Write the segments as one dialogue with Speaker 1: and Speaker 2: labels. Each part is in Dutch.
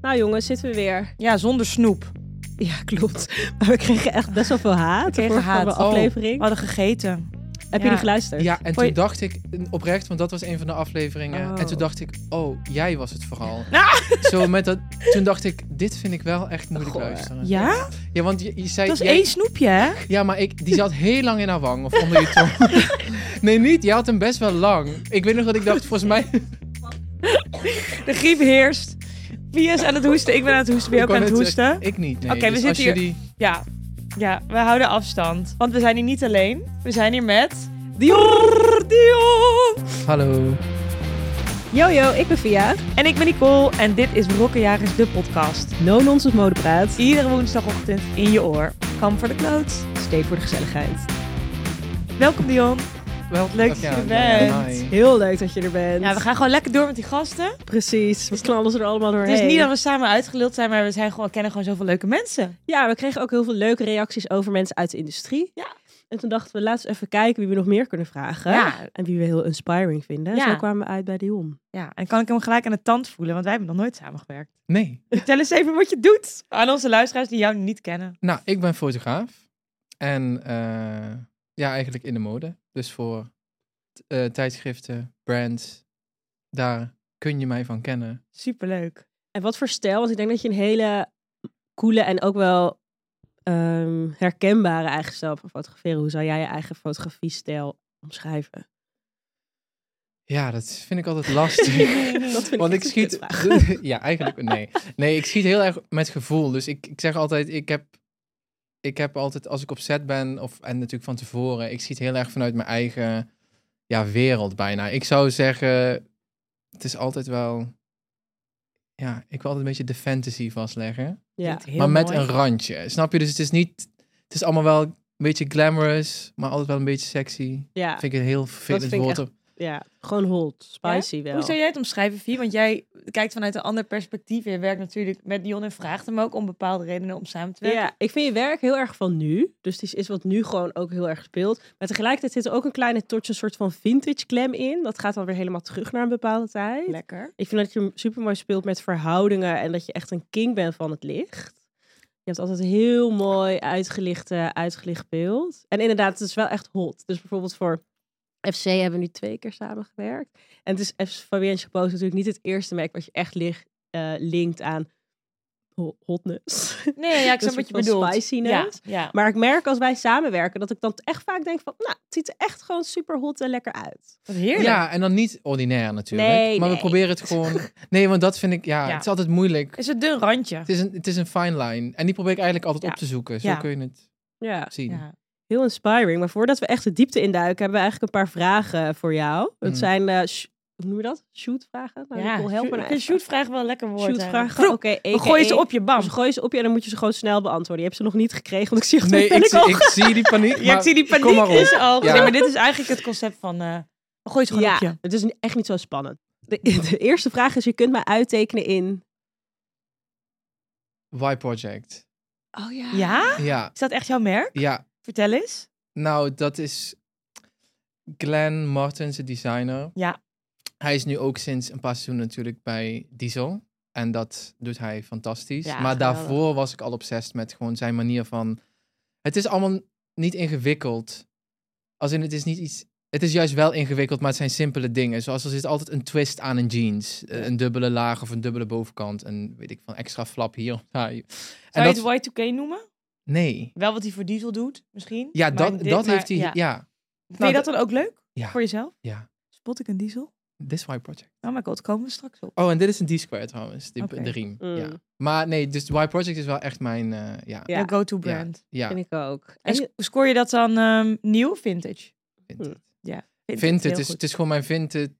Speaker 1: Nou jongens, zitten we weer.
Speaker 2: Ja, zonder snoep.
Speaker 1: Ja, klopt. Maar we kregen echt best wel veel haat
Speaker 2: We kregen
Speaker 1: voor de vorige
Speaker 2: haat.
Speaker 1: aflevering.
Speaker 2: We hadden gegeten.
Speaker 1: Heb je die
Speaker 2: ja.
Speaker 1: geluisterd?
Speaker 3: Ja, en
Speaker 1: Vond je-
Speaker 3: toen dacht ik oprecht, want dat was een van de afleveringen.
Speaker 1: Oh.
Speaker 3: En toen dacht ik, oh, jij was het vooral.
Speaker 2: Nou.
Speaker 3: Zo met dat, toen dacht ik, dit vind ik wel echt moeilijk
Speaker 1: Goor.
Speaker 3: luisteren.
Speaker 2: Ja?
Speaker 3: Ja, want je, je zei...
Speaker 2: Dat is
Speaker 3: jij-
Speaker 2: één snoepje, hè?
Speaker 3: Ja, maar ik, die zat heel lang in haar wang of onder je tong. nee, niet. Jij had hem best wel lang. Ik weet nog dat ik dacht, volgens mij...
Speaker 2: De griep heerst. Wie is aan het hoesten? Ik ben aan het hoesten. Ben je
Speaker 3: Ik
Speaker 2: ook aan
Speaker 3: wou
Speaker 2: het
Speaker 3: net zeggen,
Speaker 2: hoesten?
Speaker 3: eh, Ik niet, nee.
Speaker 2: Oké, we
Speaker 3: Dus
Speaker 2: zitten
Speaker 3: als
Speaker 2: hier-
Speaker 3: jullie-
Speaker 2: Ja. Ja, we houden afstand. Want we zijn hier niet alleen. We zijn hier met... Dion! Dion!
Speaker 3: Hallo.
Speaker 1: Yo yo, ik ben Via.
Speaker 2: En ik ben Nicole. En dit is Rokkenjagers, de podcast.
Speaker 1: No nonsense modepraat.
Speaker 2: Iedere woensdagochtend in je oor. Kam voor de kloot.
Speaker 1: Steek voor de gezelligheid.
Speaker 2: Welkom Dion.
Speaker 3: Wel,
Speaker 2: Leuk dat
Speaker 3: ja,
Speaker 2: je er
Speaker 3: ja,
Speaker 2: bent.
Speaker 3: hi.
Speaker 1: Heel leuk dat je er bent.
Speaker 2: Ja, we gaan gewoon lekker door met die gasten.
Speaker 1: Precies, we knallen ze er allemaal doorheen.
Speaker 2: Het is niet dat we samen uitgeluld zijn, maar we zijn gewoon, kennen gewoon zoveel leuke mensen.
Speaker 1: Ja, we kregen ook heel veel leuke reacties over mensen uit de industrie.
Speaker 2: Ja.
Speaker 1: En toen dachten we, laten we even kijken wie we nog meer kunnen vragen.
Speaker 2: Ja.
Speaker 1: En wie we heel inspiring vinden.
Speaker 2: Ja.
Speaker 1: Zo kwamen we uit bij Dion.
Speaker 2: Ja, en kan ik hem gelijk aan de tand voelen, want wij hebben nog nooit samengewerkt.
Speaker 3: Nee.
Speaker 2: Vertel eens even wat je doet aan onze luisteraars die jou niet kennen.
Speaker 3: Nou, ik ben fotograaf. En eh, ja, eigenlijk in de mode. Dus voor t- eh, tijdschriften, brands, daar kun je mij van kennen.
Speaker 2: Superleuk.
Speaker 1: En wat voor stijl? Want ik denk dat je een hele coole en ook wel ehm, herkenbare eigen stijl hebt van fotograferen. Hoe zou jij je eigen fotografiestijl omschrijven?
Speaker 3: Ja, dat vind ik altijd lastig.
Speaker 1: Dat vind
Speaker 3: Want
Speaker 1: echt
Speaker 3: ik
Speaker 1: een
Speaker 3: schiet.
Speaker 1: kutvraag.
Speaker 3: ja, eigenlijk nee. Nee, ik schiet heel erg met gevoel. Dus ik, ik zeg altijd, ik heb, ik heb altijd als ik op set ben, of en natuurlijk van tevoren, ik schiet heel erg vanuit mijn eigen ja, wereld bijna. Ik zou zeggen, het is altijd wel. Ja, ik wil altijd een beetje de fantasy vastleggen.
Speaker 1: Ja.
Speaker 3: maar met een randje. Snap je? Dus het is niet. Het is allemaal wel een beetje glamorous, maar altijd wel een beetje sexy.
Speaker 1: Ja.
Speaker 3: Vind ik een heel vervelend
Speaker 1: vind ik
Speaker 3: woord.
Speaker 1: echt ja, gewoon hot, spicy wel.
Speaker 2: Hoe zou jij het omschrijven, Vie? Want jij kijkt vanuit een ander perspectief. Je werkt natuurlijk met Dion en vraagt hem ook om bepaalde redenen om samen te werken.
Speaker 1: Ja, ik vind je werk heel erg van nu. Dus het is, is wat nu gewoon ook heel erg speelt. Maar tegelijkertijd zit er ook een kleine tortje, een soort van vintage glam in. Dat gaat dan weer helemaal terug naar een bepaalde tijd.
Speaker 2: Lekker.
Speaker 1: Ik vind dat je super mooi speelt met verhoudingen en dat je echt een king bent van het licht. Je hebt altijd een heel mooi uitgelicht, eh, uitgelicht beeld. En inderdaad, het is wel echt hot. Dus bijvoorbeeld voor FC hebben we nu twee keer samengewerkt. En het is FC Fabienne Chapeau is natuurlijk niet het eerste merk wat je echt lig- eh, linkt aan ho- hotness.
Speaker 2: Nee, ja,
Speaker 1: Dat
Speaker 2: ik snap
Speaker 1: soort
Speaker 2: wat je
Speaker 1: van
Speaker 2: bedoelt. Ja,
Speaker 1: spiciness.
Speaker 2: ja.
Speaker 1: Maar ik merk als wij samenwerken dat ik dan echt vaak denk van, nou, het ziet er echt gewoon super hot en lekker uit.
Speaker 2: Wat heerlijk.
Speaker 3: Ja, en dan niet ordinair natuurlijk.
Speaker 1: Nee,
Speaker 3: maar
Speaker 1: nee.
Speaker 3: we proberen het gewoon. Nee, want dat vind ik, ja,
Speaker 2: Ja.
Speaker 3: het is altijd moeilijk.
Speaker 2: Is het dun randje?
Speaker 3: Het is een, het is een fine line. En die probeer ik eigenlijk altijd
Speaker 2: Ja.
Speaker 3: op te zoeken. Zo
Speaker 2: Ja.
Speaker 3: kun je het
Speaker 1: Ja.
Speaker 3: zien.
Speaker 2: Ja.
Speaker 1: Heel inspiring. Maar voordat we echt de diepte induiken, hebben we eigenlijk een paar vragen voor jou. Dat
Speaker 3: Mm.
Speaker 1: zijn, eh, sh- hoe noem je dat? Shootvragen? Nou,
Speaker 2: Mhm. Ja,
Speaker 1: Nicole, help me nou
Speaker 2: ik vind
Speaker 1: even.
Speaker 2: shootvraag wel een lekker woord.
Speaker 1: Shootvragen,
Speaker 2: eigenlijk.
Speaker 1: oké.
Speaker 2: We gooien ze op je bam.
Speaker 1: Ze gooien ze op je en dan moet je ze gewoon snel beantwoorden. Je hebt ze nog niet gekregen, want ik zie het
Speaker 3: Nee, ik,
Speaker 1: ik
Speaker 3: zie-
Speaker 1: al.
Speaker 3: ik zie die paniek.
Speaker 2: Ja, ik
Speaker 3: maar
Speaker 2: zie die
Speaker 3: Kom
Speaker 2: paniek
Speaker 3: maar op.
Speaker 2: in zijn ogen.
Speaker 3: Ja.
Speaker 2: Nee, maar dit is eigenlijk het concept van... eh we gooien ze gewoon op
Speaker 1: Ja,
Speaker 2: je.
Speaker 1: het is echt niet zo spannend. De, de eerste vraag is, je kunt mij uittekenen in...
Speaker 3: Y Project.
Speaker 1: Oh
Speaker 2: Ja?
Speaker 3: Ja,
Speaker 2: Is dat echt jouw merk?
Speaker 3: ja.
Speaker 2: Vertel eens.
Speaker 3: Nou, dat is Glenn Martens, de designer.
Speaker 2: Ja.
Speaker 3: Hij is nu ook sinds een paar seizoenen natuurlijk bij Diesel. En dat doet hij fantastisch.
Speaker 2: Ja,
Speaker 3: maar
Speaker 2: geweldig.
Speaker 3: daarvoor was ik al obsessed met gewoon zijn manier van... Het is allemaal niet ingewikkeld. Als in, het is niet iets... Het is juist wel ingewikkeld, maar het zijn simpele dingen. Zoals er zit altijd een twist aan een jeans. Eh, Een dubbele laag of een dubbele bovenkant. En weet ik van extra flap hier of daar. En
Speaker 2: Zou
Speaker 3: dat...
Speaker 2: je het Y2K noemen?
Speaker 3: Nee.
Speaker 2: Wel wat hij voor Diesel doet, misschien.
Speaker 3: Ja,
Speaker 2: Maar
Speaker 3: dat,
Speaker 2: dit-
Speaker 3: dat
Speaker 2: maar-
Speaker 3: heeft hij...
Speaker 2: ja.
Speaker 3: ja.
Speaker 2: Vind
Speaker 3: Nou,
Speaker 2: je dat dan ook leuk?
Speaker 3: Ja.
Speaker 2: Voor jezelf?
Speaker 3: Ja.
Speaker 2: Spot ik een Diesel?
Speaker 3: This Why Project.
Speaker 2: Oh my god, komen we straks op.
Speaker 3: Oh, en dit is een D-square trouwens, die,
Speaker 2: Oké.
Speaker 3: de riem.
Speaker 1: Mm.
Speaker 3: Ja. Maar nee, dus Y Project is wel echt mijn, eh, ja,
Speaker 1: Ja.
Speaker 2: Ja. go-to brand.
Speaker 3: ja,
Speaker 1: Vind ik ook. En
Speaker 2: En
Speaker 1: je-
Speaker 2: sc- scoor je dat dan ehm, nieuw of vintage?
Speaker 3: vintage.
Speaker 2: heel
Speaker 3: Vintage, is,
Speaker 2: goed.
Speaker 3: het is gewoon mijn vintage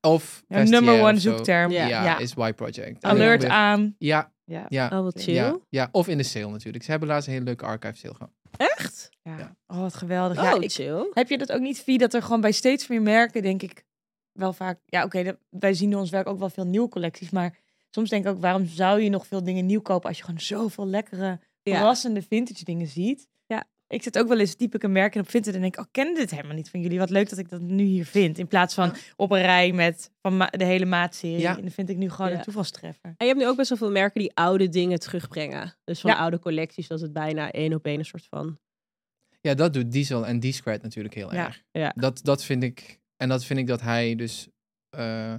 Speaker 3: of
Speaker 2: Ja,
Speaker 3: vestiaire
Speaker 2: number one
Speaker 3: of zo.
Speaker 2: zoekterm.
Speaker 3: Ja,
Speaker 2: Ja.
Speaker 3: is Y Project. En
Speaker 2: Alert
Speaker 3: dan weer-
Speaker 2: aan.
Speaker 3: Ja,
Speaker 2: Ja.
Speaker 3: ja,
Speaker 1: Oh, wat chill.
Speaker 3: ja, ja, of in de sale natuurlijk. Ze hebben laatst een hele leuke archive sale gehad.
Speaker 1: Echt?
Speaker 2: Ja.
Speaker 3: Ja.
Speaker 2: Oh, wat geweldig.
Speaker 1: Oh,
Speaker 2: ja, ik,
Speaker 1: chill.
Speaker 2: Heb je dat ook niet, Vie, dat er gewoon bij steeds meer merken, denk ik, wel vaak... Ja, oké, dat- wij zien in ons werk ook wel veel nieuwe collecties, maar soms denk ik ook, waarom zou je nog veel dingen nieuw kopen als je gewoon zoveel lekkere,
Speaker 1: Ja.
Speaker 2: verrassende vintage dingen ziet?
Speaker 1: Ja.
Speaker 2: Ik zit ook wel eens, typ ik een merk in op Vinted en denk, oh, ik ken dit helemaal niet van jullie. Wat leuk dat ik dat nu hier vind. In plaats van op een rij met van ma- de hele maatserie.
Speaker 3: Ja.
Speaker 2: En dan vind ik nu gewoon
Speaker 1: Ja.
Speaker 2: een toevalstreffer.
Speaker 1: En je hebt nu ook best wel veel merken die oude dingen terugbrengen. Dus van
Speaker 2: Ja.
Speaker 1: oude collecties, dat het bijna één op één een soort van...
Speaker 3: Ja, dat doet Diesel en D-Squared natuurlijk heel
Speaker 2: Ja.
Speaker 3: erg.
Speaker 1: Ja.
Speaker 3: Dat, dat vind ik. En dat vind ik dat hij dus. eh,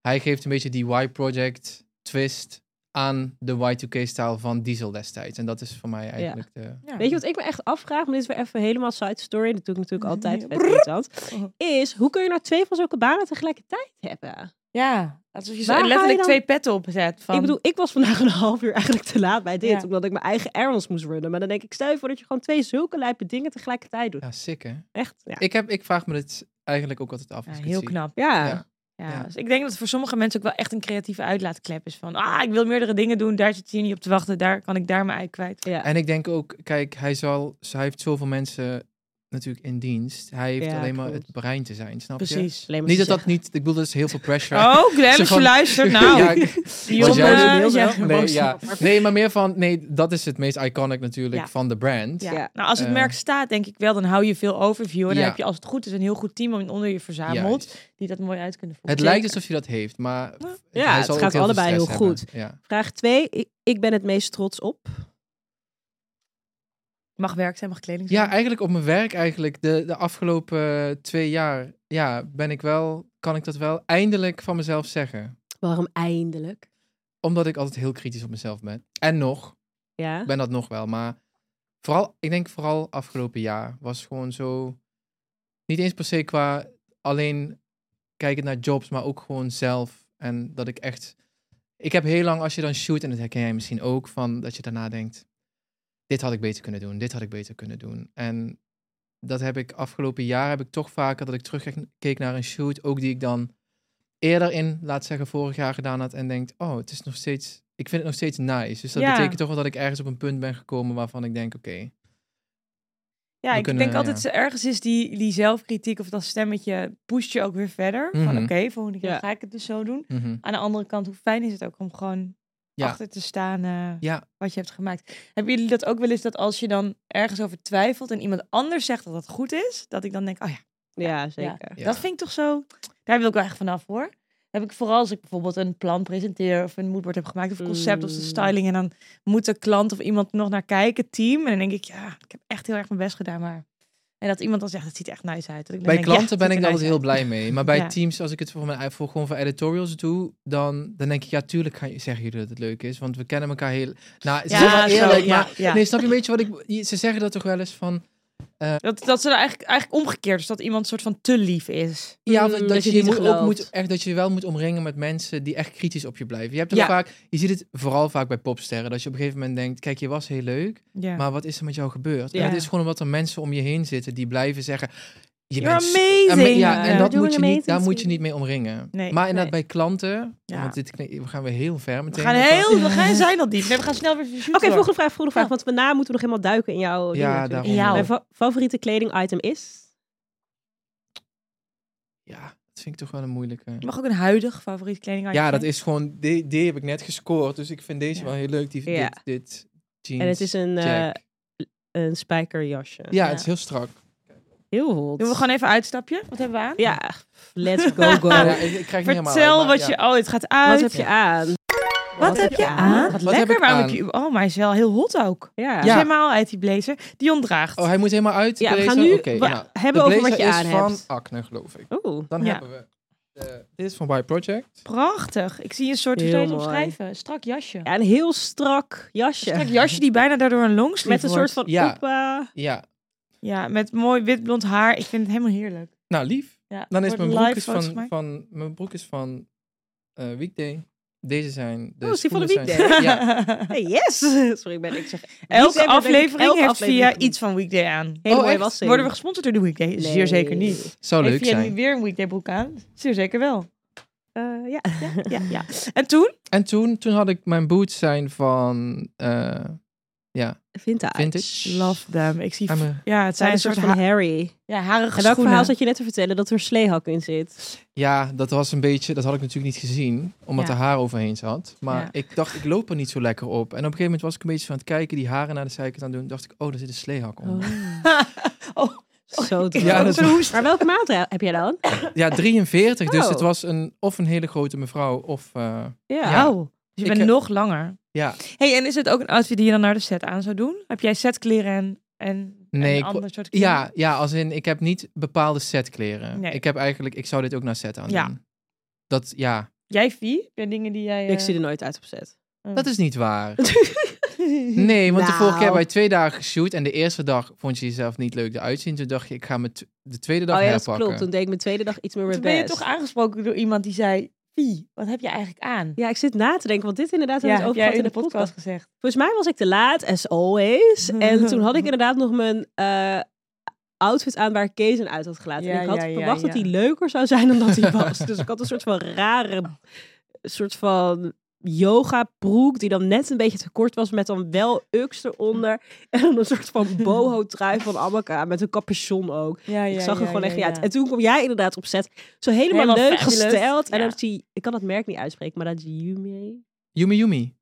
Speaker 3: hij geeft een beetje die Y-project twist aan de Y2K-stijl van Diesel destijds. En dat is voor mij eigenlijk de.
Speaker 2: Ja.
Speaker 1: Weet je wat ik me echt afvraag? Maar dit is weer even helemaal side story. Dat doe ik natuurlijk altijd.
Speaker 2: Ja.
Speaker 1: vet irritant. Is, hoe kun je nou twee van zulke banen tegelijkertijd hebben?
Speaker 2: Ja, alsof je zo
Speaker 1: Waar ga je
Speaker 2: letterlijk
Speaker 1: dan-
Speaker 2: twee petten opzet. Van...
Speaker 1: Ik bedoel, ik was vandaag een half uur eigenlijk te laat bij dit.
Speaker 2: Ja.
Speaker 1: Omdat ik mijn eigen errands moest runnen. Maar dan denk ik, stel je voor dat je gewoon twee zulke lijpe dingen tegelijkertijd doet.
Speaker 3: Ja, sick hè?
Speaker 1: Echt, ja.
Speaker 3: Ik, heb, ik vraag me dit eigenlijk ook altijd af.
Speaker 2: Ja,
Speaker 3: als ik het
Speaker 2: heel
Speaker 3: zie.
Speaker 2: knap.
Speaker 1: Ja.
Speaker 3: Ja.
Speaker 2: Ja,
Speaker 3: Ja.
Speaker 2: Dus ik denk dat het voor sommige mensen ook wel echt een creatieve uitlaatklep is. Van, ah, ik wil meerdere dingen doen. Daar zit hier niet op te wachten. Daar kan ik daar mijn ei kwijt.
Speaker 1: Ja.
Speaker 3: En ik denk ook, kijk, hij, zal, hij heeft zoveel mensen natuurlijk in dienst. Hij heeft
Speaker 1: Ja,
Speaker 3: alleen maar
Speaker 1: klopt.
Speaker 3: het brein te zijn, snap je?
Speaker 2: Precies.
Speaker 1: Alleen maar
Speaker 3: Niet
Speaker 1: te
Speaker 3: dat dat
Speaker 1: zeggen.
Speaker 3: niet, ik bedoel, dat is heel veel pressure.
Speaker 2: Oh, Glenn,
Speaker 3: Ze
Speaker 2: als je
Speaker 3: gewoon-
Speaker 2: luistert, nou.
Speaker 3: Ja, ik-
Speaker 2: Dion,
Speaker 3: Want jij-
Speaker 2: eh,
Speaker 1: Heel
Speaker 2: ja,
Speaker 1: snel.
Speaker 3: Nee,
Speaker 2: boos.
Speaker 3: ja. nee, maar meer van, nee, dat is het meest iconic natuurlijk
Speaker 2: Ja.
Speaker 3: van de brand.
Speaker 2: Ja.
Speaker 1: Ja.
Speaker 2: Nou, als het
Speaker 3: Eh.
Speaker 2: merk staat, denk ik wel, dan hou je veel overview. En dan
Speaker 3: Ja.
Speaker 2: heb je, als het goed is, een heel goed team om onder je verzameld.
Speaker 3: Juist.
Speaker 2: Die dat mooi uit kunnen voeren.
Speaker 3: Het lijkt alsof je dat heeft, maar
Speaker 1: Ja,
Speaker 3: hij
Speaker 1: het
Speaker 3: zal
Speaker 1: gaat
Speaker 3: ook heel veel
Speaker 1: allebei
Speaker 3: stress
Speaker 1: heel
Speaker 3: hebben. Ja.
Speaker 1: Vraag twee. Ik, ik ben het meest trots op.
Speaker 2: Mag werk zijn, mag kleding zijn.
Speaker 3: ja, eigenlijk op mijn werk eigenlijk de, de afgelopen twee jaar, ja, ben ik wel, kan ik dat wel eindelijk van mezelf zeggen.
Speaker 1: Waarom eindelijk?
Speaker 3: Omdat ik altijd heel kritisch op mezelf ben. En nog,
Speaker 1: Ja.
Speaker 3: ik ben dat nog wel, maar vooral, ik denk vooral afgelopen jaar was gewoon zo, niet eens per se qua alleen kijken naar jobs, maar ook gewoon zelf. En dat ik echt, ik heb heel lang als je dan shoot, en dat herken jij misschien ook, van dat je daarna denkt, dit had ik beter kunnen doen, dit had ik beter kunnen doen. En dat heb ik afgelopen jaar, heb ik toch vaker dat ik terugkeek naar een shoot, ook die ik dan eerder in, laat zeggen, vorig jaar gedaan had en denkt, oh, het is nog steeds, ik vind het nog steeds nice. Dus dat
Speaker 2: Ja.
Speaker 3: betekent toch wel dat ik ergens op een punt ben gekomen waarvan ik denk, oké,
Speaker 2: Ja,
Speaker 3: We
Speaker 2: ik
Speaker 3: kunnen,
Speaker 2: denk altijd, ergens is die, die zelfkritiek of dat stemmetje, pusht je ook weer verder. Van oké,
Speaker 3: Mhm.
Speaker 2: volgende keer
Speaker 1: Ja.
Speaker 2: ga ik het dus zo doen.
Speaker 3: mhm.
Speaker 2: Aan de andere kant, hoe fijn is het ook om gewoon
Speaker 3: Ja.
Speaker 2: achter te staan eh,
Speaker 3: Ja.
Speaker 2: wat je hebt gemaakt. Hebben jullie dat ook wel eens, dat als je dan ergens over twijfelt en iemand anders zegt dat dat goed is, dat ik dan denk, oh ja,
Speaker 1: Ja, zeker.
Speaker 3: Ja.
Speaker 2: Dat vind ik toch zo. Daar wil ik wel echt vanaf hoor. Dat heb ik vooral als ik bijvoorbeeld een plan presenteer of een moodboard heb gemaakt of een concept of de
Speaker 1: Mm.
Speaker 2: styling. En dan moet de klant of iemand nog naar kijken, team. En dan denk ik, ja, ik heb echt heel erg mijn best gedaan. Maar. En dat iemand dan zegt, het ziet er echt nice uit. Dat ik dan
Speaker 3: Bij
Speaker 2: denk, ja,
Speaker 3: klanten
Speaker 2: het
Speaker 3: ben
Speaker 2: ziet
Speaker 3: ik
Speaker 2: er
Speaker 3: daar altijd
Speaker 2: nice
Speaker 3: heel
Speaker 2: uit.
Speaker 3: blij mee. Maar bij
Speaker 2: Ja.
Speaker 3: teams, als ik het voor mijn voor, gewoon voor editorials doe, dan, dan denk ik, ja, tuurlijk gaan, zeggen jullie dat het leuk is. Want we kennen elkaar heel. Nou, ze zijn wel
Speaker 2: Ja, zo,
Speaker 3: eerlijk,
Speaker 2: ja,
Speaker 3: maar
Speaker 2: ja. Mm,
Speaker 3: nee, snap je een beetje wat ik. je- Ze zeggen dat toch wel eens van.
Speaker 2: Dat, dat ze er eigenlijk, eigenlijk omgekeerd is. Dat iemand soort van te lief is.
Speaker 3: Ja,
Speaker 1: Mm,
Speaker 3: dat,
Speaker 1: dat
Speaker 3: je,
Speaker 1: je
Speaker 3: je
Speaker 1: niet
Speaker 3: moet, ook
Speaker 1: gelooft.
Speaker 3: moet, echt, dat je je wel moet omringen met mensen die echt kritisch op je blijven. Je hebt toch
Speaker 2: Ja.
Speaker 3: vaak, je ziet het vooral vaak bij popsterren, dat je op een gegeven moment denkt, kijk, je was heel leuk,
Speaker 2: Ja.
Speaker 3: maar wat is er met jou gebeurd?
Speaker 1: Ja.
Speaker 3: En dat is gewoon omdat er mensen om je heen zitten die blijven zeggen, je
Speaker 2: You're
Speaker 3: bent
Speaker 2: amazing.
Speaker 3: En, ja, en
Speaker 2: Eh,
Speaker 3: dat
Speaker 1: doing
Speaker 3: moet je niet, daar
Speaker 1: amazing
Speaker 3: moet je
Speaker 1: things.
Speaker 3: niet mee omringen.
Speaker 1: Eh,
Speaker 2: Nee,
Speaker 3: maar inderdaad
Speaker 2: nee.
Speaker 3: bij klanten,
Speaker 2: Ja.
Speaker 3: want dit, kne- we gaan weer heel ver
Speaker 2: we
Speaker 3: meteen.
Speaker 2: gaan
Speaker 3: met
Speaker 2: heel,
Speaker 3: dat-
Speaker 2: we gaan, zijn dat diep. Nee, we gaan snel weer
Speaker 1: Oké, volgende vraag, volgende vraag.
Speaker 2: Ja.
Speaker 1: Want daarna moeten we nog helemaal duiken in jouw dingen
Speaker 3: Ja,
Speaker 1: natuurlijk.
Speaker 3: daarom.
Speaker 2: Ja.
Speaker 1: Mijn fa- favoriete kleding item is?
Speaker 3: Ja, dat vind ik toch wel een moeilijke.
Speaker 2: Je mag ook een huidig favoriet kleding
Speaker 3: Ja, dat is gewoon, die, die heb ik net gescoord, dus ik vind deze
Speaker 2: Ja.
Speaker 3: wel heel leuk, die,
Speaker 1: Ja.
Speaker 3: dit, dit jeans.
Speaker 1: En het is een, eh
Speaker 3: jack.
Speaker 1: een spijkerjasje.
Speaker 3: ja,
Speaker 2: ja.
Speaker 3: het is heel strak.
Speaker 1: Heel hot.
Speaker 2: Doen we gewoon even uitstapje? Wat hebben we aan?
Speaker 1: Ja, let's go go.
Speaker 3: Ja, ik, ik krijg het niet helemaal
Speaker 2: Vertel
Speaker 3: uit, maar
Speaker 2: wat
Speaker 3: ja.
Speaker 2: je... Oh, het gaat
Speaker 1: Nou, Wat
Speaker 2: uit.
Speaker 1: heb je aan?
Speaker 2: Wat heb je aan? Wat
Speaker 3: Wat heb
Speaker 2: lekker,
Speaker 3: ik
Speaker 2: waarom
Speaker 3: aan?
Speaker 2: heb je... Oh, maar hij is wel heel hot ook.
Speaker 1: Ja.
Speaker 2: Hij is helemaal uit die blazer. Dion draagt.
Speaker 3: Oh, hij moet helemaal uit.
Speaker 1: Ja,
Speaker 3: de
Speaker 1: we gaan
Speaker 3: blazer?
Speaker 1: nu
Speaker 3: Oké,
Speaker 1: wa-
Speaker 3: nou,
Speaker 1: hebben
Speaker 3: de
Speaker 1: over wat
Speaker 3: blazer
Speaker 1: je aan
Speaker 3: is
Speaker 1: hebt.
Speaker 3: van Acne, geloof ik.
Speaker 1: Oeh.
Speaker 3: Dan
Speaker 2: Ja.
Speaker 3: hebben we... eh, dit is van Y Project.
Speaker 2: Prachtig. Ik zie een soort, hoe zou je het
Speaker 1: Heel mooi.
Speaker 2: omschrijven? Een Strak jasje.
Speaker 1: Ja, een heel strak jasje.
Speaker 2: Een strak jasje die bijna daardoor een longsleeve
Speaker 1: Met een soort van
Speaker 3: Ja.
Speaker 1: oppa.
Speaker 3: Ja.
Speaker 2: Ja, met mooi wit blond haar. Ik vind het helemaal heerlijk.
Speaker 3: Nou, lief.
Speaker 2: Ja,
Speaker 3: Dan is
Speaker 2: wordt
Speaker 3: mijn broek
Speaker 2: live
Speaker 3: is
Speaker 2: foto's
Speaker 3: van,
Speaker 2: gemaakt.
Speaker 3: van, mijn broek is van eh, Weekday. Deze zijn de
Speaker 1: Oh, is die van de
Speaker 3: schoenen zijn-
Speaker 1: Weekday?
Speaker 3: Ja,
Speaker 1: Hey, yes! Sorry, ik ben ik zeg. december
Speaker 2: Elke
Speaker 1: denk ik
Speaker 2: aflevering
Speaker 1: elke
Speaker 2: heeft
Speaker 1: aflevering
Speaker 2: via
Speaker 1: genoemd.
Speaker 2: iets van Weekday aan.
Speaker 1: Hele
Speaker 3: Oh,
Speaker 1: mooie
Speaker 3: echt?
Speaker 1: wassing.
Speaker 2: Worden we gesponsord door de Weekday? Zeer
Speaker 1: Nee.
Speaker 2: zeker niet.
Speaker 3: zou leuk
Speaker 2: heeft jij nu
Speaker 3: zijn.
Speaker 2: weer een Weekday broek aan? Zeer zeker wel.
Speaker 1: Eh, ja.
Speaker 2: Ja, ja. En toen?
Speaker 3: En toen, toen had ik mijn boots zijn van... eh, ja,
Speaker 1: Vintage.
Speaker 3: Vintage.
Speaker 2: Love them. Ik zie...
Speaker 3: I'm a-
Speaker 2: Ja, het zijn een soort van...
Speaker 1: Harry.
Speaker 2: Ja, harige
Speaker 1: En welk verhaal
Speaker 2: schoenen.
Speaker 1: zat je net te vertellen? Dat er een sleehak in zit.
Speaker 3: Ja, dat was een beetje, dat had ik natuurlijk niet gezien, omdat
Speaker 2: Ja.
Speaker 3: er haar overheen zat. Maar
Speaker 2: Ja.
Speaker 3: ik dacht, ik loop er niet zo lekker op. En op een gegeven moment was ik een beetje van het kijken, die haren naar de zijkant aan het doen. dacht ik, oh, daar zit een sleehak om.
Speaker 2: Oh,
Speaker 1: Zo droog.
Speaker 3: Ja, dat is-
Speaker 1: Maar welke maat heb jij dan?
Speaker 3: Ja, 43, dus
Speaker 1: Oh.
Speaker 3: het was een, of een hele grote mevrouw, of eh,
Speaker 1: Ja.
Speaker 3: Ja.
Speaker 2: Oh, dus je
Speaker 3: Ik,
Speaker 2: bent
Speaker 3: eh,
Speaker 2: nog langer.
Speaker 3: ja.
Speaker 2: hey, en is het ook een outfit die je dan naar de set aan zou doen? Heb jij setkleren en, en
Speaker 3: Nee,
Speaker 2: een
Speaker 3: ik-
Speaker 2: ander soort kleren?
Speaker 3: Ja, ja, als in, ik heb niet bepaalde setkleren.
Speaker 2: Nee.
Speaker 3: Ik heb eigenlijk, ik zou dit ook naar set aan doen.
Speaker 2: Ja.
Speaker 3: Dat, ja,
Speaker 2: Jij, Vie? Heb jij dingen die jij... eh,
Speaker 1: Ik zie er nooit uit op set.
Speaker 2: oh.
Speaker 3: dat is niet waar. Nee, want de vorige keer
Speaker 1: Nou.
Speaker 3: bij twee dagen geshoot en de eerste dag vond je jezelf niet leuk eruit zien. Toen dacht je, ik ga me tw- de tweede dag
Speaker 1: Oh ja, dat
Speaker 3: herpakken.
Speaker 1: klopt. Toen deed ik mijn tweede dag iets meer mijn
Speaker 2: Toen ben je
Speaker 1: best.
Speaker 2: toch aangesproken door iemand die zei... Vie, wat heb je eigenlijk aan?
Speaker 1: Ja, ik zit na te denken, want dit inderdaad
Speaker 2: Ja,
Speaker 1: hebben we
Speaker 2: heb
Speaker 1: ook
Speaker 2: jij
Speaker 1: gehad in de podcast.
Speaker 2: gezegd.
Speaker 1: Volgens mij was ik te laat, as always. En toen had ik inderdaad nog mijn eh, outfit aan waar Kees een uit had gelaten.
Speaker 2: Ja,
Speaker 1: en ik had
Speaker 2: ja, ja,
Speaker 1: verwacht dat
Speaker 2: ja.
Speaker 1: die leuker zou zijn dan dat hij was. dus ik had een soort van rare, soort van yoga broek die dan net een beetje te kort was met dan wel uks eronder. En dan een soort van boho trui van Amaka met een capuchon ook.
Speaker 2: Ja,
Speaker 1: ik
Speaker 2: ja,
Speaker 1: zag er
Speaker 2: ja,
Speaker 1: gewoon
Speaker 2: ja,
Speaker 1: echt niet
Speaker 2: ja.
Speaker 1: uit. En toen kwam jij inderdaad op set. Zo helemaal,
Speaker 2: Helemaal
Speaker 1: leuk
Speaker 2: fabulous.
Speaker 1: gesteld. En
Speaker 2: Ja.
Speaker 1: dan zie ik kan dat merk niet uitspreken, maar dat Yumi.
Speaker 3: Yumi Yumi.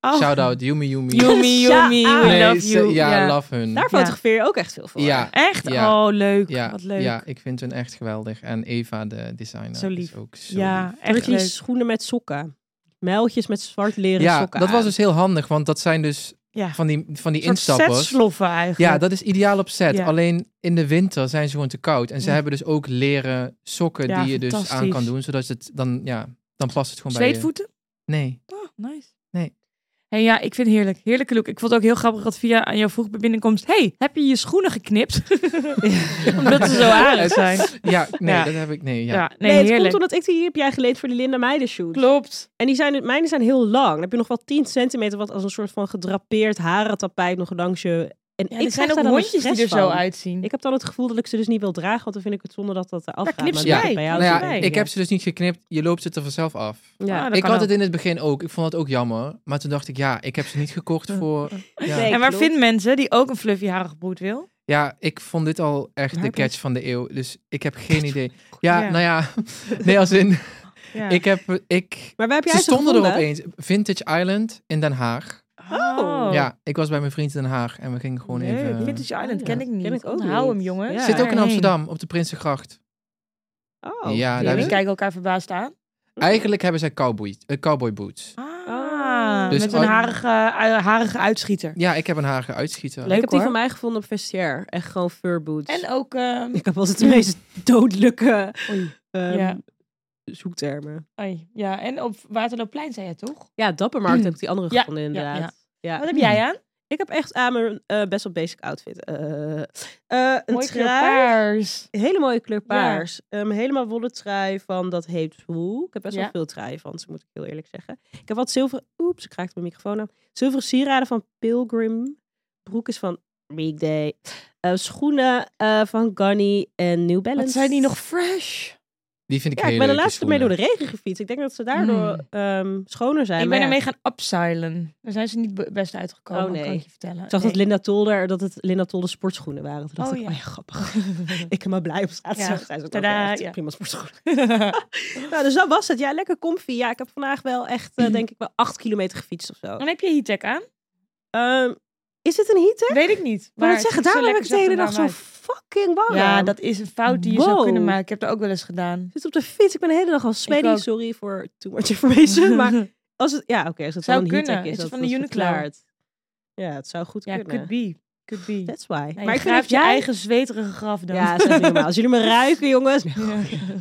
Speaker 2: Oh.
Speaker 3: Shout-out, Yumi Yumi.
Speaker 2: Yumi,
Speaker 1: Ja,
Speaker 2: Yumi, we
Speaker 1: ah.
Speaker 3: Nee,
Speaker 2: love
Speaker 3: ze-
Speaker 2: you.
Speaker 3: ja, love hun.
Speaker 1: Daar fotografeer je ook echt veel voor.
Speaker 3: Ja,
Speaker 2: Echt?
Speaker 3: Ja.
Speaker 2: Oh, leuk.
Speaker 3: ja,
Speaker 2: Wat leuk.
Speaker 3: ja, ik vind hun echt geweldig. En Eva, de designer,
Speaker 2: Zo lief.
Speaker 3: is ook zo
Speaker 2: Ja,
Speaker 3: lief.
Speaker 1: Met
Speaker 2: echt
Speaker 1: die
Speaker 2: leuk.
Speaker 1: schoenen met sokken. Mijltjes met zwart leren
Speaker 3: Ja,
Speaker 1: sokken.
Speaker 3: dat
Speaker 1: aan.
Speaker 3: was dus heel handig, want dat zijn dus
Speaker 2: Ja.
Speaker 3: van die, van die
Speaker 2: Een soort
Speaker 3: instappers.
Speaker 2: setsloffen eigenlijk.
Speaker 3: Ja, dat is ideaal op set.
Speaker 2: Ja.
Speaker 3: Alleen in de winter zijn ze gewoon te koud. En ze
Speaker 2: Ja.
Speaker 3: hebben dus ook leren sokken
Speaker 2: Ja,
Speaker 3: die je dus aan
Speaker 2: fantastisch.
Speaker 3: kan doen. Zodat het dan, ja, dan past het gewoon bij je.
Speaker 2: Zweetvoeten?
Speaker 3: Nee.
Speaker 2: Oh, nice.
Speaker 3: Nee.
Speaker 2: Hey, ja, ik vind het heerlijk. Heerlijke look. Ik vond het ook heel grappig dat via aan jou vroeg bij binnenkomst... hey, heb je je schoenen geknipt? Omdat ze zo aardig zijn.
Speaker 3: Ja, nee,
Speaker 2: Ja.
Speaker 3: dat heb ik. Nee,
Speaker 2: Ja,
Speaker 3: ja.
Speaker 2: nee,
Speaker 1: nee, het
Speaker 2: heerlijk.
Speaker 1: komt omdat ik die hier heb jij geleend voor de Linda Meijdershoot.
Speaker 2: Klopt.
Speaker 1: En die zijn, mijne zijn heel lang. Dan heb je nog wel 10 centimeter wat als een soort van gedrapeerd harentapijt nog langs je. En ik
Speaker 2: Ja,
Speaker 1: krijg
Speaker 2: er zijn
Speaker 1: daar
Speaker 2: ook
Speaker 1: dan een
Speaker 2: hondjes die
Speaker 1: stress
Speaker 2: er zo
Speaker 1: van.
Speaker 2: uitzien.
Speaker 1: Ik heb dan het gevoel dat ik ze dus niet wil dragen, want dan vind ik het zonde dat dat eraf
Speaker 2: Ja,
Speaker 1: gaat.
Speaker 2: knip ze
Speaker 1: Maar
Speaker 2: bij,
Speaker 1: bij jou
Speaker 3: Nou
Speaker 1: is het
Speaker 3: ja,
Speaker 1: bij.
Speaker 3: ik heb ze dus niet geknipt. Je loopt ze er vanzelf af.
Speaker 1: Ja.
Speaker 2: Ah, dat
Speaker 3: Ik
Speaker 2: kan
Speaker 3: had
Speaker 2: ook.
Speaker 3: het in het begin ook. Ik vond het ook jammer. Maar toen dacht ik, ja, ik heb ze niet gekocht voor... Ja,
Speaker 1: Nee.
Speaker 2: En waar
Speaker 1: Klopt.
Speaker 2: vinden mensen die ook een fluffy harige broed wil?
Speaker 3: ja ik vond dit al echt
Speaker 2: Waar
Speaker 3: de
Speaker 2: heb je
Speaker 3: catch van de eeuw. Dus ik heb geen idee. Ja,
Speaker 2: Ja.
Speaker 3: nou ja. Nee, als in...
Speaker 2: Ja.
Speaker 3: Ik heb... Ik,
Speaker 1: Maar waar heb jij
Speaker 3: ze
Speaker 1: ze
Speaker 3: stonden er
Speaker 1: gevonden?
Speaker 3: opeens. Vintage Island in Den Haag.
Speaker 1: Oh.
Speaker 3: Ja, ik was bij mijn vriend in Den Haag. En we gingen gewoon
Speaker 2: Leuk.
Speaker 3: even... eh,
Speaker 2: Vintage Island
Speaker 1: Ja.
Speaker 2: Oh, ken ik niet.
Speaker 1: Ken ik ook
Speaker 2: Onthoud
Speaker 1: niet.
Speaker 2: hem, jongens.
Speaker 1: Ja.
Speaker 3: Zit ook in
Speaker 2: Daarheen.
Speaker 3: Amsterdam, op de Prinsengracht.
Speaker 1: Oh,
Speaker 3: Ja, daar
Speaker 2: Jullie
Speaker 3: is-
Speaker 2: kijken elkaar verbaasd aan.
Speaker 3: Eigenlijk hebben zij cowboy, eh, cowboy boots.
Speaker 2: Oh. Ah,
Speaker 3: Dus
Speaker 2: met een
Speaker 3: ook-
Speaker 2: harige, eh, harige uitschieter.
Speaker 3: Ja, ik heb een harige uitschieter.
Speaker 2: Leuk.
Speaker 1: ik heb die
Speaker 2: hoor.
Speaker 1: van mij gevonden op Vestiaire. Echt gewoon furboots.
Speaker 2: En ook... ehm,
Speaker 1: Ik heb altijd de meest dodelijke
Speaker 2: Oei.
Speaker 1: ehm,
Speaker 2: Ja.
Speaker 1: zoektermen.
Speaker 2: Ai, ja, en op Waterloopplein zei je toch?
Speaker 1: Ja, Dappermarkt heb ik die andere
Speaker 2: Ja,
Speaker 1: gevonden inderdaad.
Speaker 2: ja.
Speaker 1: Ja.
Speaker 2: Wat heb jij aan?
Speaker 1: Ik heb echt aan mijn eh, best wel basic outfit. Eh, eh, een
Speaker 2: Mooi kleur
Speaker 1: trui.
Speaker 2: paars.
Speaker 1: Een hele mooie kleur
Speaker 2: Ja.
Speaker 1: paars. Ehm, helemaal wollen trui van dat heet Woe. Ik heb best
Speaker 2: Ja.
Speaker 1: wel veel truien van ze, moet ik heel eerlijk zeggen. Ik heb wat zilveren... Oeps, ik raakte mijn microfoon aan. Zilveren sieraden van Pilgrim. Broek is van Weekday. Eh, schoenen eh, van Gunny en New Balance.
Speaker 2: Wat zijn die nog fresh?
Speaker 3: Die vind ik
Speaker 1: Ja, ik
Speaker 3: heel
Speaker 1: ben de
Speaker 3: leuk, die
Speaker 1: laatste keer mee door
Speaker 3: schoenen.
Speaker 1: de regen gefietst. Ik denk dat ze daardoor
Speaker 2: Mm.
Speaker 1: ehm, schoner zijn.
Speaker 2: ik
Speaker 1: maar
Speaker 2: ben
Speaker 1: ja.
Speaker 2: ermee gaan upsilen. Daar zijn ze niet be- best uitgekomen,
Speaker 1: Oh, nee.
Speaker 2: kan ik je vertellen.
Speaker 1: Ik zag dat Linda Tolder, dat het Linda Tolder sportschoenen waren. Toen dacht
Speaker 2: Oh,
Speaker 1: ik,
Speaker 2: ja.
Speaker 1: oh ja, grappig. ik ben maar blij op zaterdag.
Speaker 2: Ja.
Speaker 1: Zijn ze ook
Speaker 2: Tadaa,
Speaker 1: echt
Speaker 2: ja.
Speaker 1: prima sportschoenen. nou, dus dat was het. Ja, lekker comfy. Ja, ik heb vandaag wel echt, eh, denk ik, wel acht kilometer gefietst of zo.
Speaker 2: Dan heb je heattech aan?
Speaker 1: Ehm, is dit een heater?
Speaker 2: Weet ik niet.
Speaker 1: Maar het
Speaker 2: het
Speaker 1: zeggen,
Speaker 2: ziet er
Speaker 1: daarom heb ik
Speaker 2: lekker
Speaker 1: de hele dag
Speaker 2: zacht en
Speaker 1: zo
Speaker 2: warm
Speaker 1: fucking warm.
Speaker 2: uit. Ja, dat is een fout die je zou
Speaker 1: Wow.
Speaker 2: kunnen maken. Ik heb dat ook wel eens gedaan.
Speaker 1: Ik zit op de fiets. Ik ben de hele dag al smelly.
Speaker 2: ook.
Speaker 1: Sorry voor too much information. Maar als het, ja, oké, als het
Speaker 2: Zou
Speaker 1: wel een
Speaker 2: kunnen.
Speaker 1: heattech
Speaker 2: Is
Speaker 1: is,
Speaker 2: het
Speaker 1: dat
Speaker 2: van de
Speaker 1: dat
Speaker 2: Uniqlo?
Speaker 1: verklaart. Ja, het zou goed
Speaker 2: ja,
Speaker 1: kunnen.
Speaker 2: could be. Could be.
Speaker 1: That's why. maar
Speaker 2: Ja,
Speaker 1: ik
Speaker 2: je
Speaker 1: vind dat
Speaker 2: graaft je
Speaker 1: jij...
Speaker 2: eigen zweterige graf dan.
Speaker 1: Ja, dat is echt niet normaal. Als jullie me ruiken, jongens.
Speaker 2: Ja.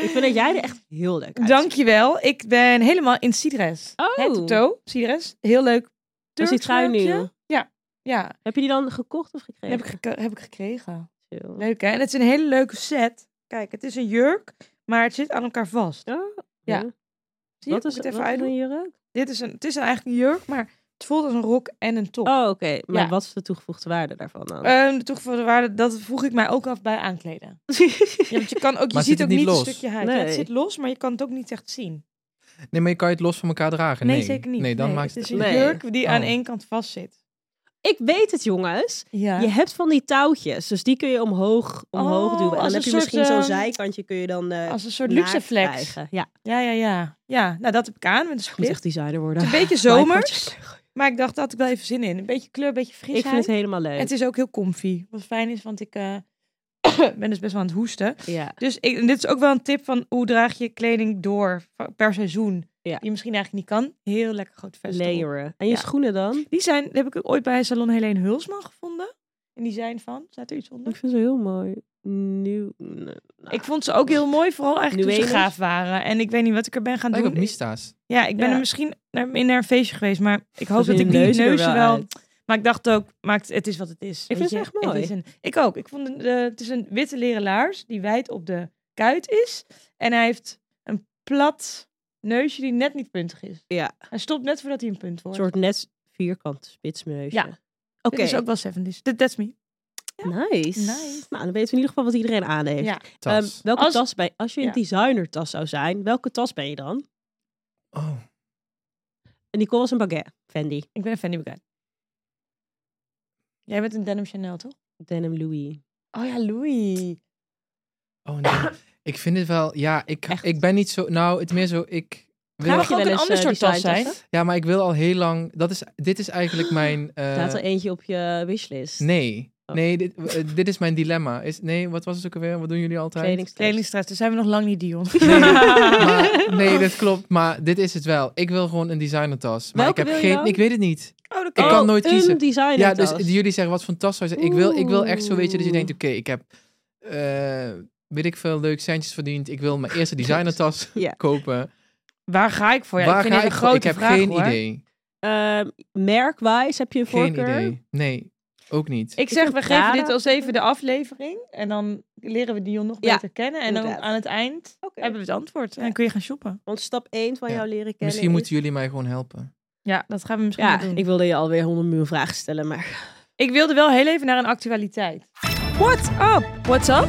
Speaker 1: Ik vind dat jij er echt heel leuk uit ziet.
Speaker 2: Dankjewel. Ik ben helemaal in Sidres.
Speaker 1: Oh.
Speaker 2: Head to toe. Sidres. Heel leuk.
Speaker 1: Dus die
Speaker 2: Turks
Speaker 1: trui nu?
Speaker 2: werkje. Ja. Ja.
Speaker 1: Heb je die dan gekocht of
Speaker 2: Die
Speaker 1: gekregen?
Speaker 2: Heb ik, gek- heb ik gekregen.
Speaker 1: Chill.
Speaker 2: Leuk hè? En het is een hele leuke set. Kijk, het is een jurk, maar het zit aan elkaar vast.
Speaker 1: Ja?
Speaker 2: Oh, Ja.
Speaker 1: Oké.
Speaker 2: Zie je?
Speaker 1: Wat
Speaker 2: Moet
Speaker 1: is
Speaker 2: ik het even
Speaker 1: wat is
Speaker 2: uitdoen?
Speaker 1: een jurk?
Speaker 2: Dit is een, het is eigenlijk een jurk, maar het voelt als een rok en een top.
Speaker 1: Oh, oké. Maar
Speaker 2: Ja.
Speaker 1: wat is de toegevoegde waarde daarvan dan?
Speaker 2: Ehm, de toegevoegde waarde, dat vroeg ik mij ook af bij aankleden. Ja, want je kan ook, je
Speaker 3: Maar zit
Speaker 2: ziet
Speaker 3: het
Speaker 2: ook
Speaker 3: niet
Speaker 2: niet een
Speaker 3: los?
Speaker 2: stukje huid. Ja, het
Speaker 1: Nee.
Speaker 2: zit los, maar je kan het ook niet echt zien.
Speaker 3: Nee, maar je kan je het los van elkaar dragen.
Speaker 2: Nee, zeker niet.
Speaker 3: Nee, dan
Speaker 2: het
Speaker 3: maakt het...
Speaker 2: is een
Speaker 1: Nee.
Speaker 2: jurk die aan
Speaker 3: Oh.
Speaker 2: één kant vast zit.
Speaker 1: Ik weet het, jongens.
Speaker 2: Ja.
Speaker 1: Je hebt van die touwtjes, dus die kun je omhoog, omhoog
Speaker 2: Oh,
Speaker 1: duwen. En
Speaker 2: als
Speaker 1: dan heb
Speaker 2: een
Speaker 1: je
Speaker 2: soort,
Speaker 1: misschien zo'n
Speaker 2: ehm,
Speaker 1: zijkantje, kun je dan eh
Speaker 2: Als een soort
Speaker 1: naakt
Speaker 2: luxe flex.
Speaker 1: krijgen. Ja,
Speaker 2: Ja, ja, ja. Ja, nou dat heb ik aan met een
Speaker 1: ik moet
Speaker 2: split.
Speaker 1: echt designer worden.
Speaker 2: Het is een beetje
Speaker 1: Mijn
Speaker 2: zomers,
Speaker 1: potjes.
Speaker 2: maar ik dacht, daar had ik wel even zin in. Een beetje kleur, een beetje frisheid.
Speaker 1: Ik vind het helemaal leuk.
Speaker 2: En het is ook heel comfy. Wat fijn is, want ik eh, ben dus best wel aan het hoesten.
Speaker 1: Ja.
Speaker 2: Dus ik, en dit is ook wel een tip van hoe draag je kleding door va- per seizoen.
Speaker 1: Ja.
Speaker 2: Die je misschien eigenlijk niet kan. Heel lekker groot vest. erop.
Speaker 1: Layeren. En je
Speaker 2: Ja.
Speaker 1: schoenen dan?
Speaker 2: Die zijn, die heb ik ooit bij Salon Helene Hulsman gevonden. En die zijn van, staat er iets onder?
Speaker 1: Ik vind ze heel mooi. Nieuw. nee.
Speaker 2: Ik vond ze ook heel mooi, vooral eigenlijk toen ze
Speaker 1: Nuenes?
Speaker 2: gaaf waren. En ik weet niet wat ik er ben gaan
Speaker 3: Lijkt
Speaker 2: doen.
Speaker 3: op mista's.
Speaker 2: Ja, ik ben
Speaker 1: Ja.
Speaker 2: er misschien naar, in naar een feestje geweest, maar ik hoop
Speaker 1: Zo
Speaker 2: dat
Speaker 1: zien
Speaker 2: ik
Speaker 1: je
Speaker 2: die neus,
Speaker 1: neuzen er
Speaker 2: wel...
Speaker 1: wel uit.
Speaker 2: Maar ik dacht ook, maakt, het is wat het is. weet
Speaker 1: vind ze
Speaker 2: je.
Speaker 1: echt mooi.
Speaker 2: Het is een, ik ook. Ik vond een, eh, het is een witte leren laars die wijd op de kuit is. En hij heeft een plat neusje die net niet puntig is.
Speaker 1: Ja.
Speaker 2: Hij stopt net voordat hij een punt
Speaker 1: Een
Speaker 2: wordt.
Speaker 1: soort net vierkant spitsneusje.
Speaker 2: Ja.
Speaker 1: Oké.
Speaker 2: Dit is ook wel 70s. That- That's me.
Speaker 1: Nice.
Speaker 2: Nice.
Speaker 1: Nou, dan weten we in ieder geval wat iedereen aan heeft.
Speaker 2: Ja.
Speaker 1: Ehm,
Speaker 3: Tas.
Speaker 1: welke
Speaker 2: Als-
Speaker 1: tas ben Als je een
Speaker 2: Ja.
Speaker 1: designertas zou zijn, welke tas ben je dan?
Speaker 3: Oh.
Speaker 1: En Nicole was een baguette. Fendi.
Speaker 2: Ik ben een Fanny Bugan. Jij bent een Denim Chanel, toch?
Speaker 1: Denim Louis.
Speaker 3: Eh,
Speaker 2: Oh ja, Louis.
Speaker 3: Oh nee. ik vind het wel. Ja, ik,
Speaker 1: Echt?
Speaker 3: ik ben niet zo. Nou, het meer zo. Ik wil.
Speaker 2: mag
Speaker 1: je
Speaker 2: ook
Speaker 1: wel
Speaker 2: een
Speaker 1: eens,
Speaker 2: ander
Speaker 1: eh,
Speaker 2: soort tas
Speaker 1: designtassen?
Speaker 2: zijn.
Speaker 3: Ja, maar ik wil al heel lang. Dat is, dit is eigenlijk mijn. eh,
Speaker 1: Staat er eentje op je wishlist?
Speaker 3: nee.
Speaker 1: Oh.
Speaker 3: Nee, dit, eh, dit is mijn dilemma. Is, nee, wat was het ook alweer? Wat doen jullie altijd?
Speaker 1: Kledingstress.
Speaker 2: Kledingstress, daar zijn we nog lang niet Dion.
Speaker 3: Maar, nee, dat klopt. Maar dit is het wel. Ik wil gewoon een designertas. Maar
Speaker 1: Welke
Speaker 3: ik heb
Speaker 1: wil je
Speaker 3: geen.
Speaker 1: dan?
Speaker 3: Ik weet het niet.
Speaker 2: Oh, dat
Speaker 3: Ik kan nooit
Speaker 1: een
Speaker 3: kiezen. Ja,
Speaker 1: designertas.
Speaker 3: dus jullie zeggen wat fantastisch. Ik wil, ik wil echt zo, weet je, dat je denkt, oké, ik heb, eh, weet ik veel, leuk centjes verdiend. Ik wil mijn eerste
Speaker 2: Oh
Speaker 3: designertas
Speaker 1: Ja.
Speaker 3: kopen.
Speaker 2: Waar ga ik voor? Ja,
Speaker 3: Waar
Speaker 2: ik vind
Speaker 3: ga
Speaker 2: dit
Speaker 3: ik
Speaker 2: een
Speaker 3: voor?
Speaker 2: grote
Speaker 3: Ik heb
Speaker 2: vraag,
Speaker 3: geen
Speaker 2: hoor.
Speaker 3: idee.
Speaker 1: Ehm, merkwijs heb je een
Speaker 3: Geen
Speaker 1: voorkeur?
Speaker 3: idee. Nee, ook niet.
Speaker 2: Ik zeg,
Speaker 1: vind
Speaker 2: we geven
Speaker 1: Prada-
Speaker 2: dit als even de aflevering. En dan leren we Dion nog
Speaker 1: Ja,
Speaker 2: beter kennen. En dan
Speaker 1: inderdaad.
Speaker 2: aan het eind
Speaker 1: Oké.
Speaker 2: hebben we het antwoord. En
Speaker 1: Ja.
Speaker 2: dan kun je gaan shoppen.
Speaker 1: Want stap 1 van
Speaker 3: Ja.
Speaker 1: jou leren kennen
Speaker 3: Misschien moeten
Speaker 1: is...
Speaker 3: jullie mij gewoon helpen.
Speaker 2: Ja, dat gaan we misschien wel
Speaker 1: Ja,
Speaker 2: doen.
Speaker 1: ik
Speaker 2: Ik...
Speaker 1: wilde je alweer 100 miljoen vragen stellen, maar...
Speaker 2: wilde wel heel even naar een actualiteit. What's up? What's up?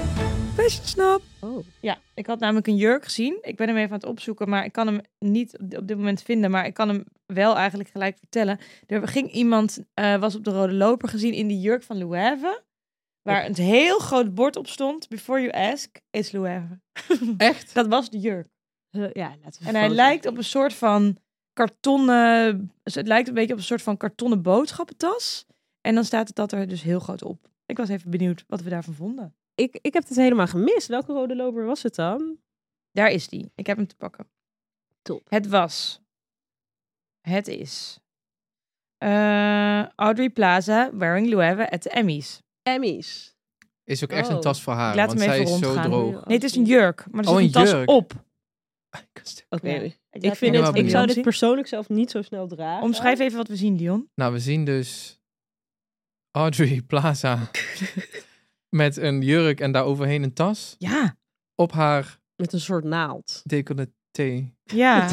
Speaker 2: Fashion snap.
Speaker 1: Oh.
Speaker 2: Ja, ik had namelijk een jurk gezien. Ik ben hem even aan het opzoeken, maar ik kan hem niet op di- op dit moment vinden. Maar ik kan hem wel eigenlijk gelijk vertellen. Er ging iemand, eh, was op de Rode Loper gezien in die jurk van Louève. Waar een heel groot bord op stond. Before you ask, it's Louève.
Speaker 3: Echt?
Speaker 2: Dat was de jurk.
Speaker 1: Eh, ja, laten we
Speaker 2: En hij
Speaker 1: foto's-
Speaker 2: lijkt op een soort van kartonnen. dus Het lijkt een beetje op een soort van kartonnen boodschappentas. En dan staat het dat er dus heel groot op. Ik was even benieuwd wat we daarvan vonden.
Speaker 1: Ik, ik heb het helemaal gemist. Welke rode loper was het dan?
Speaker 2: Daar is die. Ik heb hem te pakken.
Speaker 1: Top.
Speaker 2: Het was. Het is. eh, Audrey Plaza wearing Loewe at the Emmys.
Speaker 1: Emmys.
Speaker 3: Is ook echt
Speaker 1: Oh.
Speaker 3: een tas voor haar,
Speaker 2: Ik laat
Speaker 3: want
Speaker 2: hem
Speaker 3: zij
Speaker 2: even
Speaker 3: is zo
Speaker 2: rondgaan.
Speaker 3: droog.
Speaker 2: Nee, het is een jurk, maar er zit
Speaker 3: Oh,
Speaker 2: een,
Speaker 3: een
Speaker 2: tas
Speaker 3: jurk.
Speaker 2: op.
Speaker 1: Oké.
Speaker 2: Ja.
Speaker 1: Ik, vind
Speaker 3: ben wel
Speaker 1: het, ik zou
Speaker 3: benieuwd.
Speaker 1: dit persoonlijk zelf niet zo snel dragen.
Speaker 2: Omschrijf even wat we zien, Dion.
Speaker 3: Nou, we zien dus Audrey Plaza met een jurk en daaroverheen een tas
Speaker 2: Ja.
Speaker 3: op haar
Speaker 1: Met een soort naald.
Speaker 3: decolleté.
Speaker 2: Ja.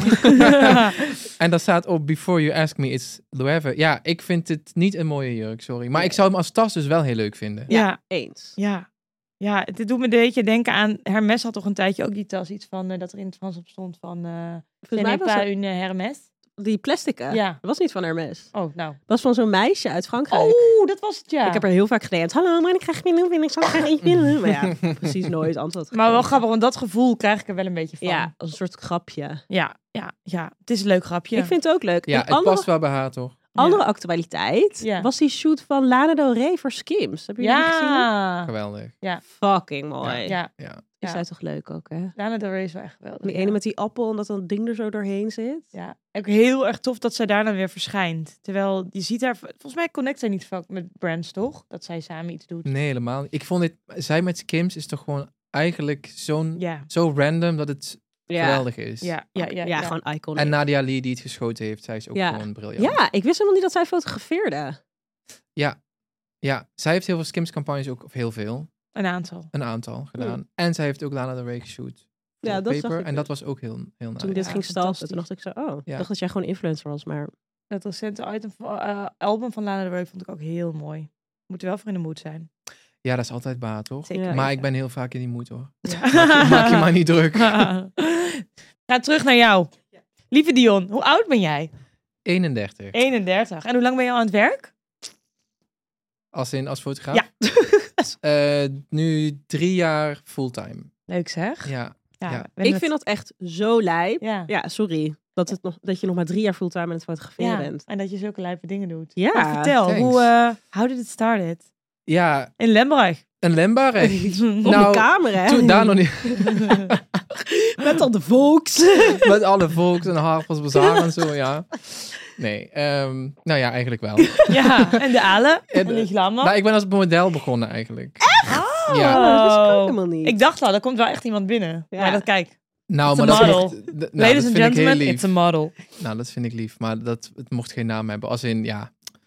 Speaker 3: En daar staat op Before You Ask Me It's Loewe. Ja, ik vind het niet een mooie jurk, sorry. Maar ik zou hem als tas dus wel heel leuk vinden.
Speaker 2: ja.
Speaker 1: Eens.
Speaker 2: Ja. Ja, dit doet me een beetje denken aan... Hermes had toch een tijdje ook die tas. Iets van, eh, dat er in het Frans op stond van... eh
Speaker 1: Volgens mij was
Speaker 2: pas
Speaker 1: dat-
Speaker 2: een Hermes.
Speaker 1: die plastic, hè?
Speaker 2: Ja.
Speaker 1: Dat was niet van Hermes.
Speaker 2: Oh, nou.
Speaker 1: Dat was van zo'n meisje uit Frankrijk.
Speaker 2: Oh, dat was het, ja.
Speaker 1: Ik heb er heel vaak gedemd. Hallo, maar ik krijg geen nieuw, ik zou graag eentje willen. Maar ja, precies nooit antwoord
Speaker 2: Maar wel
Speaker 1: gekregen.
Speaker 2: grappig, want dat gevoel krijg ik er wel een beetje van.
Speaker 1: Ja, als een soort grapje.
Speaker 2: Ja, ja, ja. Het is een leuk grapje.
Speaker 1: Ik vind het ook leuk.
Speaker 3: Ja,
Speaker 1: een
Speaker 3: het
Speaker 1: andere,
Speaker 3: past wel bij haar, toch?
Speaker 1: andere actualiteit
Speaker 2: Ja.
Speaker 1: was die shoot van Lana Del Rey voor Skims. Hebben jullie die gezien?
Speaker 2: Ja.
Speaker 3: Geweldig.
Speaker 1: Fucking mooi.
Speaker 2: Ja.
Speaker 1: Is
Speaker 2: ja.
Speaker 1: zij toch leuk ook, hè?
Speaker 2: Lana Del Rey is wel echt geweldig.
Speaker 1: Die
Speaker 2: ja.
Speaker 1: ene met die appel en dat dan ding er zo doorheen zit.
Speaker 2: Ja, ook heel erg tof dat zij daar dan weer verschijnt. Terwijl je ziet haar, volgens mij connect zij niet vaak met brands, toch? Dat zij samen iets doet.
Speaker 3: Nee, helemaal niet. Ik vond dit, zij met Skims is toch gewoon eigenlijk zo'n,
Speaker 2: Ja,
Speaker 3: zo random dat het geweldig is.
Speaker 2: ja, ja, ja.
Speaker 1: ja, gewoon iconic.
Speaker 3: En nou, Nadia Lee die het geschoten heeft, zij is ook
Speaker 1: Ja.
Speaker 3: gewoon briljant.
Speaker 1: ja. ik wist helemaal niet dat zij fotografeerde.
Speaker 3: Ja, zij heeft heel veel Skims campagnes ook, of heel veel,
Speaker 2: een aantal.
Speaker 3: een aantal gedaan. En zij heeft ook Lana Del Rey geshoot. voor
Speaker 1: Hmm. Ja, dat zag
Speaker 3: paper,
Speaker 1: ik dus.
Speaker 3: En dat was ook heel, heel
Speaker 1: Toen ik
Speaker 3: nice.
Speaker 1: dit
Speaker 2: ja,
Speaker 1: ging stalken, toen
Speaker 2: fantastisch.
Speaker 1: dacht ik zo, oh, ik
Speaker 3: Ja.
Speaker 1: dacht dat jij gewoon influencer was, maar
Speaker 2: Dat recente item van, eh, album van Lana Del Rey vond ik ook heel mooi. Moet er wel voor in de moed zijn.
Speaker 3: Ja, dat is altijd baat, toch?
Speaker 2: Zeker.
Speaker 1: Ja.
Speaker 3: Maar ik ben heel vaak in die moed, hoor.
Speaker 2: Ja.
Speaker 3: Maak je maar niet druk.
Speaker 2: Ga terug naar jou. Lieve Dion, hoe oud ben jij?
Speaker 3: 31.
Speaker 2: 31. En hoe lang ben je al aan het werk?
Speaker 3: Als in, als fotograaf?
Speaker 2: Ja.
Speaker 3: Eh, nu drie jaar fulltime.
Speaker 2: Leuk zeg.
Speaker 3: Ja.
Speaker 2: Ja,
Speaker 3: Ja.
Speaker 2: we hebben
Speaker 1: Ik
Speaker 2: het-
Speaker 1: vind dat echt zo lijp.
Speaker 2: Ja.
Speaker 1: Ja, sorry. Dat, het nog, dat je nog maar drie jaar fulltime aan het fotograferen
Speaker 2: Ja,
Speaker 1: bent.
Speaker 2: en dat je zulke lijpe dingen doet.
Speaker 1: Ja,
Speaker 2: Maar vertel,
Speaker 3: thanks.
Speaker 2: hoe, eh how did it started?
Speaker 3: Ja,
Speaker 2: In Lemberg.
Speaker 3: een Lemberg.
Speaker 1: Op
Speaker 3: Nou,
Speaker 1: de kamer, hè?
Speaker 3: Toen daar nog niet.
Speaker 1: Met al de volks.
Speaker 3: Met alle volks en harpers bazaar en zo, ja. Nee, ehm, nou ja, eigenlijk wel.
Speaker 2: ja, en de Alen. En,
Speaker 3: En
Speaker 2: de
Speaker 3: de-
Speaker 2: Glammer.
Speaker 3: Nou, ik ben als model begonnen eigenlijk. Echt?
Speaker 1: Oh,
Speaker 3: Ja.
Speaker 1: dat wist ik ook
Speaker 2: Oh.
Speaker 1: helemaal niet.
Speaker 2: Ik dacht al, er komt wel echt iemand binnen.
Speaker 1: Ja.
Speaker 2: Maar dat kijk.
Speaker 3: Nou,
Speaker 2: It's a
Speaker 3: maar dat,
Speaker 2: model.
Speaker 3: mocht- d- nou, dat
Speaker 2: Ladies and
Speaker 3: vind ik heel
Speaker 2: gentlemen,
Speaker 3: lief.
Speaker 2: it's a model.
Speaker 3: Nou, dat vind ik lief. Maar dat, het mocht geen naam hebben. Als in, ja, ik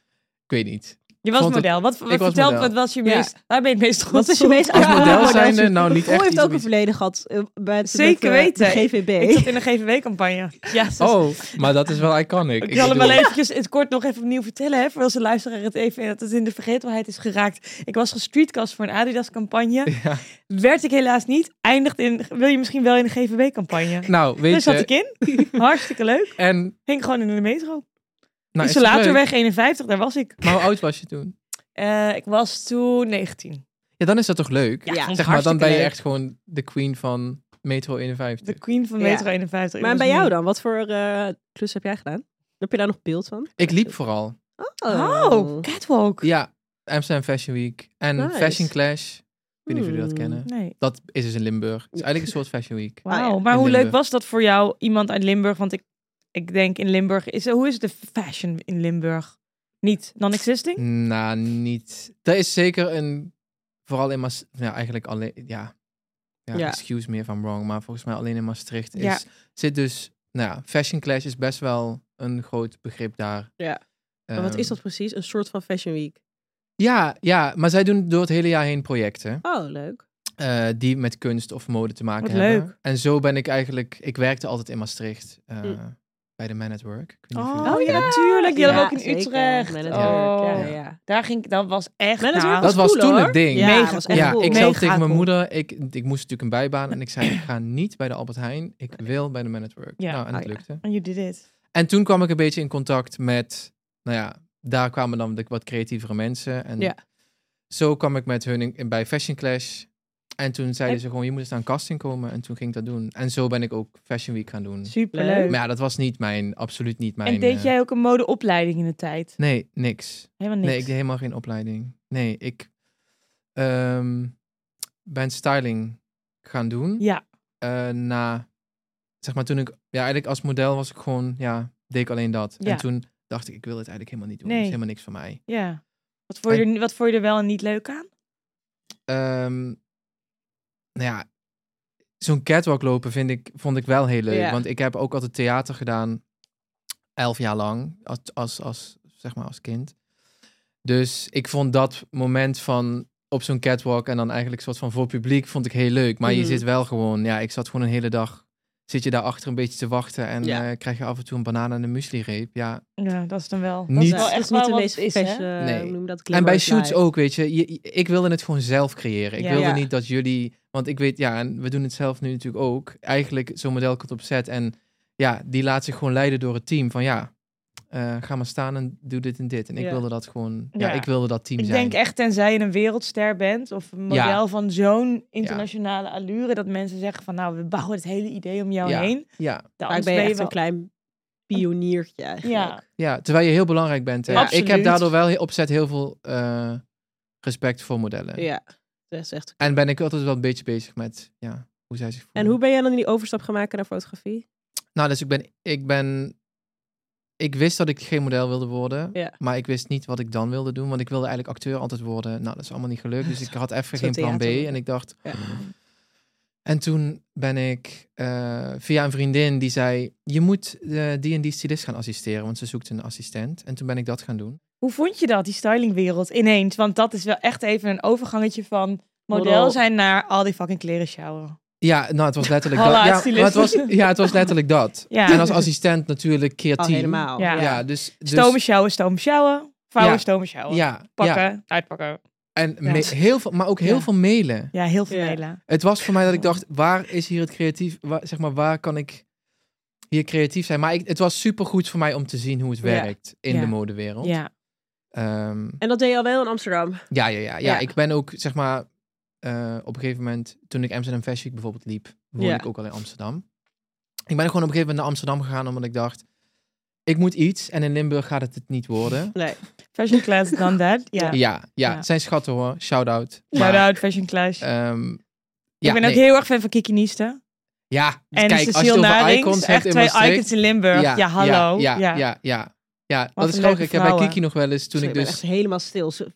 Speaker 3: weet niet.
Speaker 2: Je was
Speaker 3: Vond het-
Speaker 2: model. Wat, wat
Speaker 3: was
Speaker 2: vertel,
Speaker 3: model.
Speaker 2: wat was je
Speaker 1: Ja.
Speaker 2: meest... Waar ben je het meest trots
Speaker 1: Wat is je
Speaker 2: op?
Speaker 1: meest
Speaker 3: Als
Speaker 1: Ja.
Speaker 3: model
Speaker 1: Ja.
Speaker 3: zijnde, nou niet
Speaker 1: Paul
Speaker 3: echt
Speaker 1: heeft
Speaker 3: iets
Speaker 1: ook een
Speaker 3: om
Speaker 1: verleden gehad eh, bij het
Speaker 2: Zeker
Speaker 1: met, eh,
Speaker 2: weten.
Speaker 1: de
Speaker 2: Ik
Speaker 1: GVB.
Speaker 2: zat in een GVW-campagne. Ja, zus.
Speaker 3: iets- Oh, maar dat is wel iconic.
Speaker 2: Dus- Ik zal hem
Speaker 3: bedoel-
Speaker 2: wel eventjes in het kort nog even opnieuw vertellen. Hè, voor als de luisteraar het even dat het in de vergetelheid is geraakt. Ik was gestreetcast voor een Adidas-campagne.
Speaker 3: Ja.
Speaker 2: Werd ik helaas niet. Eindigt in, wil je misschien wel in een GVW-campagne?
Speaker 3: Nou,
Speaker 2: Daar
Speaker 3: weet
Speaker 2: Dus zat
Speaker 3: je.
Speaker 2: ik in. Hartstikke leuk.
Speaker 3: En,
Speaker 2: Hing gewoon in de metro.
Speaker 3: nou, is het leuk?
Speaker 2: Isolatorweg 51, daar was ik.
Speaker 3: Maar hoe oud was je toen?
Speaker 2: Eh, ik was toen 19.
Speaker 3: Ja, dan is dat toch leuk?
Speaker 1: Ja,
Speaker 2: vond ik
Speaker 3: zeg maar, dan
Speaker 2: hartstikke
Speaker 3: ben je
Speaker 2: leuk.
Speaker 3: echt gewoon de queen van Metro 51.
Speaker 2: De queen van
Speaker 1: Ja.
Speaker 2: metro 51. Ik
Speaker 1: Maar
Speaker 2: was
Speaker 1: bij jou
Speaker 2: moe.
Speaker 1: dan? Wat voor eh, klus heb jij gedaan? Heb je daar nog beeld van?
Speaker 3: Ik liep vooral.
Speaker 2: Oh, catwalk.
Speaker 3: Ja, Amsterdam Fashion Week en
Speaker 1: Nice.
Speaker 3: Fashion Clash. Ik weet niet of jullie
Speaker 1: Hmm.
Speaker 3: dat kennen.
Speaker 2: Nee.
Speaker 3: Dat is dus in Limburg. Het is eigenlijk een soort Fashion Week.
Speaker 2: Wauw.
Speaker 1: Oh ja.
Speaker 2: Maar
Speaker 3: In
Speaker 2: hoe leuk
Speaker 3: Limburg.
Speaker 2: was dat voor jou, iemand uit Limburg? Want ik, ik denk in Limburg, is, hoe is de fashion in Limburg? Niet non-existing?
Speaker 3: Nou, niet. Dat is zeker een. Vooral in Maastricht. Nou, eigenlijk alleen. Ja. Ja,
Speaker 1: Ja.
Speaker 3: Excuse me if I'm wrong. Maar volgens mij alleen in Maastricht is.
Speaker 2: Ja.
Speaker 3: Zit dus. Nou ja, Fashion Clash is best wel een groot begrip daar.
Speaker 1: Ja. Maar wat
Speaker 3: Ehm,
Speaker 1: is dat precies? Een soort van Fashion Week.
Speaker 3: Ja, ja, maar zij doen door het hele jaar heen projecten.
Speaker 1: Oh, leuk.
Speaker 3: eh, die met kunst of mode te maken
Speaker 2: Wat
Speaker 3: hebben.
Speaker 2: leuk.
Speaker 3: En zo ben ik eigenlijk. Ik werkte altijd in Maastricht eh,
Speaker 1: Mm.
Speaker 3: bij de Man at Work. Ik weet niet of
Speaker 1: Oh,
Speaker 3: jullie
Speaker 2: Oh,
Speaker 3: dat
Speaker 2: ja,
Speaker 3: kennen.
Speaker 2: natuurlijk. Die hadden
Speaker 1: Ja,
Speaker 2: we ook in
Speaker 1: zeker.
Speaker 2: Utrecht.
Speaker 1: Met het
Speaker 2: oh.
Speaker 1: werk, Ja, ja.
Speaker 2: Daar ging ik, dat was echt
Speaker 1: Met het
Speaker 2: gaaf.
Speaker 1: werk
Speaker 3: Dat was
Speaker 1: cool,
Speaker 3: toen het
Speaker 1: hoor.
Speaker 3: ding.
Speaker 1: Ja,
Speaker 2: Mega
Speaker 1: was
Speaker 2: cool.
Speaker 1: echt
Speaker 3: ja,
Speaker 1: cool.
Speaker 3: ik
Speaker 2: Mega
Speaker 3: zei tegen mijn
Speaker 2: cool.
Speaker 3: moeder, ik, ik moest natuurlijk een bijbaan en ik zei, ik ga niet bij de Albert Heijn, ik wil bij de Man at Work.
Speaker 2: Ja.
Speaker 3: Nou, en
Speaker 1: Oh,
Speaker 3: het
Speaker 1: ja.
Speaker 3: lukte.
Speaker 2: And you did it.
Speaker 3: En toen kwam ik een beetje in contact met, nou ja, daar kwamen dan de wat creatievere mensen. En
Speaker 1: Ja.
Speaker 3: zo kwam ik met hun in, in- bij Fashion Clash. En toen zeiden
Speaker 2: En-
Speaker 3: ze gewoon, je moet eens naar een casting komen. En toen ging ik dat doen. En zo ben ik ook Fashion Week gaan doen.
Speaker 2: Superleuk.
Speaker 3: Maar ja, dat was niet mijn, absoluut niet mijn...
Speaker 2: en deed
Speaker 3: eh,
Speaker 2: jij ook een modeopleiding in de tijd?
Speaker 3: Nee, niks.
Speaker 2: Helemaal niks.
Speaker 3: Nee, ik deed helemaal geen opleiding. Nee, ik ehm, ben styling gaan doen.
Speaker 2: Ja.
Speaker 3: Eh, na, zeg maar toen ik, ja eigenlijk als model was ik gewoon, ja, deed ik alleen dat.
Speaker 2: Ja.
Speaker 3: En toen dacht ik, ik wil het eigenlijk helemaal niet doen.
Speaker 2: Nee.
Speaker 3: Het is helemaal niks voor mij.
Speaker 2: Ja. Wat vond, je er, wat vond je er wel en niet leuk aan?
Speaker 3: Ehm, nou ja, zo'n catwalk lopen vind ik, vond ik wel heel leuk.
Speaker 1: Ja.
Speaker 3: Want ik heb ook altijd theater gedaan, elf jaar lang, als, als, als, zeg maar als kind. Dus ik vond dat moment van op zo'n catwalk en dan eigenlijk soort van voor publiek, vond ik heel leuk. Maar
Speaker 1: Mhm.
Speaker 3: je zit wel gewoon, ja, ik zat gewoon een hele dag, zit je daar achter een beetje te wachten en
Speaker 1: Ja.
Speaker 3: eh, krijg je af en toe een banaan en een muesli reep. Ja,
Speaker 2: Ja, dat is dan wel.
Speaker 3: Niet-
Speaker 2: Dat is wel echt
Speaker 1: niet
Speaker 2: wel
Speaker 1: de
Speaker 2: wat
Speaker 1: meest
Speaker 2: het is, hè?
Speaker 1: fashion, eh,
Speaker 3: Nee.
Speaker 1: hoe noem je dat?
Speaker 3: En bij
Speaker 1: glamorous
Speaker 3: shoots
Speaker 1: life.
Speaker 3: ook, weet je, je- Ik wilde het gewoon zelf creëren. Ik
Speaker 2: Ja.
Speaker 3: wilde
Speaker 1: Ja.
Speaker 3: niet dat jullie... Want ik weet, ja, en we doen het zelf nu natuurlijk ook. Eigenlijk, zo'n model komt op set en... Ja, die laat zich gewoon leiden door het team. Van ja, eh, ga maar staan en doe dit en dit. En ik
Speaker 1: Ja.
Speaker 3: wilde dat gewoon... Ja,
Speaker 2: Ja.
Speaker 3: ik wilde dat team
Speaker 2: Ik
Speaker 3: zijn.
Speaker 2: denk echt, tenzij je een wereldster bent of een model
Speaker 3: Ja.
Speaker 2: van zo'n internationale allure, dat mensen zeggen van nou, we bouwen het hele idee om jou
Speaker 3: Ja.
Speaker 2: heen.
Speaker 3: ja,
Speaker 2: Dan
Speaker 1: Maar ik ben
Speaker 2: ben je
Speaker 1: echt
Speaker 2: wel-
Speaker 1: een klein pioniertje eigenlijk.
Speaker 2: Ja.
Speaker 3: ja, terwijl je heel belangrijk bent. hè.
Speaker 2: Ja.
Speaker 3: ik heb
Speaker 2: Absoluut.
Speaker 3: daardoor wel he- op set heel veel eh, respect voor modellen.
Speaker 1: Ja, dat is echt.
Speaker 3: En ben ik altijd wel een beetje bezig met ja, hoe zij zich voelen.
Speaker 1: En hoe ben jij dan die overstap gaan maken naar fotografie?
Speaker 3: Nou, dus ik ben, ik ben. Ik wist dat ik geen model wilde worden.
Speaker 1: Ja.
Speaker 3: Maar ik wist niet wat ik dan wilde doen. Want ik wilde eigenlijk acteur altijd worden. Nou, dat is allemaal niet gelukt. Dus ik had even
Speaker 1: Zo'n
Speaker 3: geen plan B.
Speaker 1: theater.
Speaker 3: En ik dacht.
Speaker 1: Ja.
Speaker 3: En toen ben ik eh, via een vriendin die zei: Je moet eh, die en die stylist gaan assisteren. Want ze zoekt een assistent. En toen ben ik dat gaan doen.
Speaker 2: Hoe vond je dat, die stylingwereld ineens? Want dat is wel echt even een overgangetje van model
Speaker 1: Model.
Speaker 2: zijn naar al die fucking kleren sjouwen.
Speaker 3: Ja, nou, het was letterlijk
Speaker 2: Hallo,
Speaker 3: dat. Ja,
Speaker 2: stylist.
Speaker 3: maar het was, ja, het was letterlijk dat.
Speaker 2: Ja.
Speaker 3: En als assistent natuurlijk keer
Speaker 1: Al
Speaker 3: tien.
Speaker 1: Oh, helemaal.
Speaker 2: Ja.
Speaker 3: Ja, dus. dus
Speaker 2: Stomen sjouwen, stomen sjouwen. Vouwen,
Speaker 3: Ja.
Speaker 2: stomen sjouwen.
Speaker 3: Ja,
Speaker 2: Pakken,
Speaker 3: ja.
Speaker 2: uitpakken.
Speaker 3: En
Speaker 2: Ja.
Speaker 3: me- heel veel, maar ook heel
Speaker 2: Ja.
Speaker 3: veel mailen.
Speaker 2: Ja, heel veel
Speaker 1: Ja.
Speaker 2: mailen.
Speaker 3: Het was voor mij dat ik dacht, waar is hier het creatief? Waar, zeg maar, waar kan ik hier creatief zijn? Maar ik, het was supergoed voor mij om te zien hoe het
Speaker 1: Ja.
Speaker 3: werkt in
Speaker 2: Ja.
Speaker 3: de modewereld.
Speaker 2: Ja.
Speaker 3: Ehm,
Speaker 1: En dat deed je al wel in Amsterdam.
Speaker 3: ja, ja, ja, ja,
Speaker 1: Ja.
Speaker 3: Ik ben ook, zeg maar, eh, op een gegeven moment, toen ik Amsterdam Fashion Week bijvoorbeeld liep, woonde
Speaker 1: Ja.
Speaker 3: ik ook al in Amsterdam. Ik ben gewoon op een gegeven moment naar Amsterdam gegaan, omdat ik dacht, ik moet iets en in Limburg gaat het het niet worden.
Speaker 1: Nee.
Speaker 2: Fashion class dan that. Ja.
Speaker 3: Ja, ja,
Speaker 2: Ja.
Speaker 3: het zijn schatten hoor, shout-out. ehm,
Speaker 2: Shout out fashion class.
Speaker 3: Eh,
Speaker 2: ik ben ook heel erg fan van Kiki Niesta.
Speaker 3: Ja,
Speaker 2: En
Speaker 3: Dus kijk, als je
Speaker 2: Cecile
Speaker 3: het over
Speaker 2: Narings.
Speaker 3: icons hebt
Speaker 2: Echt
Speaker 3: in
Speaker 2: twee
Speaker 3: Maastricht-
Speaker 2: icons in Limburg. Ja, hallo.
Speaker 3: Ja, ja,
Speaker 2: Ja.
Speaker 3: ja. ja, ja.
Speaker 2: een
Speaker 3: dat is
Speaker 2: leuke
Speaker 3: grappig. Ik heb bij
Speaker 2: vrouwen.
Speaker 3: Kiki nog wel eens, toen
Speaker 1: Sorry,
Speaker 3: ik
Speaker 1: ben
Speaker 3: dus...
Speaker 1: echt helemaal stil. Zo-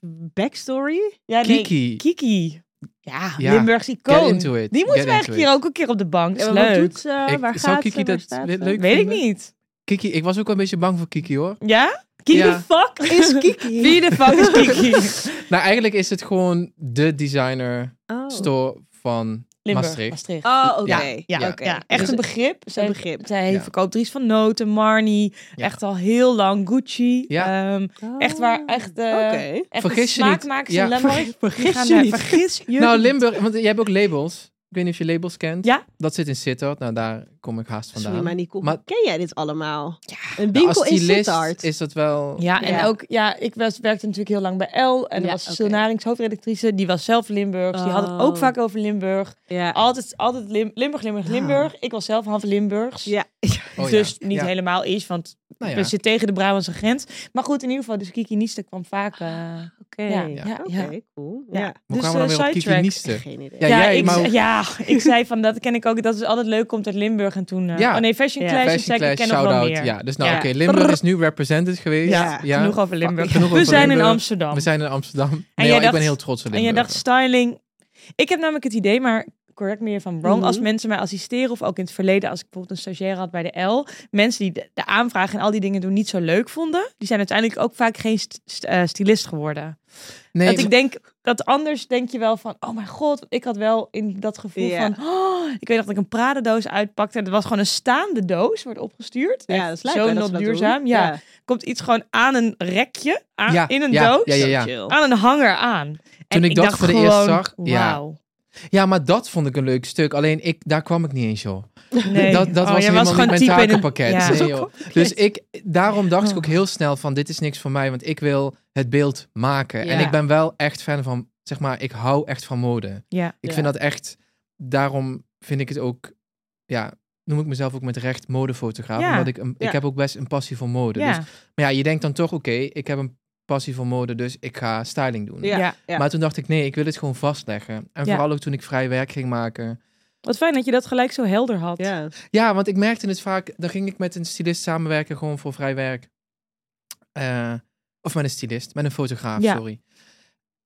Speaker 1: Backstory?
Speaker 2: Ja, nee,
Speaker 3: Kiki,
Speaker 2: Kiki. Ja,
Speaker 3: Ja.
Speaker 2: Limburgs
Speaker 3: get
Speaker 2: icoon.
Speaker 3: into it.
Speaker 2: Die moeten
Speaker 3: get
Speaker 2: we
Speaker 3: into
Speaker 2: eigenlijk
Speaker 3: it.
Speaker 2: hier ook een keer op de bank. Dat
Speaker 1: En
Speaker 2: is
Speaker 1: wat
Speaker 2: leuk.
Speaker 1: doet ze?
Speaker 3: Ik-
Speaker 1: waar
Speaker 3: zou
Speaker 1: gaat
Speaker 3: Kiki
Speaker 1: ze? Waar
Speaker 3: dat
Speaker 1: staat
Speaker 3: le-
Speaker 1: ze?
Speaker 3: leuk
Speaker 2: Weet ik
Speaker 3: vinden?
Speaker 2: niet.
Speaker 3: Kiki, ik was ook wel een beetje bang voor Kiki hoor.
Speaker 2: Ja? Kiki
Speaker 3: Ja.
Speaker 2: the fuck
Speaker 1: Is Kiki?
Speaker 2: Wie de fuck is Kiki?
Speaker 3: Nou, eigenlijk is het gewoon de designer
Speaker 1: Oh.
Speaker 3: store van
Speaker 2: Limburg.
Speaker 3: Maastricht.
Speaker 1: Oh, oké.
Speaker 2: Ja,
Speaker 3: Ja,
Speaker 2: ja,
Speaker 1: oké.
Speaker 2: echt
Speaker 1: Dus-
Speaker 2: een begrip. Zij,
Speaker 1: een begrip.
Speaker 2: Zij
Speaker 3: Ja.
Speaker 2: verkoopt Dries van Noten, Marnie,
Speaker 3: Ja.
Speaker 2: echt al heel lang, Gucci.
Speaker 3: Ja.
Speaker 2: Ehm, echt waar, echt... eh
Speaker 1: Oh, Oké.
Speaker 2: Echt
Speaker 3: Vergis je niet.
Speaker 2: smaakmakers
Speaker 3: Ja.
Speaker 2: in Limburg. die
Speaker 1: vergis
Speaker 2: gaan
Speaker 1: je
Speaker 2: daar-
Speaker 1: niet.
Speaker 2: Vergis je
Speaker 3: Nou,
Speaker 2: niet.
Speaker 3: Limburg, want jij hebt ook labels. Ik weet niet of je labels kent.
Speaker 2: Ja.
Speaker 3: Dat zit in Sittard. Nou, daar kom ik haast vandaan.
Speaker 1: Sorry, maar Nicole,
Speaker 3: Maar-
Speaker 1: ken jij dit allemaal? Een
Speaker 3: Nou,
Speaker 1: winkel
Speaker 3: als
Speaker 1: in
Speaker 3: stylist
Speaker 1: Sittard.
Speaker 3: is dat wel...
Speaker 2: Ja, en
Speaker 1: Ja.
Speaker 2: ook, ja, ik was, werkte natuurlijk heel lang bij L. En
Speaker 1: Ja,
Speaker 2: er was Sil
Speaker 1: oké.
Speaker 2: Narings, hoofdredactrice. Die was zelf Limburgs. Die had het
Speaker 1: Oh.
Speaker 2: ook vaak over Limburg.
Speaker 1: Ja.
Speaker 2: Altijd, altijd Lim- Limburg, Limburg,
Speaker 1: Ja.
Speaker 2: Limburg. Ik was zelf half Limburgs.
Speaker 1: ja.
Speaker 3: Oh, ja.
Speaker 2: dus niet
Speaker 3: Ja.
Speaker 2: helemaal is, want
Speaker 3: Nou ja.
Speaker 2: we zitten tegen de Brabantse grens. Maar goed, in ieder geval, dus Kiki Nieste kwam vaak... eh,
Speaker 1: Oké.
Speaker 2: Ja,
Speaker 1: Ja.
Speaker 2: ja,
Speaker 1: Oké,
Speaker 2: ja.
Speaker 1: cool.
Speaker 2: ja.
Speaker 1: Ja.
Speaker 3: Hoe
Speaker 2: Dus,
Speaker 3: kwamen we
Speaker 2: eh,
Speaker 3: dan weer op Kiki
Speaker 2: sidetrack.
Speaker 3: Nieste?
Speaker 1: Geen idee.
Speaker 3: Ja,
Speaker 2: Ja,
Speaker 3: jij,
Speaker 2: ik,
Speaker 3: maar
Speaker 2: ze-
Speaker 3: hoe-
Speaker 2: ja, ik zei van dat ken ik ook. Dat is altijd leuk, komt uit Limburg. En toen. eh,
Speaker 3: Ja.
Speaker 2: Oh nee, Fashion
Speaker 1: Ja.
Speaker 2: Clash. ik
Speaker 3: Fashion
Speaker 2: zei, ik
Speaker 3: Clash,
Speaker 2: ken nog wel
Speaker 3: shout-out.
Speaker 2: meer.
Speaker 3: Ja, dus nou
Speaker 2: Ja.
Speaker 3: oké, Limburg is nu represented geweest.
Speaker 1: Ja,
Speaker 2: Genoeg over Limburg.
Speaker 3: Genoeg
Speaker 2: we
Speaker 3: over
Speaker 2: zijn in
Speaker 3: Limburg.
Speaker 2: Amsterdam.
Speaker 3: We zijn in Amsterdam. Nee,
Speaker 2: jij
Speaker 3: hoor, ik
Speaker 2: dacht-
Speaker 3: ben heel trots op
Speaker 2: en je
Speaker 3: Limburg.
Speaker 2: dacht styling. Ik heb namelijk het idee, maar correct me if I'm wrong. Als
Speaker 1: Mhm.
Speaker 2: mensen mij assisteren of ook in het verleden, als ik bijvoorbeeld een stagiair had bij de L, mensen die de, de aanvraag en al die dingen doen niet zo leuk vonden, die zijn uiteindelijk ook vaak geen st- st- eh, stylist geworden.
Speaker 3: nee,
Speaker 2: dat ik denk dat anders denk je wel van, oh mijn god, want ik had wel in dat gevoel
Speaker 1: Ja.
Speaker 2: van, oh, ik weet nog dat ik een Prada-doos uitpakte en het was gewoon een staande doos, wordt opgestuurd.
Speaker 1: Ja,
Speaker 2: Echt
Speaker 1: dat is leuk.
Speaker 2: zo
Speaker 1: hè, dat
Speaker 2: not
Speaker 1: ze dat
Speaker 2: duurzaam.
Speaker 1: doen.
Speaker 2: Ja. komt iets gewoon aan een rekje, aan,
Speaker 3: Ja,
Speaker 2: in een
Speaker 3: ja,
Speaker 2: doos,
Speaker 3: ja, ja, ja.
Speaker 1: Chill.
Speaker 2: aan een hanger aan.
Speaker 3: Toen ik dat voor de eerst zag, ja.
Speaker 2: wauw.
Speaker 3: Ja, maar dat vond ik een leuk stuk. Alleen ik, daar kwam ik niet eens, joh.
Speaker 2: Nee.
Speaker 3: Dat, dat
Speaker 2: Oh,
Speaker 3: was
Speaker 2: jij
Speaker 3: helemaal niet mijn
Speaker 2: type in een-
Speaker 3: takenpakket.
Speaker 2: ja.
Speaker 3: Nee, joh. Dus ik, daarom dacht
Speaker 2: Oh.
Speaker 3: ik ook heel snel van, dit is niks voor mij, want ik wil het beeld maken. En
Speaker 1: Ja.
Speaker 3: ik ben wel echt fan van, zeg maar, ik hou echt van mode.
Speaker 2: Ja.
Speaker 3: Ik
Speaker 1: Ja.
Speaker 3: vind dat echt, daarom vind ik het ook, ja, noem ik mezelf ook met recht modefotograaf.
Speaker 2: Ja.
Speaker 3: Omdat ik, een,
Speaker 1: Ja.
Speaker 3: ik heb ook best een passie voor mode.
Speaker 2: Ja.
Speaker 3: Dus, maar ja, je denkt dan toch, oké, ik heb een passie voor mode, dus ik ga styling doen.
Speaker 1: Ja.
Speaker 2: Ja.
Speaker 1: ja.
Speaker 3: Maar toen dacht ik, nee, ik wil het gewoon vastleggen.
Speaker 2: Ja.
Speaker 3: En vooral ook toen ik vrij werk ging maken.
Speaker 2: Wat fijn dat je dat gelijk zo helder had.
Speaker 1: Ja.
Speaker 3: Ja, want ik merkte het vaak. Dan ging ik met een stylist samenwerken, gewoon voor vrij werk. Eh, of met een stylist, met een fotograaf,
Speaker 2: Ja.
Speaker 3: sorry.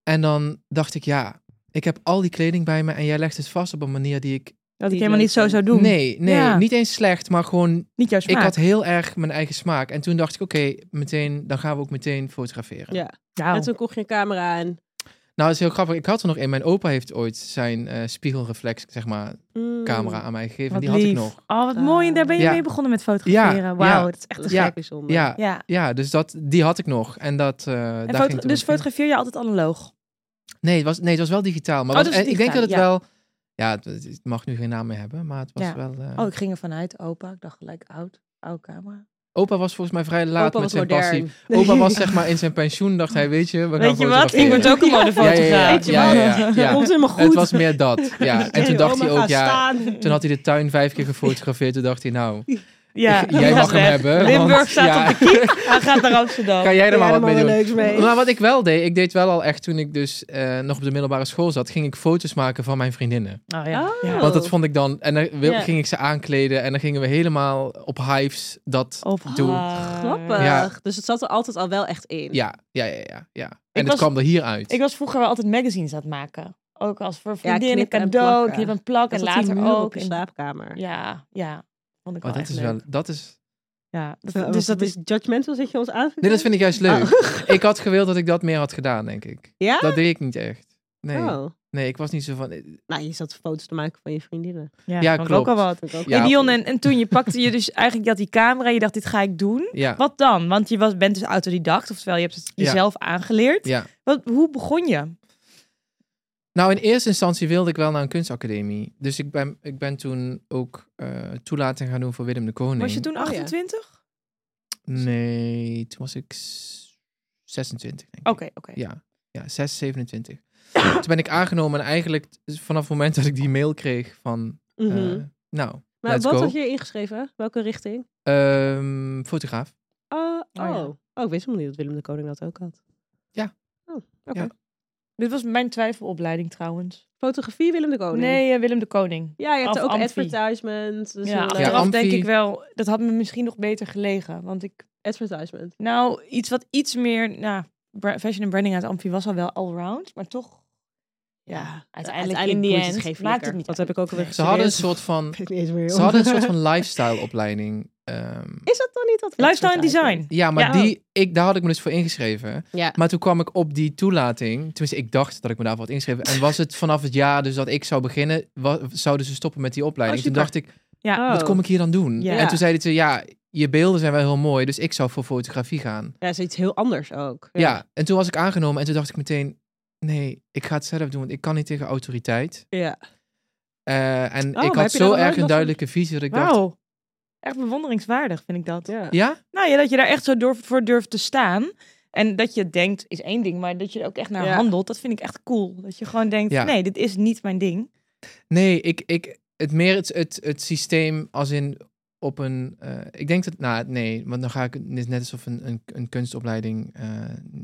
Speaker 3: En dan dacht ik, ja, ik heb al die kleding bij me en jij legt het vast op een manier die ik...
Speaker 2: Dat ik
Speaker 1: Die
Speaker 2: helemaal
Speaker 1: leuk
Speaker 2: niet zo
Speaker 1: vindt.
Speaker 2: zou doen.
Speaker 3: Nee, nee,
Speaker 2: Ja.
Speaker 3: niet eens slecht, maar gewoon...
Speaker 2: Niet jouw smaak.
Speaker 3: Ik had heel erg mijn eigen smaak. En toen dacht ik, oké, meteen, dan gaan we ook meteen fotograferen.
Speaker 1: Ja.
Speaker 2: Wauw.
Speaker 1: En toen kocht je een camera en...
Speaker 3: Nou, dat is heel grappig. Ik had er nog een. Mijn opa heeft ooit zijn eh, spiegelreflex, zeg maar,
Speaker 1: Mm.
Speaker 3: camera aan mij gegeven.
Speaker 2: Wat
Speaker 3: die had
Speaker 2: lief.
Speaker 3: ik nog.
Speaker 2: Oh, wat mooi. En daar ben je
Speaker 3: Ja.
Speaker 2: mee begonnen met fotograferen.
Speaker 3: Ja,
Speaker 2: Wauw,
Speaker 3: ja.
Speaker 2: dat is echt
Speaker 1: Dat is
Speaker 3: Ja.
Speaker 1: vrij bijzonder.
Speaker 3: Ja,
Speaker 2: Ja.
Speaker 3: Ja, dus dat, die had ik nog. En dat, eh, daar
Speaker 2: En
Speaker 3: ging
Speaker 2: foto-
Speaker 3: toen
Speaker 2: dus
Speaker 3: het in.
Speaker 2: fotografeer je altijd analoog?
Speaker 3: nee, het was, nee, het was wel digitaal.
Speaker 2: Oh,
Speaker 3: Maar wat-
Speaker 2: het was
Speaker 3: en ik denk dat het
Speaker 2: digitaal,
Speaker 3: wel... Ja, het, het mag nu geen naam meer hebben, maar het was
Speaker 2: Ja.
Speaker 3: wel... eh,
Speaker 2: Oh, ik ging er vanuit. Opa, ik dacht gelijk oud. Oude camera.
Speaker 3: Opa was volgens mij vrij laat
Speaker 1: Opa was
Speaker 3: met zijn
Speaker 1: modern.
Speaker 3: passie. Opa was zeg maar in zijn pensioen, dacht hij, weet je, we gaan
Speaker 2: Weet je wat? Ik
Speaker 3: fotograferen.
Speaker 2: word ook een modefotograaf.
Speaker 3: Ja, ja, ja,
Speaker 2: Weet je
Speaker 3: ja,
Speaker 2: wat?
Speaker 3: ja, ja.
Speaker 1: Dat Komt helemaal goed.
Speaker 3: Het was meer dat, ja. En
Speaker 1: Hey,
Speaker 3: toen dacht hij
Speaker 1: oma, ga
Speaker 3: ook, ja...
Speaker 1: staan.
Speaker 3: Toen had hij de tuin vijf keer gefotografeerd. Toen dacht hij, nou,
Speaker 2: Ja,
Speaker 3: jij
Speaker 2: ja,
Speaker 3: mag hem
Speaker 2: weg.
Speaker 3: hebben. want-
Speaker 2: Limburg staat
Speaker 3: ja,
Speaker 2: op de kiek. Hij gaat naar Amsterdam.
Speaker 3: Kan jij er
Speaker 1: Doe
Speaker 3: maar
Speaker 1: jij
Speaker 3: wat
Speaker 1: er
Speaker 3: mee
Speaker 1: maar
Speaker 3: doen?
Speaker 1: wat leuks mee?
Speaker 3: Maar Nou, wat ik wel deed, ik deed wel al echt toen ik dus eh, nog op de middelbare school zat, ging ik foto's maken van mijn vriendinnen.
Speaker 2: Oh, ja.
Speaker 1: Oh.
Speaker 2: ja.
Speaker 3: Want dat vond ik dan. En dan wil-
Speaker 1: Ja.
Speaker 3: ging ik ze aankleden en dan gingen we helemaal op hives dat
Speaker 2: Op
Speaker 3: doen.
Speaker 1: Grappig.
Speaker 3: Ja.
Speaker 1: Dus het zat er altijd al wel echt in.
Speaker 3: Ja, ja, ja, ja. ja. En
Speaker 2: Ik
Speaker 3: het
Speaker 2: was-
Speaker 3: kwam er hier uit.
Speaker 2: Ik was vroeger wel altijd magazines aan het maken. Ook als voor vriendinnen,
Speaker 1: knippen en
Speaker 2: cadeau,
Speaker 1: plakken.
Speaker 2: knip en plak.
Speaker 1: Dat
Speaker 2: En
Speaker 1: zat die
Speaker 2: later
Speaker 1: muur
Speaker 2: ook.
Speaker 1: op je
Speaker 2: En-
Speaker 1: slaapkamer.
Speaker 2: Ja, ja. Vond ik
Speaker 3: Oh,
Speaker 2: wel
Speaker 3: dat
Speaker 2: echt
Speaker 3: is
Speaker 2: leuk.
Speaker 3: wel. Dat is.
Speaker 2: Ja. dat-
Speaker 1: Zo,
Speaker 2: dus
Speaker 1: wat-
Speaker 2: dat is...
Speaker 1: dus judgmental zit je ons aan?
Speaker 3: Nee, dat vind ik juist leuk.
Speaker 2: Oh.
Speaker 3: ik had gewild dat ik dat meer had gedaan, denk ik.
Speaker 1: Ja?
Speaker 3: Dat deed ik niet echt. Nee,
Speaker 1: Oh.
Speaker 3: nee ik was niet zo van. eh,
Speaker 1: Nou, je zat foto's te maken van je vriendinnen.
Speaker 2: Ja,
Speaker 3: Ja,
Speaker 2: vond ik
Speaker 3: klopt.
Speaker 2: ook al wat.
Speaker 1: Vind ik ook
Speaker 3: Ja.
Speaker 2: Hey, Dion, en, en toen je pakte je dus eigenlijk dat die camera, je dacht dit ga ik doen.
Speaker 3: Ja,
Speaker 2: Wat dan? Want je was, bent dus autodidact, oftewel je hebt het
Speaker 3: Ja.
Speaker 2: jezelf aangeleerd.
Speaker 3: ja.
Speaker 2: Wat, hoe begon je?
Speaker 3: Nou, in eerste instantie wilde ik wel naar een kunstacademie. Dus ik ben, ik ben toen ook eh, toelating gaan doen voor
Speaker 2: Oh,
Speaker 3: Willem de Koning.
Speaker 2: Was je toen
Speaker 1: Oh, ja.
Speaker 2: 28?
Speaker 3: Nee, toen was ik s- 26, denk ik.
Speaker 2: Oké, oké.
Speaker 3: Ja, ja 6, 27. Toen ben ik aangenomen en eigenlijk vanaf het moment dat ik die mail kreeg van... eh,
Speaker 1: Mhm.
Speaker 3: nou,
Speaker 1: maar
Speaker 3: let's
Speaker 1: wat
Speaker 3: go.
Speaker 1: had je ingeschreven? Welke richting?
Speaker 3: Ehm, fotograaf.
Speaker 1: Ah, oh,
Speaker 2: ja.
Speaker 1: oh, ik wist helemaal niet dat Willem de Koning dat ook had.
Speaker 3: Ja.
Speaker 1: Oh, oké.
Speaker 3: Ja.
Speaker 2: Dit was mijn twijfelopleiding trouwens.
Speaker 1: Fotografie Willem de Koning.
Speaker 2: nee, eh, Willem de Koning.
Speaker 1: Ja, je hebt
Speaker 2: Of
Speaker 1: ook
Speaker 2: Amfi.
Speaker 1: advertisement. Dus
Speaker 2: ja,
Speaker 1: een, eh,
Speaker 2: achteraf
Speaker 3: Amfi.
Speaker 2: denk ik wel, dat had me misschien nog beter gelegen. Want ik,
Speaker 1: advertisement.
Speaker 2: nou, iets wat iets meer, nou, bra- fashion en branding uit Amfi was al wel allround. Maar toch, ja, uiteindelijk, in die
Speaker 1: boeit
Speaker 2: end,
Speaker 1: het geen
Speaker 2: maakt het
Speaker 1: flikker.
Speaker 2: niet
Speaker 1: Dat
Speaker 2: uit.
Speaker 1: heb ik ook alweer
Speaker 3: Ze hadden een
Speaker 1: gestudeerd.
Speaker 3: soort van,
Speaker 1: Ik weet niet eens meer,
Speaker 3: ze
Speaker 1: joh.
Speaker 3: hadden een soort van lifestyle opleiding. ehm.
Speaker 1: Is dat dan niet dat
Speaker 2: Lifestyle en
Speaker 1: advertisement?
Speaker 2: design.
Speaker 3: ja, maar
Speaker 1: Ja.
Speaker 3: die, ik, daar had ik me dus voor ingeschreven.
Speaker 1: Ja.
Speaker 3: Maar toen kwam ik op die toelating. Tenminste, ik dacht dat ik me daarvoor had ingeschreven. En was het vanaf het jaar dus dat ik zou beginnen, wa- zouden ze stoppen met die opleiding.
Speaker 2: Oh,
Speaker 3: toen
Speaker 2: super.
Speaker 3: dacht ik,
Speaker 2: Ja,
Speaker 1: Oh.
Speaker 3: wat kom ik hier dan doen?
Speaker 2: Ja.
Speaker 3: En toen zeiden ze, ja, je beelden zijn wel heel mooi, dus ik zou voor fotografie gaan.
Speaker 1: Ja, zoiets heel anders ook.
Speaker 3: Ja. en toen was ik aangenomen en toen dacht ik meteen, nee, ik ga het zelf doen, want ik kan niet tegen autoriteit.
Speaker 1: Ja.
Speaker 3: Eh, en
Speaker 1: maar
Speaker 3: ik
Speaker 1: heb je
Speaker 3: had
Speaker 1: daar
Speaker 3: zo
Speaker 1: dan nooit
Speaker 3: erg
Speaker 1: last
Speaker 3: een
Speaker 1: van?
Speaker 3: duidelijke visie dat ik dacht,
Speaker 2: Wauw. Echt bewonderingswaardig vind ik dat.
Speaker 1: ja.
Speaker 3: ja?
Speaker 2: Nou ja, dat je daar echt zo durf, voor durft te staan. En dat je denkt is één ding, maar dat je er ook echt naar
Speaker 1: Ja.
Speaker 2: handelt, dat vind ik echt cool. Dat je gewoon denkt,
Speaker 3: Ja.
Speaker 2: nee, dit is niet mijn ding.
Speaker 3: Nee, ik, ik, het meer het, het, het systeem als in op een, eh, ik denk dat, nou nee, want dan ga ik, het is net alsof een, een, een kunstopleiding eh,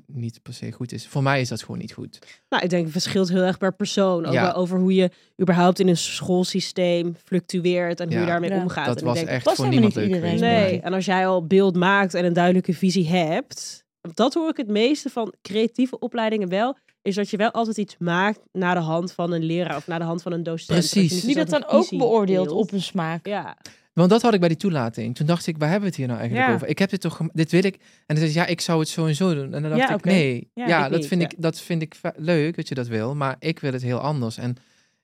Speaker 3: niet per se goed is. Voor mij is dat gewoon niet goed.
Speaker 1: Nou, ik denk het verschilt heel erg per persoon. Ook
Speaker 3: Ja.
Speaker 1: wel over hoe je überhaupt in een schoolsysteem fluctueert en hoe
Speaker 3: Ja.
Speaker 1: je daarmee
Speaker 2: Ja.
Speaker 1: omgaat.
Speaker 3: dat
Speaker 1: En
Speaker 3: was
Speaker 1: ik denk,
Speaker 3: echt
Speaker 2: past
Speaker 3: voor
Speaker 2: helemaal
Speaker 3: niemand
Speaker 2: niet
Speaker 3: leuk
Speaker 2: iedereen.
Speaker 3: geweest.
Speaker 2: Nee.
Speaker 1: Nee, en als jij al beeld maakt en een duidelijke visie hebt, dat hoor ik het meeste van creatieve opleidingen wel, is dat je wel altijd iets maakt naar de hand van een leraar of naar de hand van een docent.
Speaker 3: Precies.
Speaker 1: Dat je
Speaker 3: Dus
Speaker 2: Die dat
Speaker 1: dezelfde
Speaker 2: dan ook
Speaker 1: visie
Speaker 2: beoordeelt
Speaker 1: deelt.
Speaker 2: op hun smaak.
Speaker 1: Ja,
Speaker 3: Want dat had ik bij die toelating. Toen dacht ik, waar hebben we het hier nou eigenlijk
Speaker 2: Ja.
Speaker 3: over? Ik heb dit toch, gem- dit wil ik. En dan zei ze, ja, ik zou het zo en zo doen. En dan dacht
Speaker 2: Ja,
Speaker 3: ik,
Speaker 2: oké.
Speaker 3: nee,
Speaker 2: Ja,
Speaker 3: ja,
Speaker 1: ik
Speaker 3: dat,
Speaker 1: niet,
Speaker 3: vind
Speaker 1: ja.
Speaker 3: Ik, dat vind ik fa- leuk dat je dat wil, maar ik wil het heel anders. En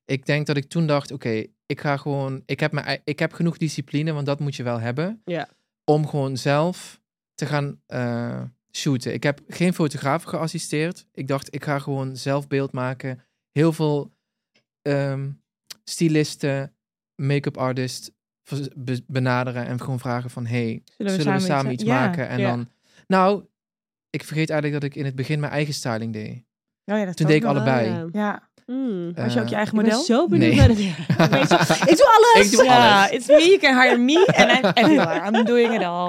Speaker 3: ik denk dat ik toen dacht, oké, ik ga gewoon, ik heb, mijn, ei- ik heb genoeg discipline, want dat moet je wel hebben.
Speaker 1: Ja.
Speaker 3: Om gewoon zelf te gaan eh, shooten. Ik heb geen fotograaf geassisteerd. Ik dacht, ik ga gewoon zelf beeld maken. Heel veel ehm stylisten, make-up artist vers- be- benaderen en gewoon vragen van, hey, zullen we samen, iets
Speaker 2: ja.
Speaker 3: maken? En
Speaker 1: ja.
Speaker 3: dan, nou, ik vergeet eigenlijk dat ik in het begin mijn eigen styling deed.
Speaker 2: Oh ja, dat kan
Speaker 3: Toen deed ik
Speaker 2: ook nog wel.
Speaker 3: allebei.
Speaker 1: Ah,
Speaker 3: Eh,
Speaker 1: Ja.
Speaker 2: Ja,
Speaker 1: Mm. Ik
Speaker 2: was je ook je eigen
Speaker 1: ben
Speaker 2: model?
Speaker 1: zo benieuwd
Speaker 3: Nee.
Speaker 1: naar dit.
Speaker 2: Weet je-
Speaker 1: Ik doe alles!
Speaker 3: Ik doe
Speaker 2: ja,
Speaker 3: alles.
Speaker 2: it's me, you can hire me and I'm everywhere. I'm doing it all.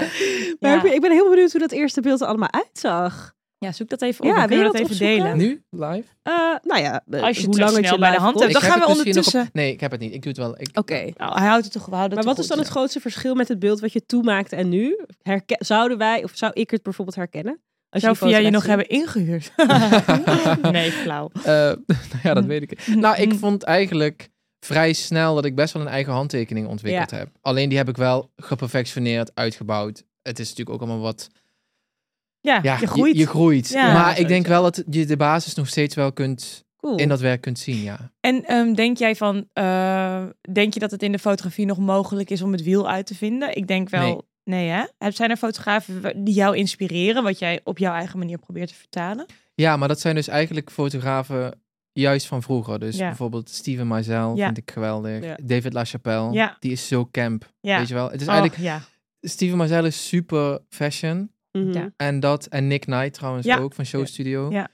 Speaker 1: Maar
Speaker 2: Ja,
Speaker 1: heb je- ik ben heel benieuwd hoe dat eerste beeld er allemaal uitzag.
Speaker 2: Ja, zoek dat even op.
Speaker 1: Ja,
Speaker 2: Ja,
Speaker 1: wil
Speaker 2: wil
Speaker 1: je
Speaker 2: dat
Speaker 1: dat
Speaker 2: even
Speaker 1: opzoeken?
Speaker 2: delen?
Speaker 3: Nu? Live?
Speaker 1: Eh, nou ja, eh,
Speaker 2: Als je
Speaker 1: hoe
Speaker 2: het
Speaker 1: lang het
Speaker 2: snel
Speaker 1: je
Speaker 2: bij de
Speaker 1: live
Speaker 2: hand
Speaker 1: komt.
Speaker 2: hebt, Dan
Speaker 3: Ik
Speaker 2: gaan
Speaker 3: heb
Speaker 2: we
Speaker 3: het misschien nog op-
Speaker 2: ondertussen-
Speaker 3: Nee, ik heb het niet. Ik doe het wel. Ik,
Speaker 1: Oké.
Speaker 2: Nou, hij houdt het toch, we houden
Speaker 1: Maar wat
Speaker 2: het toch
Speaker 1: is dan
Speaker 2: goed.
Speaker 1: het grootste verschil met het beeld wat je toen maakte en nu? Herken- zouden wij, of zou ik het bijvoorbeeld herkennen? Als
Speaker 2: Zou
Speaker 1: die
Speaker 2: via je
Speaker 1: foto
Speaker 2: nog
Speaker 1: laat
Speaker 2: hebben ingehuurd? nee, flauw.
Speaker 3: Eh, nou ja, dat weet ik. Nou, ik vond eigenlijk vrij snel dat ik best wel een eigen handtekening ontwikkeld heb. Alleen die heb ik wel geperfectioneerd, uitgebouwd. Het is natuurlijk ook allemaal wat...
Speaker 2: Ja,
Speaker 3: Ja,
Speaker 2: je groeit.
Speaker 3: Je, groeit.
Speaker 2: Ja,
Speaker 3: maar ik
Speaker 1: sowieso.
Speaker 3: denk wel dat je de basis nog steeds wel kunt...
Speaker 1: zien? Cool.
Speaker 3: in dat werk kunt zien, ja.
Speaker 2: En ehm, denk jij van, eh, denk je dat het in de fotografie nog mogelijk is om het wiel uit te vinden? Ik denk wel, nee, hè? Heb- Zijn er fotografen wa- die jou inspireren, wat jij op jouw eigen manier probeert te vertalen?
Speaker 3: Ja, maar dat zijn dus eigenlijk fotografen juist van vroeger. Dus
Speaker 2: Ja.
Speaker 3: bijvoorbeeld Steven Meisel
Speaker 2: Ja.
Speaker 3: vind ik geweldig.
Speaker 1: Ja.
Speaker 3: David LaChapelle,
Speaker 2: Ja.
Speaker 3: die is zo camp,
Speaker 2: Ja.
Speaker 3: weet je wel. Het is
Speaker 2: Oh,
Speaker 3: eigenlijk,
Speaker 2: ja.
Speaker 3: Steven Meisel is super fashion.
Speaker 1: Mhm.
Speaker 2: Ja.
Speaker 3: En dat, en Nick Knight trouwens
Speaker 2: Ja.
Speaker 3: ook, van Show
Speaker 1: Ja.
Speaker 3: Studio.
Speaker 2: Ja.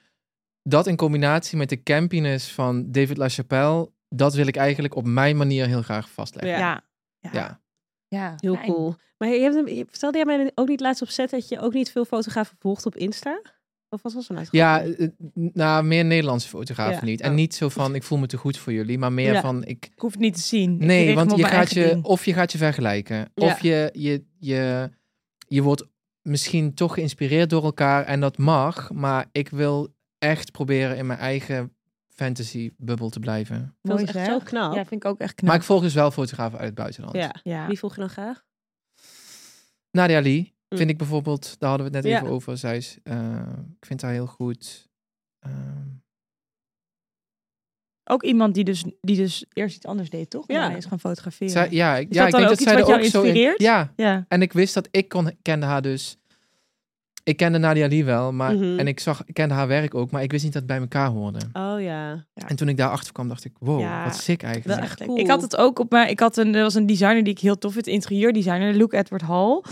Speaker 3: Dat in combinatie met de campiness van David LaChapelle, dat wil ik eigenlijk op mijn manier heel graag vastleggen.
Speaker 2: Ja.
Speaker 1: Ja.
Speaker 2: Ja.
Speaker 3: Ja.
Speaker 2: Ja.
Speaker 1: Heel
Speaker 2: Fijn.
Speaker 1: cool. Maar je hebt, hem- je- vertelde jij mij ook niet laatst op set dat je ook niet veel fotografen volgt op Insta? Of was dat zo'n uitgang?
Speaker 3: Ja, eh, eh, nou, meer Nederlandse fotografen
Speaker 1: Ja.
Speaker 3: niet. En
Speaker 1: Oh.
Speaker 3: niet zo van, ik voel me te goed voor jullie, maar meer
Speaker 1: Ja.
Speaker 3: van, ik,
Speaker 2: Ik hoef het niet te zien. Ik richt
Speaker 3: Nee,
Speaker 2: me
Speaker 3: want
Speaker 2: op
Speaker 3: je
Speaker 2: mijn
Speaker 3: gaat
Speaker 2: eigen
Speaker 3: je,
Speaker 2: ding.
Speaker 3: of je gaat je vergelijken.
Speaker 1: Ja.
Speaker 3: Of je, je, je, je wordt misschien toch geïnspireerd door elkaar en dat mag. Maar ik wil echt proberen in mijn eigen fantasy-bubbel te blijven.
Speaker 1: dat is
Speaker 2: Mooi,
Speaker 1: echt
Speaker 2: zeg.
Speaker 1: zo knap.
Speaker 2: Ja,
Speaker 1: Ja,
Speaker 2: vind ik ook echt knap.
Speaker 3: Maar ik volg dus wel fotografen uit het buitenland.
Speaker 2: ja.
Speaker 1: Wie volg je dan graag?
Speaker 3: Nadia Lee
Speaker 1: Mm.
Speaker 3: vind ik bijvoorbeeld, daar hadden we het net
Speaker 1: Ja.
Speaker 3: even over. Zij is, eh, ik vind haar heel goed. Ehm,
Speaker 2: Ook iemand die dus, die dus eerst iets anders deed, toch?
Speaker 1: Ja.
Speaker 2: Ja. Hij is gaan fotograferen.
Speaker 3: zij, ja, ik-
Speaker 2: Is
Speaker 3: ja,
Speaker 2: dat dan
Speaker 3: ik denk
Speaker 2: ook
Speaker 3: dat
Speaker 2: iets
Speaker 3: zij er
Speaker 2: wat jou
Speaker 3: ook zo in.
Speaker 2: inspireert?
Speaker 3: Ja,
Speaker 2: ja.
Speaker 3: en ik wist dat ik kon, kende haar dus. Ik kende Nadia Lee wel, maar,
Speaker 1: Mhm.
Speaker 3: en ik, zag, ik kende haar werk ook, maar ik wist niet dat het bij elkaar hoorde.
Speaker 1: Oh ja.
Speaker 3: En toen ik daarachter kwam, dacht ik, wow,
Speaker 2: Ja,
Speaker 3: wat sick
Speaker 2: Wel
Speaker 3: eigenlijk.
Speaker 1: echt
Speaker 2: echt
Speaker 1: cool.
Speaker 2: Ik had het ook op mijn. Ik had een, er was een designer die ik heel tof vind, interieurdesigner, Luke Edward Hall.
Speaker 3: Oh,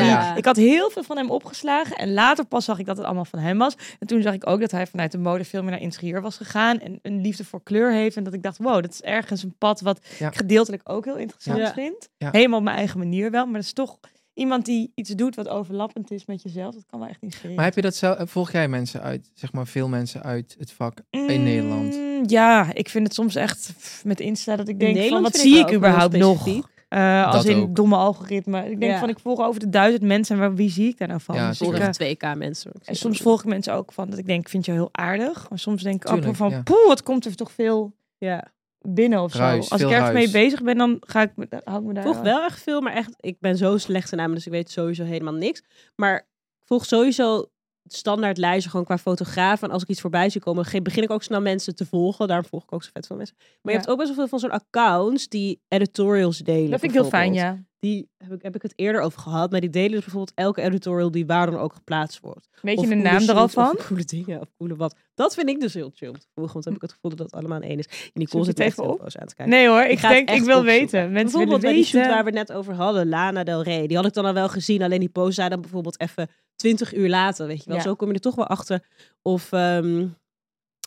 Speaker 3: ja.
Speaker 2: Ik had heel veel van hem opgeslagen en later pas zag ik dat het allemaal van hem was. En toen zag ik ook dat hij vanuit de mode veel meer naar interieur was gegaan en een liefde voor kleur heeft. En dat ik dacht, wow, dat is ergens een pad wat
Speaker 3: Ja.
Speaker 2: ik gedeeltelijk ook heel interessant
Speaker 1: Ja.
Speaker 2: vind.
Speaker 3: Ja.
Speaker 2: Helemaal op mijn eigen manier wel, maar dat is toch iemand die iets doet wat overlappend is met jezelf. Dat kan wel echt inspireren.
Speaker 3: Maar heb je dat zelf, volg jij mensen uit, zeg maar veel mensen uit het vak in
Speaker 2: Mm,
Speaker 3: Nederland?
Speaker 2: Ja, ik vind het soms echt pff, met Insta dat ik denk van wat
Speaker 1: vind ik
Speaker 2: zie ik
Speaker 1: wel ook
Speaker 2: überhaupt
Speaker 1: heel
Speaker 2: nog?
Speaker 1: specifiek.
Speaker 2: Eh, als
Speaker 3: Dat
Speaker 2: in
Speaker 3: ook.
Speaker 2: domme algoritme. Ik denk
Speaker 1: Ja.
Speaker 2: van ik volg over de duizend mensen, maar wie zie ik daar nou van?
Speaker 3: Ja,
Speaker 2: Dus ik,
Speaker 1: Volg
Speaker 2: eh,
Speaker 1: echt 2K mensen.
Speaker 2: en soms volg ik mensen ook van dat ik denk, ik vind je heel aardig. Maar soms denk ik ook wel
Speaker 3: Tuurlijk,
Speaker 2: van,
Speaker 3: ja.
Speaker 2: poeh, wat komt er toch veel
Speaker 1: Ja.
Speaker 2: binnen of zo.
Speaker 3: Ruis,
Speaker 2: Als ik
Speaker 3: veel
Speaker 2: ergens mee
Speaker 3: ruis.
Speaker 2: bezig ben, dan ga ik, me- dan hou ik me daar...
Speaker 1: Volg wel echt veel, maar echt, ik ben zo slecht in namen, dus ik weet sowieso helemaal niks. Maar ik volg sowieso standaard lijsten gewoon qua fotograaf. En als ik iets voorbij zie komen, ge- begin ik ook snel mensen te volgen. Daarom volg ik ook zo vet veel mensen. Maar je
Speaker 2: Ja.
Speaker 1: hebt ook best wel veel van zo'n accounts die editorials delen.
Speaker 2: Dat vind ik heel fijn,
Speaker 1: bijvoorbeeld.
Speaker 2: ja.
Speaker 1: Die heb ik, heb ik het eerder over gehad. Maar die delen dus bijvoorbeeld elke editorial die waar dan ook geplaatst wordt.
Speaker 2: Weet je
Speaker 1: Of
Speaker 2: de
Speaker 1: coole
Speaker 2: naam er al
Speaker 1: shit, of
Speaker 2: van?
Speaker 1: coole dingen, of coole wat. Dat vind ik dus heel chill om te volgen. Want dan heb ik het gevoel dat dat allemaal in één is. En die
Speaker 2: Zoek
Speaker 1: kool
Speaker 2: je
Speaker 1: zit
Speaker 2: het
Speaker 1: echt
Speaker 2: even
Speaker 1: heel
Speaker 2: op?
Speaker 1: boos aan te kijken.
Speaker 2: Nee hoor,
Speaker 1: Ik
Speaker 2: ik
Speaker 1: ga het
Speaker 2: denk, ik
Speaker 1: echt
Speaker 2: wil
Speaker 1: opzoeken.
Speaker 2: weten. Mensen willen
Speaker 1: Bijvoorbeeld bij die shoot waar
Speaker 2: weten.
Speaker 1: we het net over hadden, Lana Del Rey. Die had ik dan al wel gezien, alleen die post zei dan bijvoorbeeld even 20 uur later, weet je wel.
Speaker 2: Ja.
Speaker 1: Zo kom je er toch wel achter. Of, ehm,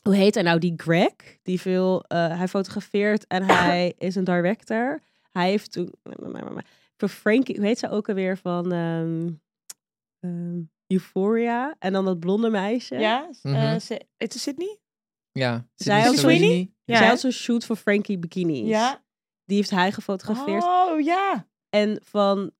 Speaker 1: hoe heet hij nou, die Greg? Die veel, eh, hij fotografeert en hij is een director. Hij heeft toen, voor Frankie, hoe heet ze ook alweer, van ehm, ehm, Euphoria. En dan dat blonde meisje.
Speaker 2: Ja, eh,
Speaker 3: Mhm.
Speaker 2: ze- het is Sydney?
Speaker 3: Ja.
Speaker 1: Zij ook
Speaker 3: Sweeney?
Speaker 2: Sweeney? Ja.
Speaker 1: Zij had zo'n shoot voor Frankie Bikinis.
Speaker 2: Ja.
Speaker 1: Die heeft hij gefotografeerd.
Speaker 2: Oh, ja.
Speaker 1: En van,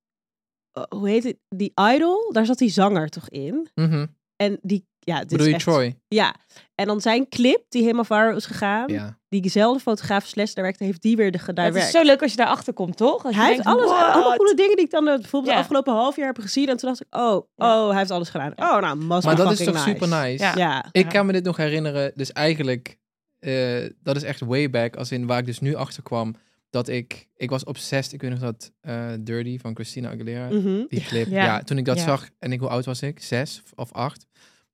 Speaker 1: eh, hoe heet het? Die Idol, daar zat die zanger toch in?
Speaker 3: Mhm.
Speaker 1: En die, ja, dit
Speaker 3: Bedoel
Speaker 1: is
Speaker 3: je
Speaker 1: echt-
Speaker 3: Troy?
Speaker 1: Ja. En dan zijn clip, die helemaal viral is gegaan,
Speaker 3: Ja.
Speaker 1: diezelfde fotograaf slash director, heeft die weer de
Speaker 2: Het
Speaker 1: gedirect.
Speaker 2: is zo leuk als je daarachter komt, toch? Als je
Speaker 1: Hij heeft
Speaker 2: denkt,
Speaker 1: alles,
Speaker 2: what?
Speaker 1: alle coole dingen die ik dan eh, bijvoorbeeld
Speaker 2: Ja.
Speaker 1: de afgelopen half jaar heb gezien. En toen dacht ik, oh,
Speaker 2: Ja.
Speaker 1: oh, hij heeft alles gedaan.
Speaker 2: Ja.
Speaker 1: Oh, nou, must
Speaker 3: Maar
Speaker 1: be
Speaker 3: dat is toch
Speaker 1: fucking
Speaker 3: super nice?
Speaker 2: Ja.
Speaker 1: Ja.
Speaker 3: Ik kan me dit nog herinneren. Dus eigenlijk, eh, dat is echt way back. Als in waar ik dus nu achter kwam. Dat ik, ik was obsessed. Ik weet nog dat eh, Dirty van Christina Aguilera.
Speaker 1: Mhm.
Speaker 3: Die clip.
Speaker 2: Ja.
Speaker 3: Ja. toen ik dat
Speaker 2: Ja.
Speaker 3: zag. En ik, hoe oud was ik? Zes of- of acht.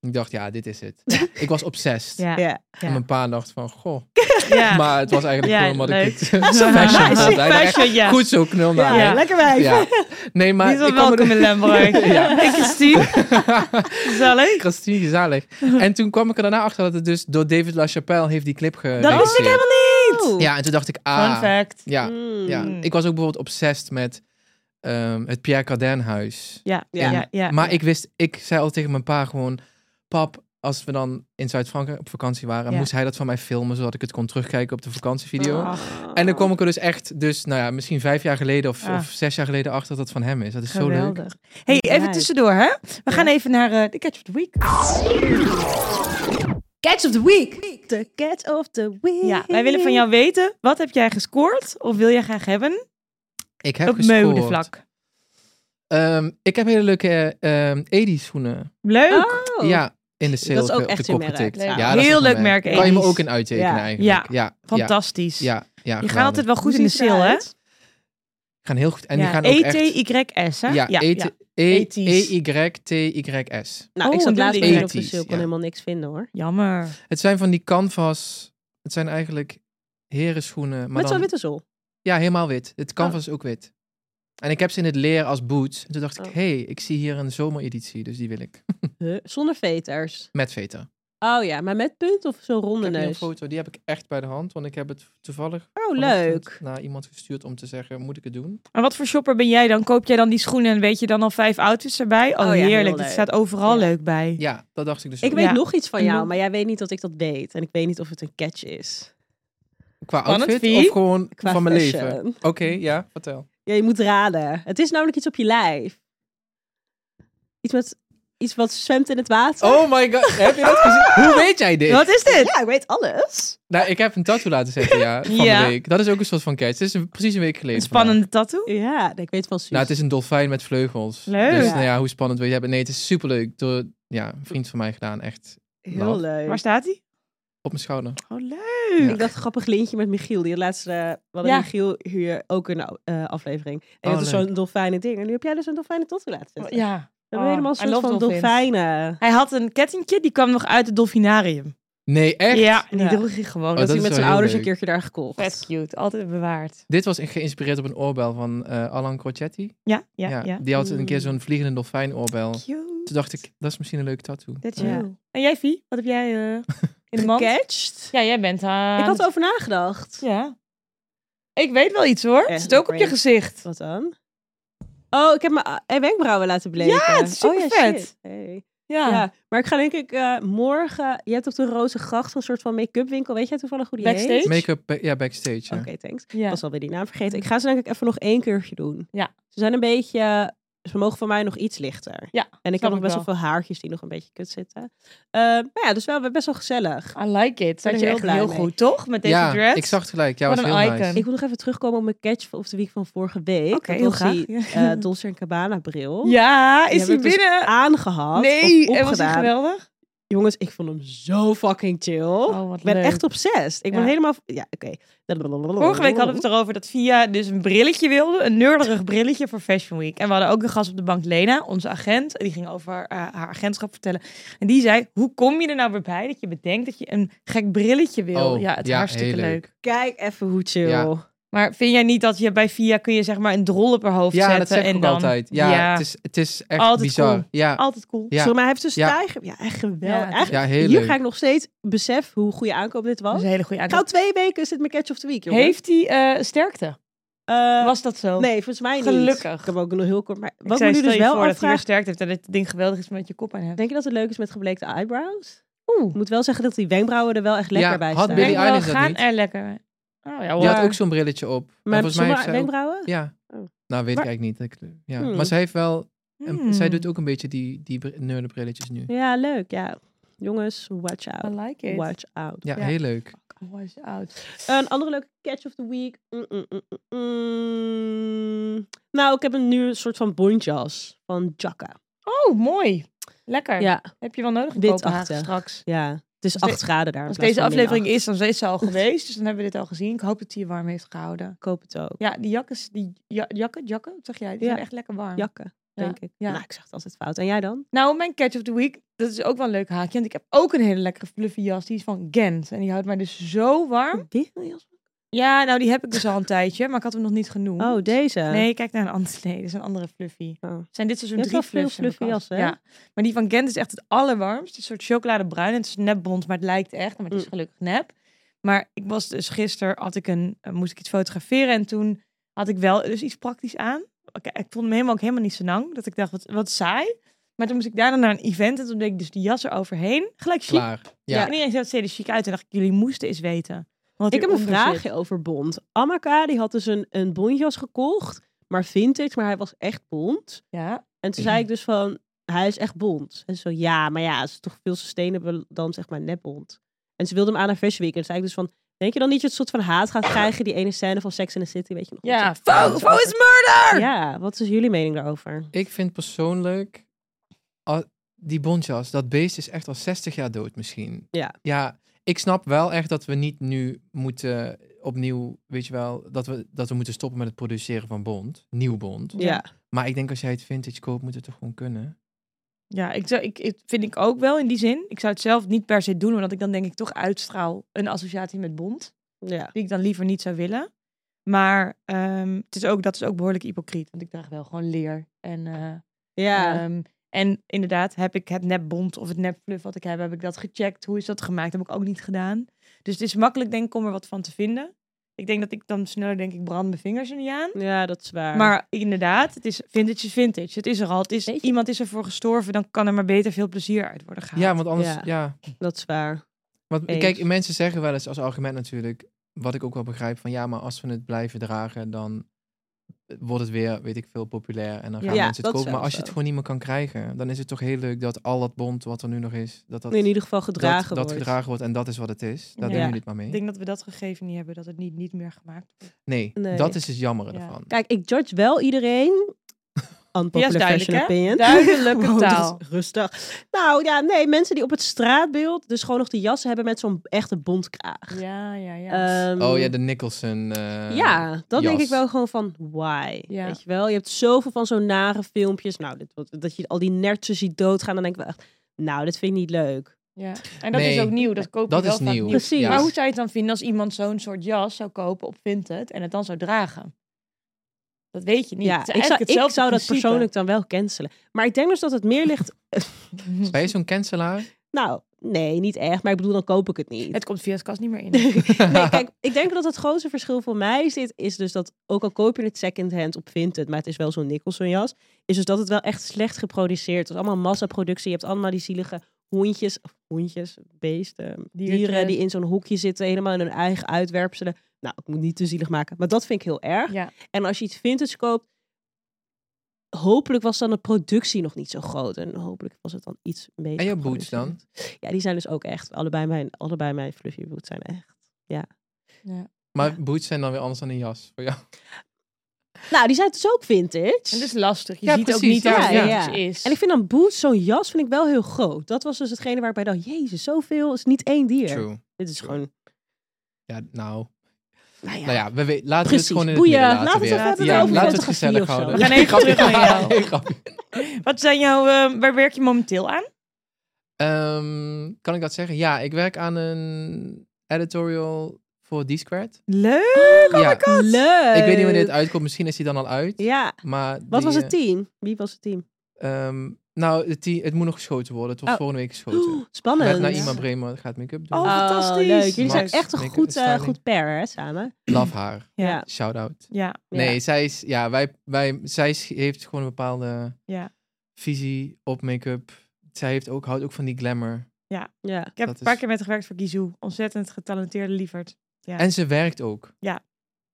Speaker 3: Ik dacht, ja, dit is het. Ik was obsessed.
Speaker 2: Ja.
Speaker 1: Ja.
Speaker 3: En mijn pa dacht van, goh.
Speaker 2: Ja.
Speaker 3: Maar het was eigenlijk
Speaker 2: Ja,
Speaker 3: gewoon omdat
Speaker 2: leuk.
Speaker 3: ik het fashion vond. Hij dacht echt,
Speaker 2: Fashion, ja.
Speaker 3: Goed zo, knul.
Speaker 1: Ja,
Speaker 3: naar
Speaker 2: Ja.
Speaker 1: lekker wijf.
Speaker 3: Ja. Nee, maar...
Speaker 2: Niet van
Speaker 3: ik kan me
Speaker 2: welkom in Lemberg.
Speaker 3: Ja.
Speaker 2: Ik is Stien. Gezellig.
Speaker 3: Christine, gezellig. En toen kwam ik er daarna achter dat het dus door David LaChapelle heeft die clip
Speaker 1: Dat wist ik
Speaker 3: geregisseerd.
Speaker 1: helemaal niet.
Speaker 3: Ja, en toen dacht ik,
Speaker 2: Fun
Speaker 3: ah.
Speaker 2: fact.
Speaker 3: Ja,
Speaker 1: Oh. Mm.
Speaker 3: ja.
Speaker 2: Mm.
Speaker 3: Ik was ook bijvoorbeeld obsessed met ehm, het Pierre Cardin huis.
Speaker 2: Ja, ja,
Speaker 1: Ja.
Speaker 2: ja. ja.
Speaker 3: maar ik wist, ik zei al tegen mijn pa gewoon, pap, als we dan in Zuid-Frankrijk op vakantie waren,
Speaker 2: Ja.
Speaker 3: moest hij dat van mij filmen, zodat ik het kon terugkijken op de vakantievideo.
Speaker 2: Ah.
Speaker 3: En dan kwam ik er dus echt, dus nou ja, misschien vijf jaar geleden of,
Speaker 2: Ah.
Speaker 3: of zes jaar geleden achter dat het van hem is. Dat is zo leuk.
Speaker 2: Geweldig. Hey, even
Speaker 1: Nice.
Speaker 2: tussendoor, hè? We gaan even naar eh, de Catch of the Week.
Speaker 1: Catch of the week. The catch of the week.
Speaker 2: Ja, wij willen van jou weten, wat heb jij gescoord of wil jij graag hebben
Speaker 3: Ik heb
Speaker 2: op
Speaker 3: gescoord.
Speaker 2: meudevlak?
Speaker 3: Ehm, ik heb hele leuke ehm 80's schoenen.
Speaker 2: Leuk.
Speaker 1: Oh.
Speaker 3: Ja, in de sale
Speaker 1: Dat is ook
Speaker 3: op
Speaker 1: echt
Speaker 3: de
Speaker 1: een
Speaker 3: kop
Speaker 1: merk.
Speaker 3: getikt.
Speaker 1: Leuk.
Speaker 3: Ja, dat is
Speaker 2: Heel
Speaker 3: een
Speaker 2: leuk merk,
Speaker 3: Kan je me
Speaker 2: Edis.
Speaker 3: ook in uittekenen
Speaker 1: Ja.
Speaker 3: eigenlijk. Ja, ja,
Speaker 2: Fantastisch.
Speaker 3: ja, ja,
Speaker 2: Je gaat
Speaker 3: geweldig.
Speaker 2: altijd wel goed
Speaker 1: Hoe
Speaker 2: in de
Speaker 1: ziet ze
Speaker 2: sale, hè? E
Speaker 1: eruit?
Speaker 3: gaan heel goed. En die
Speaker 2: Ja.
Speaker 3: gaan ook echt...
Speaker 2: E-T-Y-S, hè?
Speaker 3: Ja, E
Speaker 2: ja. E Ethisch.
Speaker 3: E-Y-T-Y-s.
Speaker 1: Nou,
Speaker 2: Oh,
Speaker 1: ik
Speaker 2: een
Speaker 1: zat laatst
Speaker 2: dubbele
Speaker 1: in op de
Speaker 3: ethisch,
Speaker 1: sale, kon
Speaker 3: ja.
Speaker 1: helemaal niks vinden hoor.
Speaker 2: Jammer.
Speaker 3: Het zijn van die canvas... Het zijn eigenlijk herenschoenen. Maar
Speaker 1: Met zo'n
Speaker 3: dan,
Speaker 1: witte Ah. zool.
Speaker 3: Ja, helemaal wit. Het canvas is ook wit. En ik heb ze in het leer als boots. En toen dacht ik,
Speaker 1: Oh.
Speaker 3: hey, ik zie hier een zomereditie. Dus die wil ik.
Speaker 1: Huh? Zonder veters.
Speaker 3: Met veter.
Speaker 1: Oh ja, maar met punt of zo'n
Speaker 3: Ik
Speaker 1: ronde
Speaker 3: heb hier een
Speaker 1: neus?
Speaker 3: foto, die heb ik echt bij de hand. Want ik heb het toevallig
Speaker 1: Oh,
Speaker 3: vanochtend
Speaker 1: leuk.
Speaker 3: naar iemand gestuurd om te zeggen, moet ik het doen?
Speaker 2: En wat voor shopper ben jij dan? Koop jij dan die schoenen en weet je dan al vijf outfits erbij? Oh,
Speaker 1: Oh ja, heel
Speaker 2: heerlijk. Dit
Speaker 1: leuk.
Speaker 2: staat overal
Speaker 1: Ja.
Speaker 2: leuk bij.
Speaker 3: Ja, dat dacht ik dus
Speaker 1: Ik
Speaker 3: ook.
Speaker 1: weet
Speaker 2: Ja.
Speaker 1: nog iets van jou,
Speaker 2: Een-
Speaker 1: maar jij weet niet dat ik dat weet. En ik weet niet of het een catch is.
Speaker 3: Qua
Speaker 2: Spannend,
Speaker 3: outfit
Speaker 2: Vie.
Speaker 3: of gewoon
Speaker 1: Qua
Speaker 3: van mijn
Speaker 1: fashion.
Speaker 3: leven? Oké, ja, vertel.
Speaker 1: Ja, je moet raden. Het is namelijk iets op je lijf. Iets, met, iets wat zwemt in het water.
Speaker 3: Oh my god, heb je dat gezien? Hoe weet jij dit?
Speaker 2: Wat is dit?
Speaker 1: Ja, ik weet alles.
Speaker 3: Nou, ik heb een tattoo laten zetten, ja, van
Speaker 2: Ja.
Speaker 3: de week. Dat is ook een soort van catch. Het is een- precies een week geleden.
Speaker 2: Een spannende tattoo?
Speaker 1: Ja, nee, ik weet van Suus.
Speaker 3: vandaag. Nou, het is een dolfijn met vleugels.
Speaker 2: Leuk.
Speaker 3: Dus
Speaker 1: Ja.
Speaker 3: nou ja, hoe spannend wil je hebben? Nee, het is superleuk. Door ja, een vriend van mij gedaan, echt
Speaker 1: Heel
Speaker 3: Love.
Speaker 1: leuk.
Speaker 2: Waar staat die?
Speaker 3: op mijn schouder.
Speaker 2: Oh, leuk.
Speaker 3: Ja.
Speaker 1: Ik dat grappig lintje met Michiel. Die had laatst, eh, we hadden
Speaker 2: Ja.
Speaker 1: Michiel hier ook een eh, aflevering. En
Speaker 3: Oh,
Speaker 1: dat is
Speaker 3: leuk.
Speaker 1: zo'n dolfijnen ding. En nu heb jij dus een dolfijnen tattoo laten zetten.
Speaker 2: Ja.
Speaker 1: hebben
Speaker 2: Oh,
Speaker 1: helemaal
Speaker 2: I
Speaker 1: een soort
Speaker 2: love
Speaker 1: van
Speaker 2: dolphins.
Speaker 1: dolfijnen.
Speaker 2: Hij had een kettingje, die kwam nog uit het dolfinarium.
Speaker 3: Nee, echt?
Speaker 2: Ja, en die
Speaker 1: Ja.
Speaker 2: droeg hij gewoon.
Speaker 3: Oh,
Speaker 1: dat
Speaker 3: dat
Speaker 1: hij
Speaker 3: is
Speaker 1: met
Speaker 3: wel
Speaker 1: zijn
Speaker 3: heel
Speaker 1: ouders een
Speaker 3: leuk.
Speaker 1: keertje daar gekocht.
Speaker 2: Vet cute, altijd bewaard.
Speaker 3: Dit was echt geïnspireerd op een oorbel van eh, Alan Crocetti.
Speaker 2: Ja, ja, ja.
Speaker 3: Die had een keer
Speaker 1: Mm.
Speaker 3: zo'n vliegende dolfijn oorbel.
Speaker 2: Cute.
Speaker 3: Toen dacht ik, dat is misschien een leuk tattoo.
Speaker 2: That's
Speaker 1: Ja.
Speaker 2: you. En jij, Vie? Wat heb jij eh, in de mand?
Speaker 1: Gecatcht?
Speaker 2: Ja, jij bent aan
Speaker 1: Ik had
Speaker 2: het-
Speaker 1: over nagedacht.
Speaker 2: Ja. Ik weet wel iets hoor.
Speaker 1: Echt
Speaker 2: het zit ook op je
Speaker 1: cringe.
Speaker 2: gezicht.
Speaker 1: Wat dan? Oh, ik heb mijn ah, wenkbrauwen laten bleken.
Speaker 2: Ja, het is
Speaker 1: Oh
Speaker 2: supervet.
Speaker 1: shit. Hey.
Speaker 2: Ja.
Speaker 1: Ja, maar ik ga denk ik eh, morgen... Je hebt op de Roze Gracht een soort van make-up winkel. Weet jij toevallig hoe die heet?
Speaker 2: Backstage?
Speaker 3: Make-up, ba- ja, backstage. ja.
Speaker 1: Oké, thanks.
Speaker 2: Ja.
Speaker 1: Ik was alweer die naam vergeten. Ik ga ze denk ik even nog één keertje doen.
Speaker 2: Ja.
Speaker 1: Ze zijn een beetje... Ze mogen van mij nog iets lichter.
Speaker 2: Ja,
Speaker 1: En ik heb
Speaker 2: snap
Speaker 1: nog
Speaker 2: ik
Speaker 1: best wel
Speaker 2: wel.
Speaker 1: veel haartjes die nog een beetje kut zitten. Eh, maar ja, dus wel best wel gezellig.
Speaker 2: I like it.
Speaker 1: ben
Speaker 2: Dat
Speaker 1: er
Speaker 2: je
Speaker 1: heel
Speaker 2: echt
Speaker 1: blij
Speaker 2: heel
Speaker 1: mee.
Speaker 2: goed, toch? Met deze
Speaker 3: ja,
Speaker 2: dress.
Speaker 3: ik zag het gelijk. Ja,
Speaker 2: Wat
Speaker 3: was
Speaker 2: een
Speaker 3: heel
Speaker 2: icon.
Speaker 3: nice.
Speaker 1: Ik wil nog even terugkomen op mijn catch of de week van vorige week.
Speaker 2: Oké,
Speaker 1: Dat
Speaker 2: heel
Speaker 1: was die
Speaker 2: graag.
Speaker 1: eh, Dolce Cabana bril.
Speaker 2: Ja, is
Speaker 1: Die
Speaker 2: hij
Speaker 1: heb ik dus
Speaker 2: binnen?
Speaker 1: Aangehad.
Speaker 2: nee,
Speaker 1: of
Speaker 2: en was hij
Speaker 1: opgedaan.
Speaker 2: geweldig?
Speaker 1: Jongens, ik vond hem zo fucking chill.
Speaker 2: Oh, wat
Speaker 1: ik ben
Speaker 2: leuk.
Speaker 1: echt obsessed. Ik ben
Speaker 2: Ja.
Speaker 1: helemaal... Ja, oké.
Speaker 2: Vorige week hadden we het erover dat Via dus een brilletje wilde. Een neurderig brilletje voor Fashion Week. En we hadden ook een gast op de bank, Lena, onze agent. En die ging over eh, haar agentschap vertellen. En die zei, hoe kom je er nou weer bij dat je bedenkt dat je een gek brilletje wil?
Speaker 3: Oh,
Speaker 2: ja, het is
Speaker 3: ja,
Speaker 2: hartstikke
Speaker 3: heel
Speaker 2: leuk.
Speaker 3: leuk.
Speaker 1: Kijk even hoe chill.
Speaker 3: Ja.
Speaker 2: Maar vind jij niet dat je bij Via kun je zeg maar een drol op haar hoofd
Speaker 3: ja,
Speaker 2: zetten?
Speaker 3: dat zeg ik
Speaker 2: en
Speaker 3: ook
Speaker 2: dan...
Speaker 3: altijd. Ja,
Speaker 2: ja.
Speaker 3: Het, is, het is echt
Speaker 2: Altijd
Speaker 3: bizar.
Speaker 2: cool.
Speaker 3: Ja,
Speaker 2: altijd cool.
Speaker 3: Ja.
Speaker 1: Sorry, maar hij heeft een
Speaker 3: Ja.
Speaker 1: stijger. Ja, echt
Speaker 2: Ja,
Speaker 1: geweldig.
Speaker 2: het is-
Speaker 1: Echt,
Speaker 3: ja heel
Speaker 1: hier
Speaker 3: leuk.
Speaker 1: ga ik nog steeds besef hoe goede aankoop dit
Speaker 2: Dat
Speaker 1: was.
Speaker 2: is een hele goede
Speaker 1: Ik ga al
Speaker 2: aankoop.
Speaker 1: twee weken zit mijn catch of the week, jongen.
Speaker 2: Heeft hij eh, sterkte?
Speaker 1: Eh,
Speaker 2: Was dat zo?
Speaker 1: Nee, volgens mij niet.
Speaker 2: Gelukkig.
Speaker 1: Ik heb ook nog heel kort... Maar
Speaker 2: Wat
Speaker 1: wat
Speaker 2: ik zei,
Speaker 1: moet nu
Speaker 2: stel
Speaker 1: dus
Speaker 2: je
Speaker 1: wel
Speaker 2: voor dat hij weer
Speaker 1: afvragen...
Speaker 2: sterkte heeft en dat het ding geweldig is met je kop aan hebt.
Speaker 1: Denk je dat het leuk is met gebleekte eyebrows?
Speaker 2: Oeh.
Speaker 1: Ik moet wel zeggen dat die wenkbrauwen er wel echt lekker
Speaker 3: Ja,
Speaker 1: bij
Speaker 3: had
Speaker 1: staan.
Speaker 3: Billie
Speaker 2: Wenkbrauwen
Speaker 3: Eilish dat
Speaker 2: gaan
Speaker 3: niet?
Speaker 2: er lekker mee. Oh, ja,
Speaker 3: Je had
Speaker 2: waar.
Speaker 3: ook zo'n brilletje op. En
Speaker 1: Maar
Speaker 3: volgens mij
Speaker 1: zonder
Speaker 3: heeft zij ook-
Speaker 1: wenkbrauwen?
Speaker 3: Ja.
Speaker 1: Oh.
Speaker 3: Nou, weet
Speaker 1: Maar-
Speaker 3: ik eigenlijk niet. Ik- ja.
Speaker 1: Hmm.
Speaker 3: Maar zij heeft wel... een-
Speaker 2: Hmm.
Speaker 3: Zij doet ook een beetje die, die br- nerdenbrilletjes nu.
Speaker 1: Ja, leuk. Ja. Jongens, watch out.
Speaker 2: I like it.
Speaker 1: Watch out.
Speaker 3: Ja,
Speaker 2: Ja.
Speaker 3: heel leuk.
Speaker 2: Watch out.
Speaker 1: Een andere leuke catch of the week. Mm, mm, mm, mm, mm. Nou, ik heb een nu een soort van bontjas van Jacka.
Speaker 2: Oh, mooi. Lekker.
Speaker 1: Ja,
Speaker 2: Heb je wel nodig in
Speaker 1: Witachtig.
Speaker 2: Kopenhagen straks.
Speaker 1: ja. Het is
Speaker 2: Als
Speaker 1: 8
Speaker 2: de-
Speaker 1: graden daar. in
Speaker 2: Als
Speaker 1: plaats
Speaker 2: deze
Speaker 1: van min
Speaker 2: aflevering
Speaker 1: acht.
Speaker 2: is, dan is deze al geweest. Dus dan hebben we dit al gezien. Ik hoop dat hij je warm heeft gehouden.
Speaker 1: Ik koop het ook.
Speaker 2: Ja, die jakken, die ja, jakken, jakken, wat zeg jij? Die
Speaker 1: Ja.
Speaker 2: zijn echt lekker warm.
Speaker 1: Jakken,
Speaker 2: Ja,
Speaker 1: denk ik.
Speaker 2: ja.
Speaker 1: Nou, ik zeg het altijd fout. En jij dan?
Speaker 2: Nou, mijn catch of the week, dat is ook wel een leuk haakje. Want ik heb ook een hele lekkere fluffy jas. Die is van Gent. En die houdt mij dus zo warm.
Speaker 1: Dit? Oh,
Speaker 2: Ja, nou, die heb ik dus al een tijdje. Maar ik had hem nog niet genoemd.
Speaker 1: Oh, deze.
Speaker 2: Nee, kijk naar een andere. Nee, dit is een andere fluffy.
Speaker 1: Oh.
Speaker 2: Zijn dit seizoen
Speaker 1: Je hebt wel
Speaker 2: drie
Speaker 1: veel
Speaker 2: fluffs in de
Speaker 1: fluffy
Speaker 2: kast.
Speaker 1: jassen, hè?
Speaker 2: Ja, maar die van Gent is echt het allerwarmst. Het is een soort chocoladebruin. En het is nep blond, maar het lijkt echt. Maar het is
Speaker 1: Mm.
Speaker 2: gelukkig nep. Maar ik was dus gisteren, had ik een, eh, moest ik iets fotograferen. En toen had ik wel dus iets praktisch aan. Oké, ik vond hem helemaal, ook helemaal niet zo lang. Dat ik dacht, wat, wat saai. Maar toen moest ik daarna naar een event. En toen deed ik dus die jas eroverheen. Gelijk chic.
Speaker 3: Klaar. Ja.
Speaker 2: En iedereen zei, het ziet er chic uit. En dacht ik, jullie moesten eens weten. wat
Speaker 1: Ik heb een
Speaker 2: hieronder zit.
Speaker 1: vraagje over bont. Amaka die had dus een, een bontjas gekocht, maar vintage, maar hij was echt bont.
Speaker 2: Ja,
Speaker 1: En toen
Speaker 2: Mhm.
Speaker 1: zei ik dus van, hij is echt bont. En ze zo, ja, maar ja, het is toch veel sustainable dan zeg maar net bont. En ze wilde hem aan haar Fashion Week. En toen zei ik dus van, denk je dan niet dat je het soort van haat gaat krijgen, die ene scène van Sex in the City, weet je nog?
Speaker 2: ja.
Speaker 1: Zo-
Speaker 2: Faux, faux is murder!
Speaker 1: Ja, wat is jullie mening daarover?
Speaker 3: Ik vind persoonlijk... ah, die bontjas, dat beest is echt al 60 jaar dood misschien.
Speaker 1: Ja.
Speaker 3: Ja, ik snap wel echt dat we niet nu moeten opnieuw... Weet je wel, dat we, dat we moeten stoppen met het produceren van bont. Nieuw bont.
Speaker 2: Ja.
Speaker 1: Ja,
Speaker 3: Maar ik denk als jij het vintage koopt, moet het toch gewoon kunnen?
Speaker 2: Ja, ik zou, ik, ik vind ik ook wel in die zin. Ik zou het zelf niet per se doen, omdat ik dan denk ik toch uitstraal een associatie met bond,
Speaker 1: ja.
Speaker 2: die ik dan liever niet zou willen. Maar ehm, het is ook, dat is ook behoorlijk hypocriet, want ik draag wel gewoon leer. En, eh,
Speaker 1: Ja,
Speaker 2: ehm, en inderdaad, heb ik het nep bond of het nep fluff wat ik heb, heb ik dat gecheckt? Hoe is dat gemaakt? Heb ik ook niet gedaan. Dus het is makkelijk denk ik om er wat van te vinden. Ik denk dat ik dan sneller denk ik brand mijn vingers er niet aan.
Speaker 1: ja dat is waar.
Speaker 2: Maar inderdaad, het is vintage is vintage. Het is er al. Het is,
Speaker 1: Weet je-
Speaker 2: iemand is ervoor gestorven, dan kan er maar beter veel plezier uit worden gehaald.
Speaker 3: Ja, want anders...
Speaker 1: Ja.
Speaker 3: ja
Speaker 1: dat is waar.
Speaker 3: Want
Speaker 1: Eens.
Speaker 3: kijk, mensen zeggen wel eens als argument natuurlijk, wat ik ook wel begrijp, van ja, maar als we het blijven dragen, dan wordt het weer, weet ik veel, populair en dan gaan
Speaker 1: Ja,
Speaker 3: mensen
Speaker 1: dat
Speaker 3: het
Speaker 1: is
Speaker 3: kopen. Maar
Speaker 1: wel
Speaker 3: als je het
Speaker 1: zo.
Speaker 3: gewoon niet meer kan krijgen, dan is het toch heel leuk dat al dat bond wat er nu nog is, dat dat,
Speaker 1: In ieder geval
Speaker 3: dat,
Speaker 1: gedragen
Speaker 3: dat
Speaker 1: wordt.
Speaker 3: gedragen wordt en dat is wat het is. Daar
Speaker 2: Ja.
Speaker 3: doen jullie het maar mee.
Speaker 2: Ik denk dat we dat gegeven niet hebben, dat het niet, niet meer gemaakt wordt.
Speaker 3: Nee,
Speaker 1: Nee.
Speaker 3: dat is het jammere
Speaker 2: Ja.
Speaker 3: ervan.
Speaker 1: Kijk, ik judge wel iedereen unpopular
Speaker 2: duidelijk,
Speaker 1: fashion
Speaker 2: hè?
Speaker 1: opinion.
Speaker 2: Duidelijke
Speaker 1: Wow, dat is
Speaker 2: taal.
Speaker 1: Rustig. Nou ja, nee, mensen die op het straatbeeld dus gewoon nog de jassen hebben met zo'n echte bontkraag.
Speaker 2: Ja, ja, ja.
Speaker 1: Ehm,
Speaker 3: Oh ja, de Nicholson. eh,
Speaker 1: ja, dan denk
Speaker 3: jas.
Speaker 1: ik wel gewoon van why.
Speaker 2: Ja.
Speaker 1: Weet je wel, je hebt zoveel van zo'n nare filmpjes. Nou, dit, wat- dat je al die nertsen ziet doodgaan, dan denk ik wel echt, nou, dit vind ik niet leuk.
Speaker 2: ja. En dat is
Speaker 3: Nee,
Speaker 2: ook nieuw. Dat koop je
Speaker 3: dat
Speaker 2: wel
Speaker 3: is
Speaker 2: vaak
Speaker 3: nieuw.
Speaker 1: Precies.
Speaker 3: Ja.
Speaker 2: Maar hoe zou je het dan vinden als iemand zo'n soort jas zou kopen op Vinted en het dan zou dragen? Dat weet je niet.
Speaker 1: ja,
Speaker 2: Het is
Speaker 1: ik zou,
Speaker 2: eigenlijk
Speaker 1: ik
Speaker 2: hetzelfde
Speaker 1: zou dat
Speaker 2: principe.
Speaker 1: persoonlijk dan wel cancelen. Maar ik denk dus dat het meer ligt,
Speaker 3: Ben je zo'n cancelaar?
Speaker 1: nou, nee, niet echt. Maar ik bedoel, dan koop ik het niet.
Speaker 2: Het komt via het kast niet meer in.
Speaker 1: Nee, kijk, ik denk dat het grootste verschil voor mij is dit, is dus dat ook al koop je het secondhand op Vinted, maar het is wel zo'n Nicholson jas, is dus dat het wel echt slecht geproduceerd is. Allemaal massaproductie, je hebt allemaal die zielige hondjes, of hondjes, beesten,
Speaker 2: Diertjes.
Speaker 1: dieren die in zo'n hoekje zitten, helemaal in hun eigen uitwerpselen. Nou, ik moet niet te zielig maken, maar dat vind ik heel erg.
Speaker 2: Ja.
Speaker 1: En als je iets vintage koopt, hopelijk was dan de productie nog niet zo groot en hopelijk was het dan iets meer.
Speaker 3: En je boots dan?
Speaker 1: Ja, die zijn dus ook echt, allebei mijn, allebei mijn fluffy boots zijn echt.
Speaker 3: Maar
Speaker 1: Ja.
Speaker 3: boots zijn dan weer anders dan een jas voor jou.
Speaker 1: Nou, die zijn dus ook vintage.
Speaker 2: En dus- dat is lastig. Je
Speaker 3: Ja,
Speaker 2: ziet ook
Speaker 3: precies,
Speaker 2: niet
Speaker 3: ja,
Speaker 2: dat het
Speaker 1: ja.
Speaker 2: netjes is.
Speaker 1: En ik vind dan boots, zo'n jas, vind ik wel heel groot. Dat was dus hetgene waar ik bij dacht, jezus, zoveel is niet één dier.
Speaker 3: True.
Speaker 1: Dit is gewoon,
Speaker 3: Ja, nou.
Speaker 1: nou ja.
Speaker 3: Nou ja, we, we- laten we het
Speaker 1: Precies.
Speaker 3: gewoon in het
Speaker 1: Boeien.
Speaker 3: midden
Speaker 1: Laten we
Speaker 3: laten.
Speaker 1: het even hebben
Speaker 3: weer. ja,
Speaker 1: over
Speaker 3: laten we het
Speaker 1: fotografie
Speaker 3: gezellig
Speaker 1: of zo.
Speaker 3: houden.
Speaker 1: We
Speaker 2: gaan even
Speaker 3: Grapje.
Speaker 2: terug naar jou.
Speaker 3: Nee, grapje.
Speaker 2: Wat zijn jouw, eh, waar werk je momenteel aan?
Speaker 3: Ehm, kan ik dat zeggen? Ja, ik werk aan een editorial voor D-Squared.
Speaker 1: Oh,
Speaker 2: Leuk!
Speaker 3: ja,
Speaker 1: Leuk!
Speaker 3: ik weet niet wanneer het uitkomt. Misschien is die dan al uit.
Speaker 1: Eh, Ja,
Speaker 3: Maar
Speaker 1: wat
Speaker 3: die,
Speaker 1: was het
Speaker 3: eh,
Speaker 1: team? Wie was het team?
Speaker 3: ehm, nou, het, die- het moet nog geschoten worden. Het wordt
Speaker 1: Oh.
Speaker 3: volgende week geschoten.
Speaker 1: Oh,
Speaker 3: Met
Speaker 1: Spannend.
Speaker 3: Naima Bremer gaat make-up doen.
Speaker 2: Oh, fantastisch.
Speaker 1: leuk. Jullie
Speaker 3: Max,
Speaker 1: zijn echt een
Speaker 3: make-up
Speaker 1: goed, eh,
Speaker 3: styling.
Speaker 1: goed pair, hè, samen?
Speaker 3: Love haar.
Speaker 1: Ja.
Speaker 2: Ja.
Speaker 3: Shout-out.
Speaker 2: Ja,
Speaker 3: Nee,
Speaker 1: Oh. Ja.
Speaker 3: zij, is, ja, wij, wij, zij is- heeft gewoon een bepaalde
Speaker 2: Ja.
Speaker 3: visie op make-up. Zij heeft ook, houdt ook van die glamour.
Speaker 1: Ja.
Speaker 2: ik heb
Speaker 3: Dat
Speaker 2: een paar
Speaker 3: is-
Speaker 2: keer met haar gewerkt voor Kizoo. Ontzettend getalenteerde lieverd. Ja.
Speaker 3: En ze werkt ook.
Speaker 2: Ja.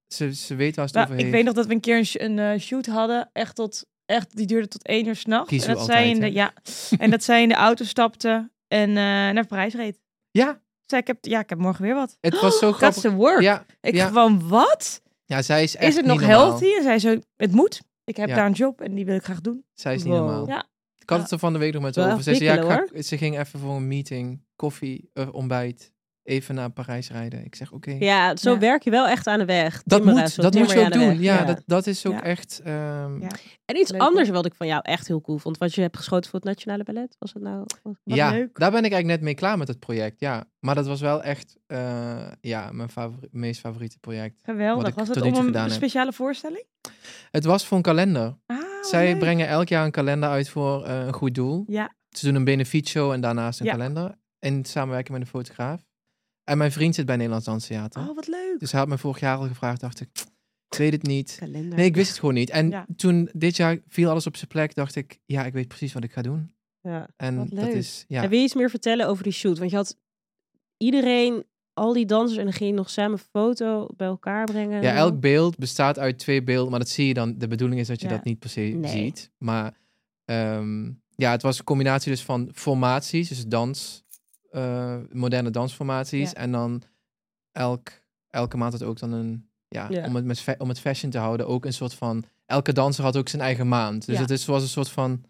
Speaker 3: Ze, ze weet waar ze het
Speaker 2: Nou,
Speaker 3: over
Speaker 2: ik
Speaker 3: heeft.
Speaker 2: weet nog dat we een keer een, sh- een eh, shoot hadden. Echt tot, echt, die duurde tot één uur s'nachts.
Speaker 3: Kiezen
Speaker 2: En,
Speaker 3: we
Speaker 2: dat zij in de-
Speaker 3: altijd,
Speaker 2: ja, en dat zij in de auto stapte en eh, naar Parijs reed.
Speaker 3: Ja,
Speaker 2: Zei, ik heb, ja, ik heb morgen weer wat.
Speaker 3: het was zo
Speaker 2: That's
Speaker 3: grappig.
Speaker 2: the work.
Speaker 3: Ja,
Speaker 2: ik
Speaker 3: ja.
Speaker 2: gewoon, wat?
Speaker 3: ja, zij is echt
Speaker 2: Is het
Speaker 3: niet
Speaker 2: nog
Speaker 3: normaal.
Speaker 2: healthy? En zij zo, het moet. Ik heb
Speaker 3: Ja.
Speaker 2: daar een job en die wil ik graag doen.
Speaker 3: Zij is niet
Speaker 1: Wow.
Speaker 3: normaal.
Speaker 2: Ja.
Speaker 3: Ik had het er van de week nog met haar
Speaker 1: Wel
Speaker 3: over. Ze,
Speaker 1: echt
Speaker 3: zei, ja, ik
Speaker 1: wikkelen,
Speaker 3: ga- ze ging even voor een meeting, koffie, eh, ontbijt, even naar Parijs rijden. Ik zeg, oké.
Speaker 1: Ja, zo
Speaker 2: Ja.
Speaker 1: werk je wel echt aan de weg.
Speaker 3: Dat,
Speaker 1: Timmeren,
Speaker 3: moet,
Speaker 1: zo
Speaker 3: dat moet
Speaker 1: timmer
Speaker 3: je ook
Speaker 1: aan de
Speaker 3: doen.
Speaker 1: weg.
Speaker 3: Ja, Dat, dat is ook
Speaker 2: Ja.
Speaker 3: echt... ehm,
Speaker 2: Ja.
Speaker 3: ja.
Speaker 1: En iets
Speaker 2: Leuk, hoor.
Speaker 1: anders wat ik van jou echt heel cool vond, wat je hebt geschoten voor het Nationale Ballet, was het nou?
Speaker 2: Wat leuk.
Speaker 3: daar ben ik eigenlijk net mee klaar met het project. Ja, maar dat was wel echt eh, ja, mijn favori- meest favoriete project. Wat
Speaker 2: Geweldig.
Speaker 3: ik
Speaker 2: Was het
Speaker 3: tot nu
Speaker 2: om
Speaker 3: toe
Speaker 2: een
Speaker 3: gedaan heb.
Speaker 2: speciale voorstelling?
Speaker 3: Het was voor een kalender.
Speaker 2: Ah, wat
Speaker 3: Zij
Speaker 2: leuk.
Speaker 3: brengen elk jaar een kalender uit voor eh, een goed doel.
Speaker 2: Ja.
Speaker 3: Ze doen een benefietshow en daarnaast een
Speaker 2: Ja.
Speaker 3: kalender. In samenwerking met een fotograaf. En mijn vriend zit bij Nederlands Danstheater.
Speaker 2: Oh, wat leuk.
Speaker 3: Dus hij had me vorig jaar al gevraagd. dacht ik, ik weet het niet.
Speaker 1: Kalender.
Speaker 3: Nee, ik wist het gewoon niet. En
Speaker 2: Ja.
Speaker 3: toen dit jaar viel alles op zijn plek. Dacht ik, ja, ik weet precies wat ik ga doen.
Speaker 1: Ja.
Speaker 3: En
Speaker 2: Wat
Speaker 3: dat
Speaker 2: leuk.
Speaker 3: is, ja.
Speaker 1: En wil je iets meer vertellen over die shoot? Want je had iedereen, al die dansers, en dan ging je nog samen een foto bij elkaar brengen.
Speaker 3: ja, elk beeld bestaat uit twee beelden. Maar dat zie je dan. De bedoeling is dat je
Speaker 2: Ja.
Speaker 3: dat niet per se
Speaker 1: Nee.
Speaker 3: ziet. Maar ehm, ja, het was een combinatie dus van formaties. Dus dans, eh, moderne dansformaties.
Speaker 2: Ja.
Speaker 3: En dan elk, elke maand had ook dan een... Ja,
Speaker 1: Ja.
Speaker 3: Om, het met, fa- om het fashion te houden. Ook een soort van... Elke danser had ook zijn eigen maand. Dus
Speaker 2: Ja.
Speaker 3: het is, was een soort van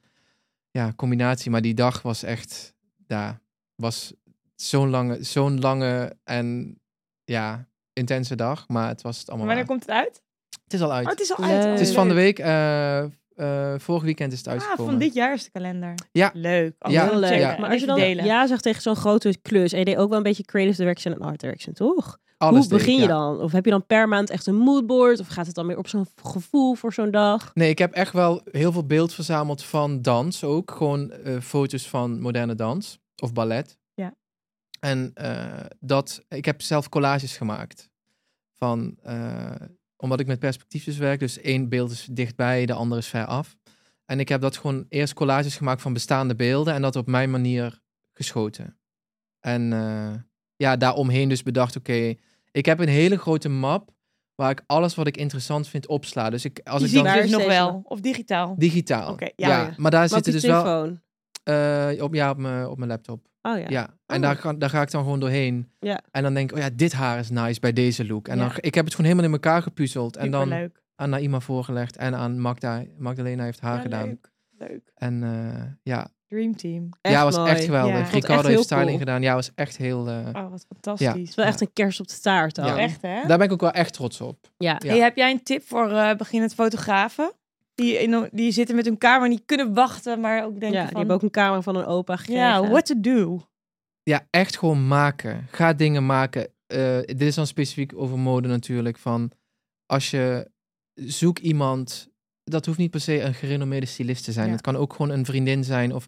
Speaker 3: ja, combinatie. Maar die dag was echt... Ja, was zo'n lange, zo'n lange en ja, intense dag. Maar het was het allemaal
Speaker 2: Wanneer
Speaker 3: waard.
Speaker 2: komt het uit?
Speaker 3: Het is al uit.
Speaker 2: Oh, het is al
Speaker 1: Leuk.
Speaker 2: uit.
Speaker 3: Het is van de week. eh eh, vorig weekend is het
Speaker 2: Ah,
Speaker 3: uitgekomen.
Speaker 2: van dit jaar is de kalender.
Speaker 3: Ja.
Speaker 2: Leuk. Oh,
Speaker 3: Ja,
Speaker 2: we gaan
Speaker 1: Heel leuk.
Speaker 2: checken.
Speaker 1: Maar
Speaker 3: ja.
Speaker 1: als je
Speaker 2: Even
Speaker 1: dan
Speaker 2: delen.
Speaker 1: ja zegt tegen zo'n grote klus, en je deed ook wel een beetje creative direction en art direction, toch?
Speaker 3: Alles
Speaker 1: Hoe
Speaker 3: deed
Speaker 1: begin
Speaker 3: ik,
Speaker 1: je
Speaker 3: ja.
Speaker 1: dan? Of heb je dan per maand echt een moodboard? Of gaat het dan meer op zo'n gevoel voor zo'n dag?
Speaker 3: Nee, ik heb echt wel heel veel beeld verzameld van dans ook. Gewoon eh, foto's van moderne dans of ballet.
Speaker 2: Ja.
Speaker 3: En eh, dat, ik heb zelf collages gemaakt. Van, eh, omdat ik met perspectief dus werk. Dus één beeld is dichtbij, de andere is ver af. En ik heb dat gewoon eerst collages gemaakt van bestaande beelden. En dat op mijn manier geschoten. En eh, ja, daaromheen dus bedacht, oké. ik heb een hele grote map waar ik alles wat ik interessant vind opsla. Dus ik, als
Speaker 2: Die
Speaker 3: ik
Speaker 2: zien
Speaker 3: dan...
Speaker 2: we
Speaker 1: Waar
Speaker 2: dus
Speaker 1: is
Speaker 2: nog
Speaker 1: deze
Speaker 2: wel.
Speaker 1: dan?
Speaker 2: Of digitaal.
Speaker 3: Digitaal.
Speaker 2: Oké, ja,
Speaker 3: ja,
Speaker 1: ja.
Speaker 3: Maar daar
Speaker 1: Wat
Speaker 3: zitten
Speaker 1: is
Speaker 3: dus
Speaker 1: je
Speaker 3: wel
Speaker 1: telefoon?
Speaker 3: eh, op, ja, op, mijn, op mijn laptop.
Speaker 1: Oh ja.
Speaker 3: Ja. En
Speaker 1: Oh.
Speaker 3: daar, ga- daar ga ik dan gewoon doorheen.
Speaker 1: Ja.
Speaker 3: En dan denk ik, oh ja, dit haar is nice bij deze look. En
Speaker 2: Ja.
Speaker 3: dan, ik heb het gewoon helemaal in elkaar gepuzzeld. En dan
Speaker 2: Superleuk.
Speaker 3: aan Naima voorgelegd en aan Magda. Magdalena heeft haar
Speaker 2: Ja,
Speaker 3: gedaan.
Speaker 2: Leuk. leuk.
Speaker 3: En eh, ja,
Speaker 2: Dream Team.
Speaker 3: ja, was
Speaker 1: mooi.
Speaker 3: echt
Speaker 2: Ja.
Speaker 3: geweldig.
Speaker 2: Was echt
Speaker 3: Ricardo
Speaker 1: heel
Speaker 3: heeft styling
Speaker 1: cool.
Speaker 3: gedaan. Ja, was echt heel... eh,
Speaker 2: Oh, wat fantastisch.
Speaker 1: Het is wel echt een kerst op de taart dan.
Speaker 3: Ja.
Speaker 1: Ja.
Speaker 2: Echt, hè?
Speaker 3: Daar ben ik ook wel echt trots op. Ja.
Speaker 2: Hey, heb jij een tip voor eh beginnend fotografen? Die, in, die zitten met hun camera niet kunnen wachten, maar ook denken
Speaker 1: Ja,
Speaker 2: van...
Speaker 1: die hebben ook een camera van een opa gekregen.
Speaker 2: Ja, what to do.
Speaker 3: Ja, echt gewoon maken. Ga dingen maken. Eh, dit is dan specifiek over mode natuurlijk. Van als je zoek iemand, dat hoeft niet per se een gerenommeerde stylist te zijn.
Speaker 2: Ja.
Speaker 3: Het kan ook gewoon een vriendin zijn of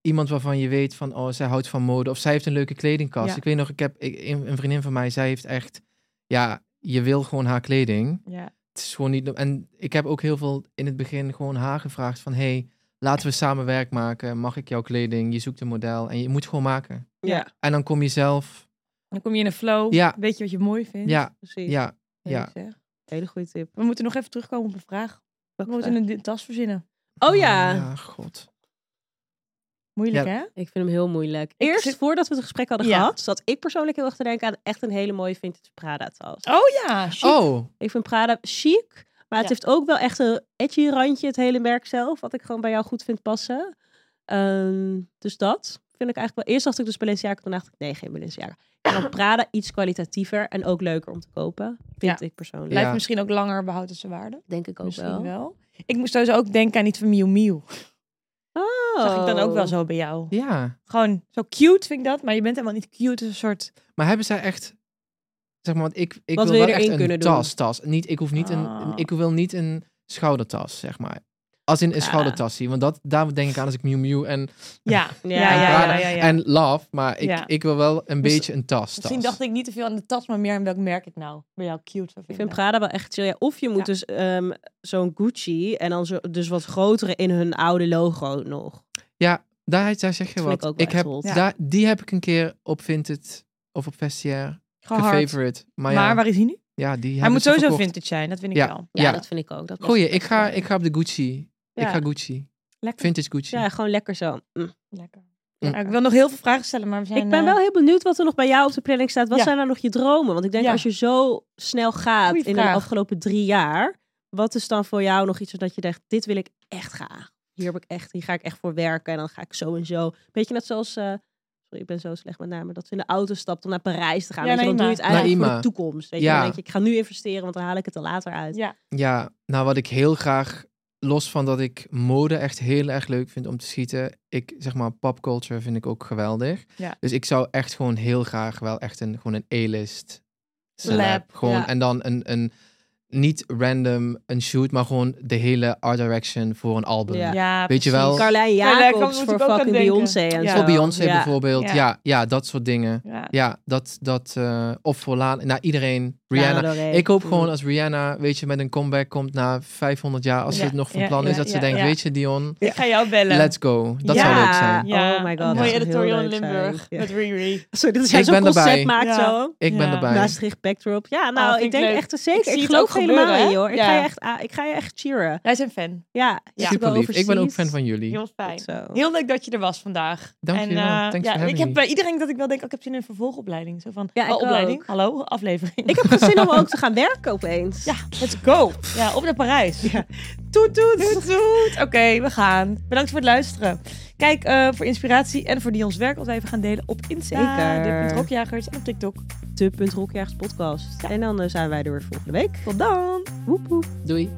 Speaker 3: iemand waarvan je weet van, oh, zij houdt van mode of zij heeft een leuke kledingkast.
Speaker 2: Ja.
Speaker 3: Ik weet nog, ik heb ik- een een vriendin van mij, zij heeft echt, ja, je wil gewoon haar kleding.
Speaker 2: Ja.
Speaker 3: het is gewoon niet. En ik heb ook heel veel in het begin gewoon haar gevraagd van hey, laten we samen werk maken. Mag ik jouw kleding? Je zoekt een model en je moet gewoon maken.
Speaker 1: Ja,
Speaker 3: En dan kom je zelf.
Speaker 2: Dan kom je in een flow.
Speaker 3: Ja.
Speaker 2: Weet je wat je mooi vindt?
Speaker 3: Ja,
Speaker 1: precies.
Speaker 3: ja,
Speaker 2: Leuk,
Speaker 3: ja.
Speaker 2: zeg.
Speaker 1: Hele goede tip.
Speaker 2: We moeten nog even terugkomen op een vraag. We moeten een di- tas verzinnen.
Speaker 1: Oh ja.
Speaker 3: god.
Speaker 2: Moeilijk,
Speaker 3: Ja.
Speaker 2: hè?
Speaker 1: ik vind hem heel moeilijk. Eerst,
Speaker 2: zit-
Speaker 1: voordat we het gesprek hadden
Speaker 2: Ja.
Speaker 1: gehad, zat ik persoonlijk heel erg te denken aan echt een hele mooie vintage Prada-tas.
Speaker 2: Oh ja, chic.
Speaker 3: Oh,
Speaker 1: Ik vind Prada chic, maar het
Speaker 2: Ja.
Speaker 1: heeft ook wel echt een edgy randje, het hele merk zelf, wat ik gewoon bij jou goed vind passen. Ehm, dus dat vind ik eigenlijk wel. Eerst dacht ik dus Balenciaga, toen dacht ik nee, geen Balenciaga. Ik vind Prada iets kwalitatiever en ook leuker om te kopen, vind ik persoonlijk.
Speaker 3: Ja.
Speaker 2: Blijft misschien ook langer behouden zijn waarde.
Speaker 1: Denk ik ook
Speaker 2: Misschien
Speaker 1: wel.
Speaker 2: wel. Ik moest sowieso ook denken aan iets van Miu Miu.
Speaker 1: Oh.
Speaker 2: Zag ik dan ook wel zo bij jou.
Speaker 3: ja.
Speaker 2: Gewoon zo cute vind ik dat, maar je bent helemaal niet cute. Het is een soort...
Speaker 3: Maar hebben zij echt zeg maar want ik ik
Speaker 1: Wat
Speaker 3: wil
Speaker 1: wil je
Speaker 3: wel echt
Speaker 1: erin
Speaker 3: een
Speaker 1: kunnen doen?
Speaker 3: tas, tas. Niet ik hoef niet
Speaker 2: Ah.
Speaker 3: een ik wil niet een schoudertas, zeg maar. Als in een
Speaker 1: Ja.
Speaker 2: Ah.
Speaker 3: schoudertas zien, want dat, daar denk ik aan als ik Miu Miu en,
Speaker 2: Ja, ja, ja,
Speaker 1: En
Speaker 2: ja, ja,
Speaker 3: Prada
Speaker 2: ja, ja.
Speaker 3: en Love, maar ik,
Speaker 2: Ja.
Speaker 3: ik wil wel een
Speaker 2: Dus-
Speaker 3: beetje een tas. tas.
Speaker 2: Misschien dacht ik niet te veel aan de tas, maar meer aan welk merk ik nou bij jou cute zou
Speaker 1: Ik
Speaker 2: vinden.
Speaker 1: vind Prada wel echt chill. Ja, of je moet
Speaker 2: Ja.
Speaker 1: dus ehm, zo'n Gucci en dan zo, dus wat grotere in hun oude logo nog.
Speaker 3: Daar, daar zeg je
Speaker 1: Dat vind
Speaker 3: wat. Ik,
Speaker 1: ik ook wel echt
Speaker 3: heb,
Speaker 1: hot.
Speaker 2: Ja.
Speaker 3: daar, die heb ik een keer op Vinted of op Vestiaire
Speaker 2: Gewoon hard.
Speaker 3: gefavorite. Maar,
Speaker 2: Maar,
Speaker 3: ja,
Speaker 2: waar is hij nu?
Speaker 3: ja, die
Speaker 2: Hij
Speaker 3: hebben
Speaker 2: moet
Speaker 3: ze
Speaker 2: sowieso
Speaker 3: verkocht.
Speaker 2: vintage zijn, dat vind ik
Speaker 3: Ja.
Speaker 2: wel.
Speaker 1: Ja,
Speaker 3: Ja.
Speaker 1: dat vind ik ook. Dat was
Speaker 3: Goeie,
Speaker 1: het
Speaker 3: ik ga,
Speaker 1: echt, eh,
Speaker 3: ik ga op de Gucci.
Speaker 2: Ja.
Speaker 3: Ik ga Gucci.
Speaker 2: Lekker.
Speaker 3: Vintage Gucci.
Speaker 1: Ja, gewoon lekker zo. Mm.
Speaker 2: Lekker.
Speaker 3: Mm.
Speaker 2: Nou, ik wil nog heel veel vragen stellen, maar we zijn...
Speaker 1: Ik ben
Speaker 2: eh,
Speaker 1: wel heel benieuwd wat er nog bij jou op de planning staat. Wat
Speaker 2: Ja.
Speaker 1: zijn nou nog je dromen? Want ik denk
Speaker 2: Ja.
Speaker 1: als je zo snel gaat
Speaker 2: Goeie
Speaker 1: in de
Speaker 2: vraag.
Speaker 1: afgelopen drie jaar, wat is dan voor jou nog iets dat je denkt, dit wil ik echt graag. Hier, heb ik echt, hier ga ik echt voor werken en dan ga ik zo en zo. Beetje net zoals, eh, sorry ik ben zo slecht met namen, dat ze in de auto stapt om naar Parijs te gaan.
Speaker 2: Ja,
Speaker 1: weet je, dan doe je het
Speaker 2: Naïma.
Speaker 1: eigenlijk voor
Speaker 3: Naïma.
Speaker 1: de toekomst. Weet je?
Speaker 3: Ja.
Speaker 1: Dan denk je, ik ga nu investeren, want dan haal ik het er later uit.
Speaker 2: Ja,
Speaker 3: Ja, nou wat ik heel graag, los van dat ik mode echt heel erg leuk vind om te schieten, ik zeg maar popculture vind ik ook geweldig.
Speaker 2: Ja.
Speaker 3: Dus ik zou echt gewoon heel graag wel echt een, gewoon een A-list celeb,
Speaker 2: Lab,
Speaker 3: Gewoon,
Speaker 2: ja.
Speaker 3: En dan een, een, niet random een shoot, maar gewoon de hele art direction voor een album.
Speaker 1: Ja.
Speaker 2: ja.
Speaker 3: Weet je wel-
Speaker 1: Carlijn
Speaker 2: daar kan-
Speaker 1: Jacobs
Speaker 2: moet
Speaker 1: voor
Speaker 2: ik ook aan
Speaker 1: fucking
Speaker 2: denken.
Speaker 1: Beyoncé en
Speaker 2: Ja.
Speaker 1: zo.
Speaker 3: Voor Beyoncé
Speaker 1: Ja.
Speaker 3: bijvoorbeeld.
Speaker 2: Ja.
Speaker 3: Ja. Ja, dat soort dingen.
Speaker 2: Ja.
Speaker 3: Ja, dat, dat eh, of voor Lana, nou iedereen, Rihanna.
Speaker 1: Lana Del Rey.
Speaker 3: ik hoop gewoon als Rihanna, weet je, met een comeback komt na 500 jaar, als
Speaker 2: Ja,
Speaker 3: ze het nog van
Speaker 2: ja,
Speaker 3: plan
Speaker 2: ja,
Speaker 3: is, dat ze
Speaker 2: ja,
Speaker 3: denkt,
Speaker 2: ja.
Speaker 3: weet je Dion,
Speaker 2: Ik ga jou bellen.
Speaker 3: let's go. Dat zou leuk zijn.
Speaker 2: Ja,
Speaker 1: Oh my god.
Speaker 2: Een
Speaker 1: dat
Speaker 2: mooie
Speaker 1: zou heel
Speaker 2: editorial in
Speaker 1: leuk zijn.
Speaker 2: Limburg
Speaker 1: Ja.
Speaker 2: met Riri.
Speaker 1: Sorry, dat is jij
Speaker 3: Ik
Speaker 1: zo'n
Speaker 3: ben erbij.
Speaker 1: concept maakt
Speaker 2: Ja.
Speaker 1: zo.
Speaker 3: Ik ben
Speaker 2: Ja.
Speaker 3: erbij.
Speaker 1: Naast zich backdrop. Ja,
Speaker 2: Ah,
Speaker 1: nou,
Speaker 2: vind
Speaker 1: ik
Speaker 2: ik
Speaker 1: denk
Speaker 2: leuk.
Speaker 1: echt er
Speaker 2: Ik
Speaker 1: zeker.
Speaker 2: zie
Speaker 1: Ik,
Speaker 2: het
Speaker 1: geloof
Speaker 2: ook
Speaker 1: helemaal
Speaker 2: gebeuren,
Speaker 1: in
Speaker 2: hè?
Speaker 1: je hoor. Ik,
Speaker 2: Ja.
Speaker 1: ga je echt, aan- ik ga je echt cheeren.
Speaker 2: Wij zijn fan.
Speaker 1: Ja,
Speaker 2: Ja.
Speaker 1: ik
Speaker 3: Super
Speaker 1: wel
Speaker 3: lief. Ik ben ook fan
Speaker 1: overseas.
Speaker 3: van jullie.
Speaker 2: Heel fijn.
Speaker 1: Zo.
Speaker 2: Heel leuk dat je er was vandaag.
Speaker 3: Dank
Speaker 2: En,
Speaker 3: je wel.
Speaker 2: eh,
Speaker 3: Thanks for
Speaker 2: ja,
Speaker 3: having
Speaker 2: ik heb
Speaker 3: me.
Speaker 2: bij iedereen dat ik wel denk, oh, ik heb zin in een vervolgopleiding. Zo van,
Speaker 1: Ja,
Speaker 2: oh,
Speaker 1: ik
Speaker 2: opleiding,
Speaker 1: ook.
Speaker 2: hallo, aflevering.
Speaker 1: Ik heb gewoon zin om ook te gaan werken opeens.
Speaker 2: Ja, let's go. Ja, op naar Parijs.
Speaker 1: Toet, toet.
Speaker 2: Doet, doet. Oké, we gaan. Bedankt voor het luisteren. Kijk eh, voor inspiratie en voor Dion's werk, wat wij even gaan delen op Insta.
Speaker 1: Zeker.
Speaker 2: Rokjagers en op TikTok.
Speaker 1: De.rokjagers podcast. En dan eh, zijn wij er weer volgende week.
Speaker 2: Tot dan.
Speaker 1: Woep, woep.
Speaker 3: Doei.